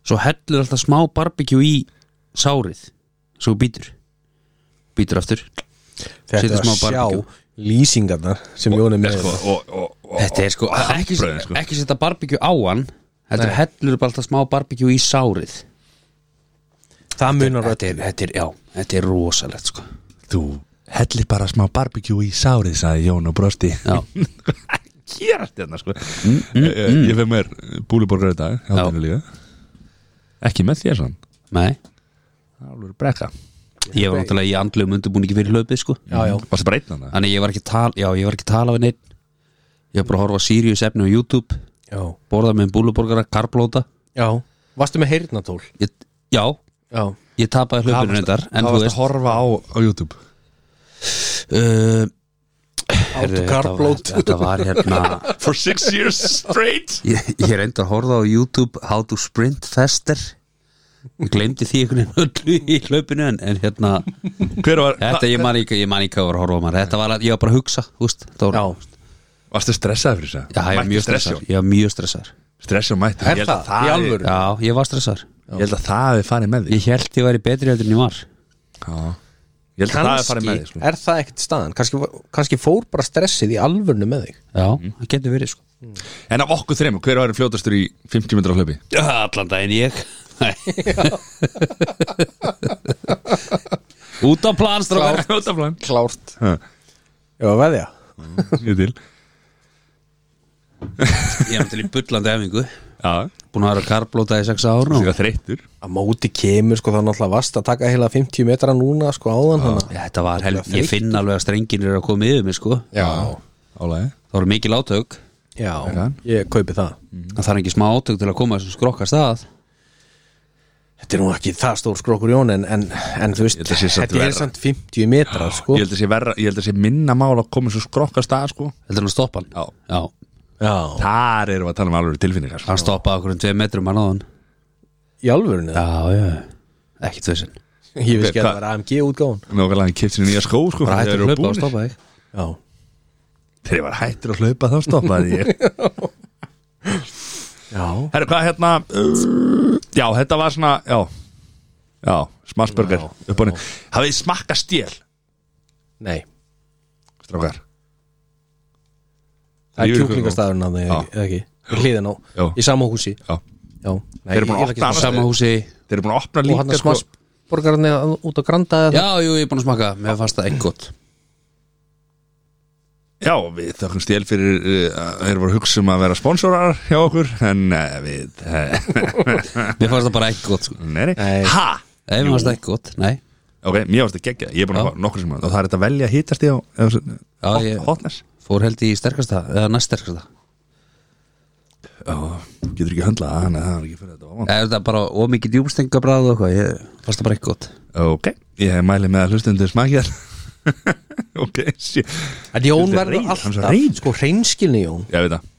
Svo hellur alltaf smá barbekjú í sárið Svo býtur Býtur aftur Setur
þetta er
smá
að
barbecue.
sjá lýsingarnar sem Jón er með
sko, og, og, og,
Þetta er sko ekki,
Hafbrauðin, sko.
ekki setja barbekjú á hann Þetta
Nei.
hellur bara alltaf smá barbekjú í sárið
það munar
þetta er, þetta er, já, þetta er rosalegt sko
Þú hellir bara smá barbekjú í sárið sagði Jón og brosti
Já,
Hér þetta sko Ég- Ég feg mér búluborgar í dag hádeginu líka. Ekki með þér sann
nei
Það er alveg brekka
Ég var náttúrulega í andlegum undirbúningi fyrir hlaupið sko
já, já,
Varstu bara einn hann?
Þannig ég var ekki að tala, já, ég var ekki að tala við neitt Ég var bara að horfa á Sirius efni á YouTube
já,
Borða með búluborgara, karblóta
já varstu með heyrnatól
ég, Já,
já,
ég tapaði
Hvað
hlaupinu
varstu-
reyndar En
Hvað
þú
varstu að
veist
horfa á, á YouTube?
uh,
áttu
þetta var-
karblót
Þetta var hérna
For six years straight
Ég, ég reyndi að horfa á YouTube How to sprint faster Ég glemdi því einhvern veginn öllu í hlaupinu en, en hérna,
Hver var,
þetta ég man ekki ég man ekki að vera að horfa á maður, þetta var að ég var bara að hugsa úst, það var,
já,
varstu stressaði fyrir þess
já, ég var mjög stressar ég var mjög stressar,
Stressjón mætti
Er
Ég held að
það? Í
hafi-
alvöru?
já, ég var stressar
Ég held að það hefði farið með þig
ég held ég væri betri heldur en ég var
Já Ég held að það hefði farið með þig
kannski
sko.
er það ekkert staðan kannski, kannski fór bara stressið í alvörnu með þig
já, það getur verið sko
En af okkur þreim, hver var fljótastur í 50 metra hlaupi?
Já, allan daginn ég út á plan strákar.
Fljótaflan
klárt
Ha,
já, veðja
ég
Ég til
er náttúrulega í bullandi efingu
Já,
búin að vera að karblóta í sex ár
það
nú.
var þreyttur
að móti kemur sko þá náttúrulega vast að taka heila 50 metra núna sko áðan hana
Já, þetta var helg, ég finn alveg að strengin er að koma yfir mig sko
já,
Álæði
það voru mikil átök
já,
það?
ég kaupi það
það þarf ekki smá átök til að koma þessum skrokka stað
þetta er nú ekki það stór skrókur jón en, en, en þú veist,
Ég held að sé samt
þetta er
verra.
samt 50 metra sko
Ég held að sé verra, ég held að sé minna mál að koma svo skrokka stað sko
heldur hann að stoppa hann?
Já.
já
já,
Þar erum við að tala um alveg tilfinningar sko.
hann stoppaði okkur um 2 metrum hann á hann
í alvörnu það
já, já, ekki þessin
ég veist ekki
Hva-
að það var AMG útgáðan
Nókvæmlega hann kipti sér nýja skó sko
bara hættu að
þegar þeir eru
hlaupa og
búnir.
stoppa þig
já,
Þegar ég var hættur að hlaupa þá stoppaði ég
já,
Herru, hvað hérna uh, Já, þetta var svona Já, já smassburger upp á henni Hafið þið smakka stél,
nei
strákar
það
Ég
er
er
kjúklingastæðurinn að
Já.
það ekki hliðin á,
Já.
í sama húsi
Já,
já, nei,
Þeir eru búin að
ég vil ekki
opna
smá-
hana.
sama húsi
þeir eru búin að opna
og hann
líka sko.
að smassborgarni út á granda eða það?
já, jú, ég er búin að smaka mér fannst það ekki gott
Já, við þökkum stél fyrir uh, að þeir voru að hugsa um að vera sponsorar hjá okkur en uh, við uh,
mér fannst það bara ekki gott sko
Nei,
Nei.
nei Ha?
nei, mér fannst það ekki gott nei
Ok, mér varst að gegja, ég er búin að fá nokkur sem að og það er þetta að velja hittast í á
Já, ég-
hotness
fór held í sterkasta eða næst sterkasta
Já, getur ekki höndlað það, þannig að það er ekki fyrir þetta ofan
eða þetta bara ómikið djúbstenga bræð og eitthvað ég fannst það bara ekki gott
Ok, ég mæli með að hlustundu smakið Ok, sí Ég
En Jón
Þetta er
verður
reiður, hann er svo
alltaf,
reiður.
sko hreinskilni Jón
veit það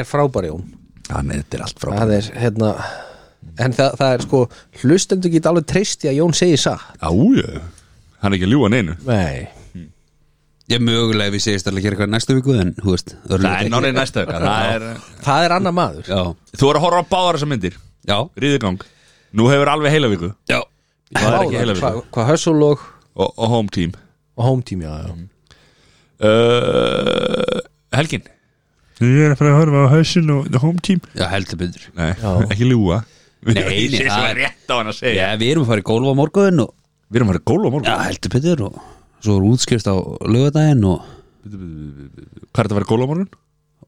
er frábær Jón
Þannig, þetta er allt frá
það er hérna en það, það er sko hlustendur geta alveg treyst í að Jón segi satt
Ájú, hann er ekki að ljúga neinu
nei
ég mögulega ef ég segist alveg að gera eitthvað næstu viku en, hú veist,
Nei, nánir næsta vika það er,
það er annar maður
já,
Þú voru að horfa á báðar þessar myndir
já,
Ríðigang, nú hefur alveg heila viku
já
Það er ekki heila
hvað
viku
hva hössulog
Og, og home team
og home team já, já.
uh, Helgin
Ég er að fara að horfa á hausin og The Home Team
Já, heldur byndur
Nei, ekki ljúa
Nei, nei,
Ég sé svo
það-
rétt á hann að segja
Já, við erum að fara í gólf á morgun og
Við erum að fara í gólf á morgun
Já, heldur byndur og svo er útskrift á lögadaginn og
Hvað er þetta að fara í gólf á morgun?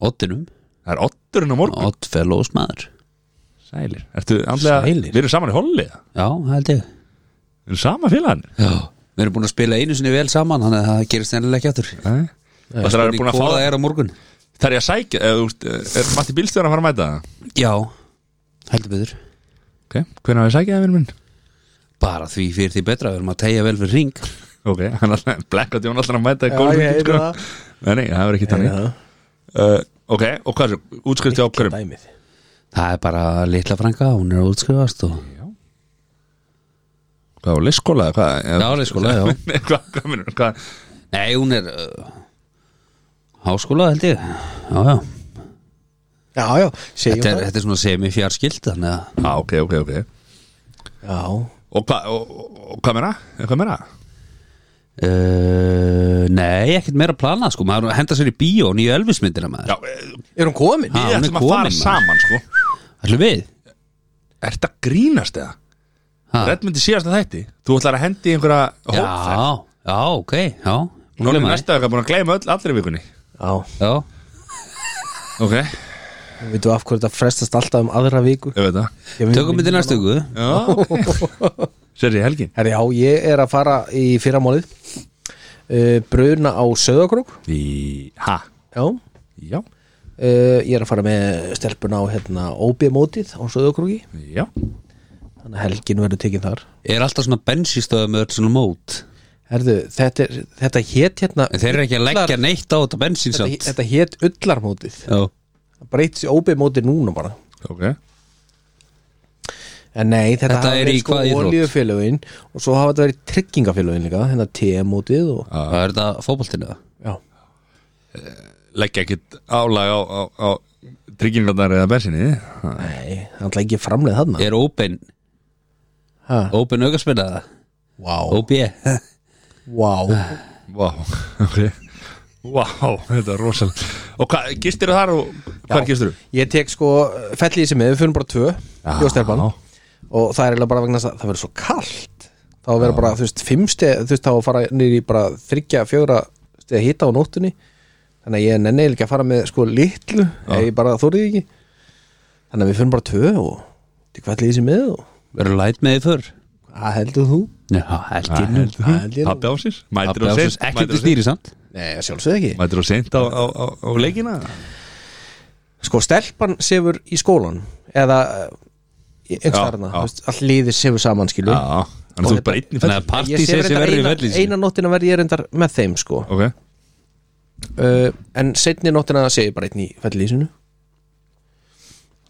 oddinum
Það er otturinn á morgun
Odd fellows maður
Sælir Ertu andlega
Sælir.
Við erum saman í holli Við
Já, held ég
erum sama félagarnir
Já Við erum búin að spila einu sinni vel saman þannig að það gerist ennilega ekki áttur
Nei Það er að vera búin að fá
það er á morgun
Það er ég að sækja eða, þú veist, eh, Er Matti Bílstjóðan að fara að mæta það?
Já, heldur byndur
Ok, hvernig að við sækja það, vinur minn?
Bara því fyrir því betra, við erum að tegja vel fyrir ring
Ok, hann alltaf Blackout Jón alltaf að mæta í gólf
Já, ég
sko.
heyri það.
Nei, nei, það verður ekki þannig
Já.
uh, Ok, og hvað er svo? Útskrift hjá hverjum?
dæmið
Það er bara litla frænka, hún er að útskrifast og...
Hvað, á leikskóla? eða hvað? Eða-
Já, leikskóla, já.
Nei, hvað, hvað minnur? Hvað?
Nei, hún er uh, háskóla held ég Já, já,
já, já, segjum
þetta er,
það
þetta er svona semifjarskild þannig að
Já, Ah, ok, ok, ok
já,
Og hvað, og, og, og hvað meina? Eh, Hvað meina?
uh, Nei, ekkert meira að plana sko, maður henda sér í bíó, nýju Elvismyndina maður
Já, eh,
er hún komin?
Ha,
við
hún er
ætlum að
komin,
fara
maður.
saman, sko
Ætlum við?
Er þetta grínast eða?
Ha?
Redmyndi síðast að þætti Þú ætlar að hendi í einhverja
Ah. Já,
hópferð
já, ok, já
Hún er
Gleyma því.
næsta vika búin að gleyma öll allri vikunni
já,
Já,
Ok,
við veitum af hverju þetta frestast alltaf um aðra viku
ég veit það
tökum við til næstu ykkur
Já Sér ég helgin
Herri, já, ég er að fara í fyrramálið uh, Bruna á Söðakrók
Í, ha,
Já uh,
já,
Ég er að fara með stelpuna á hérna, OB-mótið á Söðakróki
já
Þannig að helgin verður tekin þar
Er alltaf svona bensístöða með öll svona mót
Herðu, þetta, er- þetta hét hérna
En þeir eru ekki að leggja
Ullar-
neitt á þetta bensín
Þetta,
samt
þetta hét Ullarmótið
Já,
Það breytis í OB-mótið núna bara
Ok,
En nei, þetta, sko
Þetta er í hvað íþrótt?
olíufélögin og svo hafa þetta verið tryggingafélögin líka, hérna TM-mótið og
það er þetta fótboltinu það
já,
leggja ekkit álag á, á, á tryggingarnar eða bensinni Ha.
nei, hann ætla ekki framleið þarna
Er ópen,
Ha,
ópen aukarspennaða
Vá,
OB
vá
Vá, ok Vá, þetta er rosalega Og hvað, gistir þar og hvað gistir þú?
Ég tek sko fell í þessi með, við fyrir bara tvö Jó stelpan Og það er eiginlega bara vegna þess að það verður svo kalt Þá verður bara, þú veist, fimm steg Þú veist, þá að fara niður í bara þryggja, fjögra steg hita á nóttunni Þannig að ég nenni eiginlega ekki að fara með sko litlu Ef ég bara þórið ekki Þannig að við fyrir bara tvö og tek fell í þessi með og
Verður læt með því fyrr
Hvað heldur þú?
Já, held ég nú
Hvað held ég nú?
Pappi ásins, mætir
Pabbi
og
ársins,
seint
Ekki
mætir
til
og seint-
stýri samt
Nei, að sjálfsögðu ekki
Mætir og seint á, á, á, á leikina
Sko, stelpan sefur í skólan Eða eh,
Já,
einhverstaðarna,
já.
all liðið sefur saman skilu
Já, þannig að þú er bara einn í
Þannig að
fæll
Ég
partí sé
sef
sér verður í
reyndar eina,
velli
eina nóttina verð ég reyndar með þeim sko
Ok,
uh, En setni nóttina sé ég bara einn í fellísinu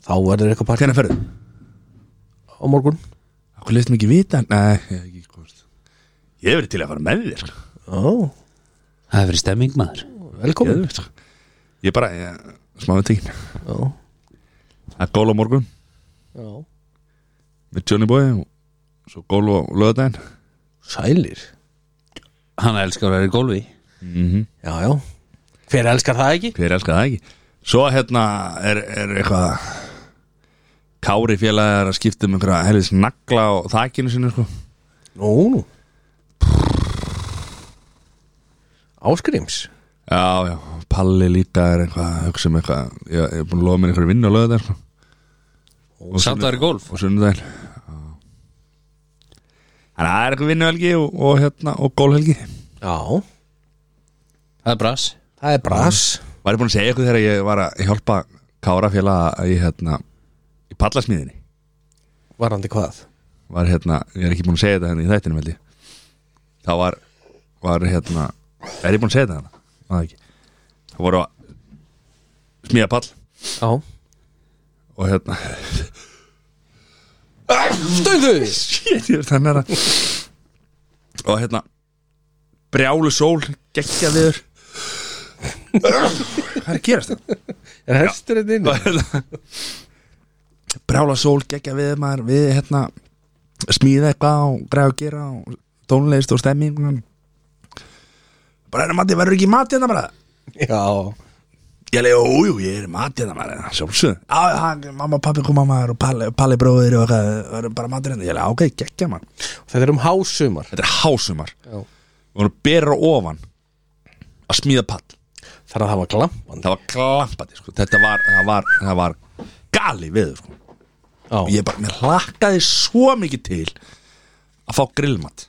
Þá verður eitthvað partí
hvernig ferðu?
á morgun
Akkur leist mikið vita Nei, ég hef ekki sko. komst Ég hef verið til að fara með þér sko.
Ó,
Það er verið stemming maður
velkomin
Geðveikt, sko. Ég bara, ég, smáðu tíkin
Já,
Það er gól á morgun
já
með Johnny Boy og svo gól á löðdæn
Sælir
Hann elskar að vera í golfi
Mhm.
Já, já Hver elskar það ekki?
Hver elskar það ekki Svo hérna er, er eitthvað Kári félag er að skipta um einhverja helvis nagla á þakinu sinni sko.
Nú, nú Áskrims
Já, já, Palli líka er eitthvað að hugsa um eitthvað Ég, ég er búin að lofa mér einhverju vinnu á löðdæn sko.
Samt að vera í golf
og sunnudaginn Já. Þannig að það er eitthvað vinnuhelgi og, og, hérna, og gólhelgi
Já,
Það er brass
það er bras
Var ég búin að segja eitthvað þegar ég var að hjálpa Kára félag í, hérna, í pallasmíðinni
Varandi hvað?
var hérna, ég er ekki búin að segja þetta henni í þættinum held ég þá var, var hérna er ég búin að segja þetta henni? Það ekki þá voru að smíða pall
Já
og hérna
Stöndu!
shit, ég er þannig að og hérna brjálu sól, geggja viður hvað er að gerast það?
Er hestur þetta inni?
Og hérna, brjála sól, geggja viður maður við hérna smíða eitthvað og græða að gera og tónleist og stemming bara erum mati, verður ekki mati hérna bara
Já,
Ég leiði, jú, jú, ég er mati hérna bara Sjálfsög Já, hann, mamma, pappi, kom mamma og Palli, Palli bróðir og eitthvað Verður bara mati hérna Ég leiði, ok, geggja mann
þetta er um hásumar
Þetta er hásumar
Já.
Við vorum berra ofan Að smíða pall
Það er að hafa glampandi
Það var glampandi, sko Þetta var, það var, það var gali við, sko Og
Já,
ég bara, mér hlakkaði svo mikið til Að fá grillmat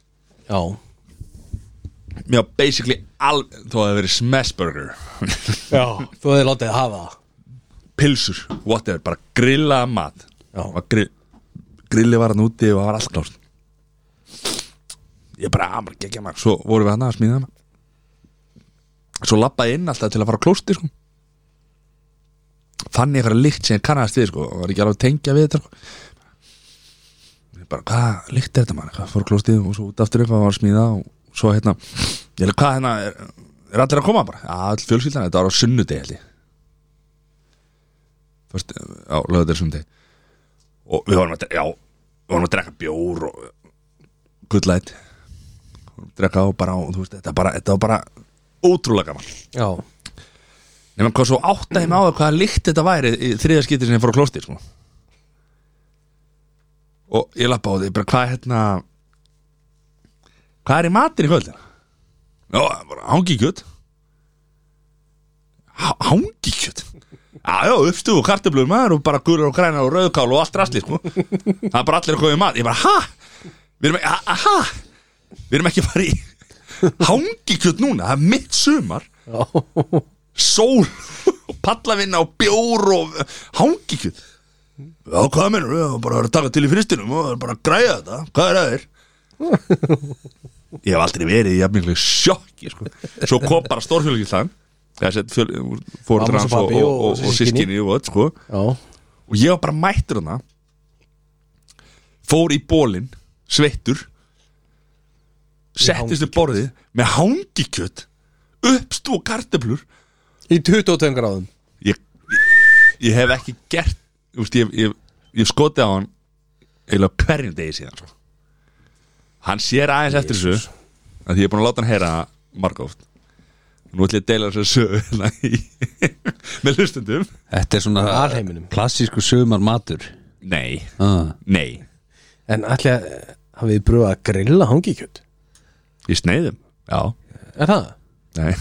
já,
Mér var basically alveg Þó að það hefði verið smashburger
já Þú hefði látið að hafa það
pilsur, whatever, bara grillaða mat
Já.
Var grill, grilli var hann úti og það var allt klárt ég bara, að bara geggja maður svo vorum við hann að smíða maður svo lappaði ég inn alltaf til að fara á klósti sko. fann ég eitthvað lykt sem ég kannast við sko, og var ekki alveg að tengja við þetta sko. Ég bara, hvað lykt er þetta maður hvað fór á klóstið og svo út aftur upp að var að smíða og svo hérna, ég hefði hvað hérna er, er allir að koma bara, já, all fjölskyldan þetta var á sunnudegi held ég Fyrst, á lögðar sundi og við vorum að, dre- já, við vorum að drekka bjór og good light vorum að drekka og bara, og, þú veist, þetta, bara, þetta var bara ótrúlega gaman
Já,
nema hvað svo áttaði mig á það hvaða líkt þetta væri í þriða skipti sem ég fór á klósti sko. og ég lappa á því bara hvað er hérna hvað er í matinn í kvöldina já, bara hangikjöt hangikjöt já, já, uppstuð og kartöflur maður og bara gulur og grænar og rauðkál og allt rastli sko. það er bara allir að koma í mat ég bara, ha, við erum ekki ha, ha, við erum ekki að fara í hangikjöt núna, það er mitt sumar
já,
sól og pallavinna og bjór og hangikjöð Já, hvað mennur við? Bara að taka til í fristinum og bara að græja þetta Hvað er að þér? Ég hef aldrei verið í jafnmiklu sjokki sko. Svo kom bara stórfjölgillan Fóruður
Mamma
hans og,
og pabbi
og, og, og
systkini.
sískinni og, öll, sko.
já
og ég var bara mættur hana Fór í bólin Sveittur Settist upp borðið Með hangikjöt Uppstú og kartöflur
Í 22 gráðum
ég, ég, ég hef ekki gert úst, ég, ég, ég skotið á hann eiginlega á hverjum degi síðan sko. hann sér aðeins eftir þessu af því ég er búin að láta hann heyra það margóft nú ætlum ég að deila þessu sögu hérna í- með hlustendum
Þetta er svona
Alheiminum.
klassísku sumar matur
nei,
ah.
nei,
En ætli að hafið þið brúið að grilla hangikjöt
ég sneiðum já,
Er það?
nei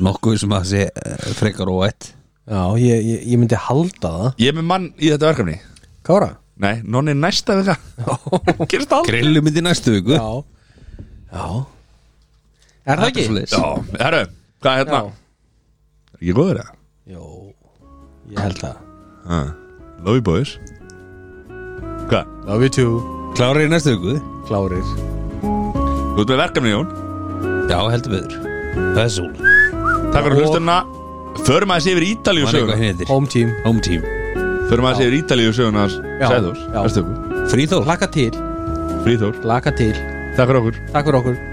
Nokkuð sem að sé eh, frekar óætt
Já, ég, ég, ég myndi halda það
ég er með mann í þetta verkefni
Kára?
nei, nonni næsta við það gerist aldrei
Grillum í næstu viku
Já Já Er það ekki?
já, herru, hvað er hérna
Já.
er ekki góður það?
Jó, ég held það
Ah, love you boys hvað?
Love you too
Klárið í næstu viku
Klárir
Þú ert með verkefni Jón
Já, heldur betur Það er sól
Takk fyrir
Og-
hlustunna Förum aðeins yfir Ítalíu
Man eitthvað
söguna
hinn heitir
Home team
Home team
Förum aðeins yfir Ítalíu söguna
Já,
Sæðurs,
já.
Erstöku,
Fríþór
Laka til
Fríþór
Laka til
Takk fyrir okkur
Takk fyrir okkur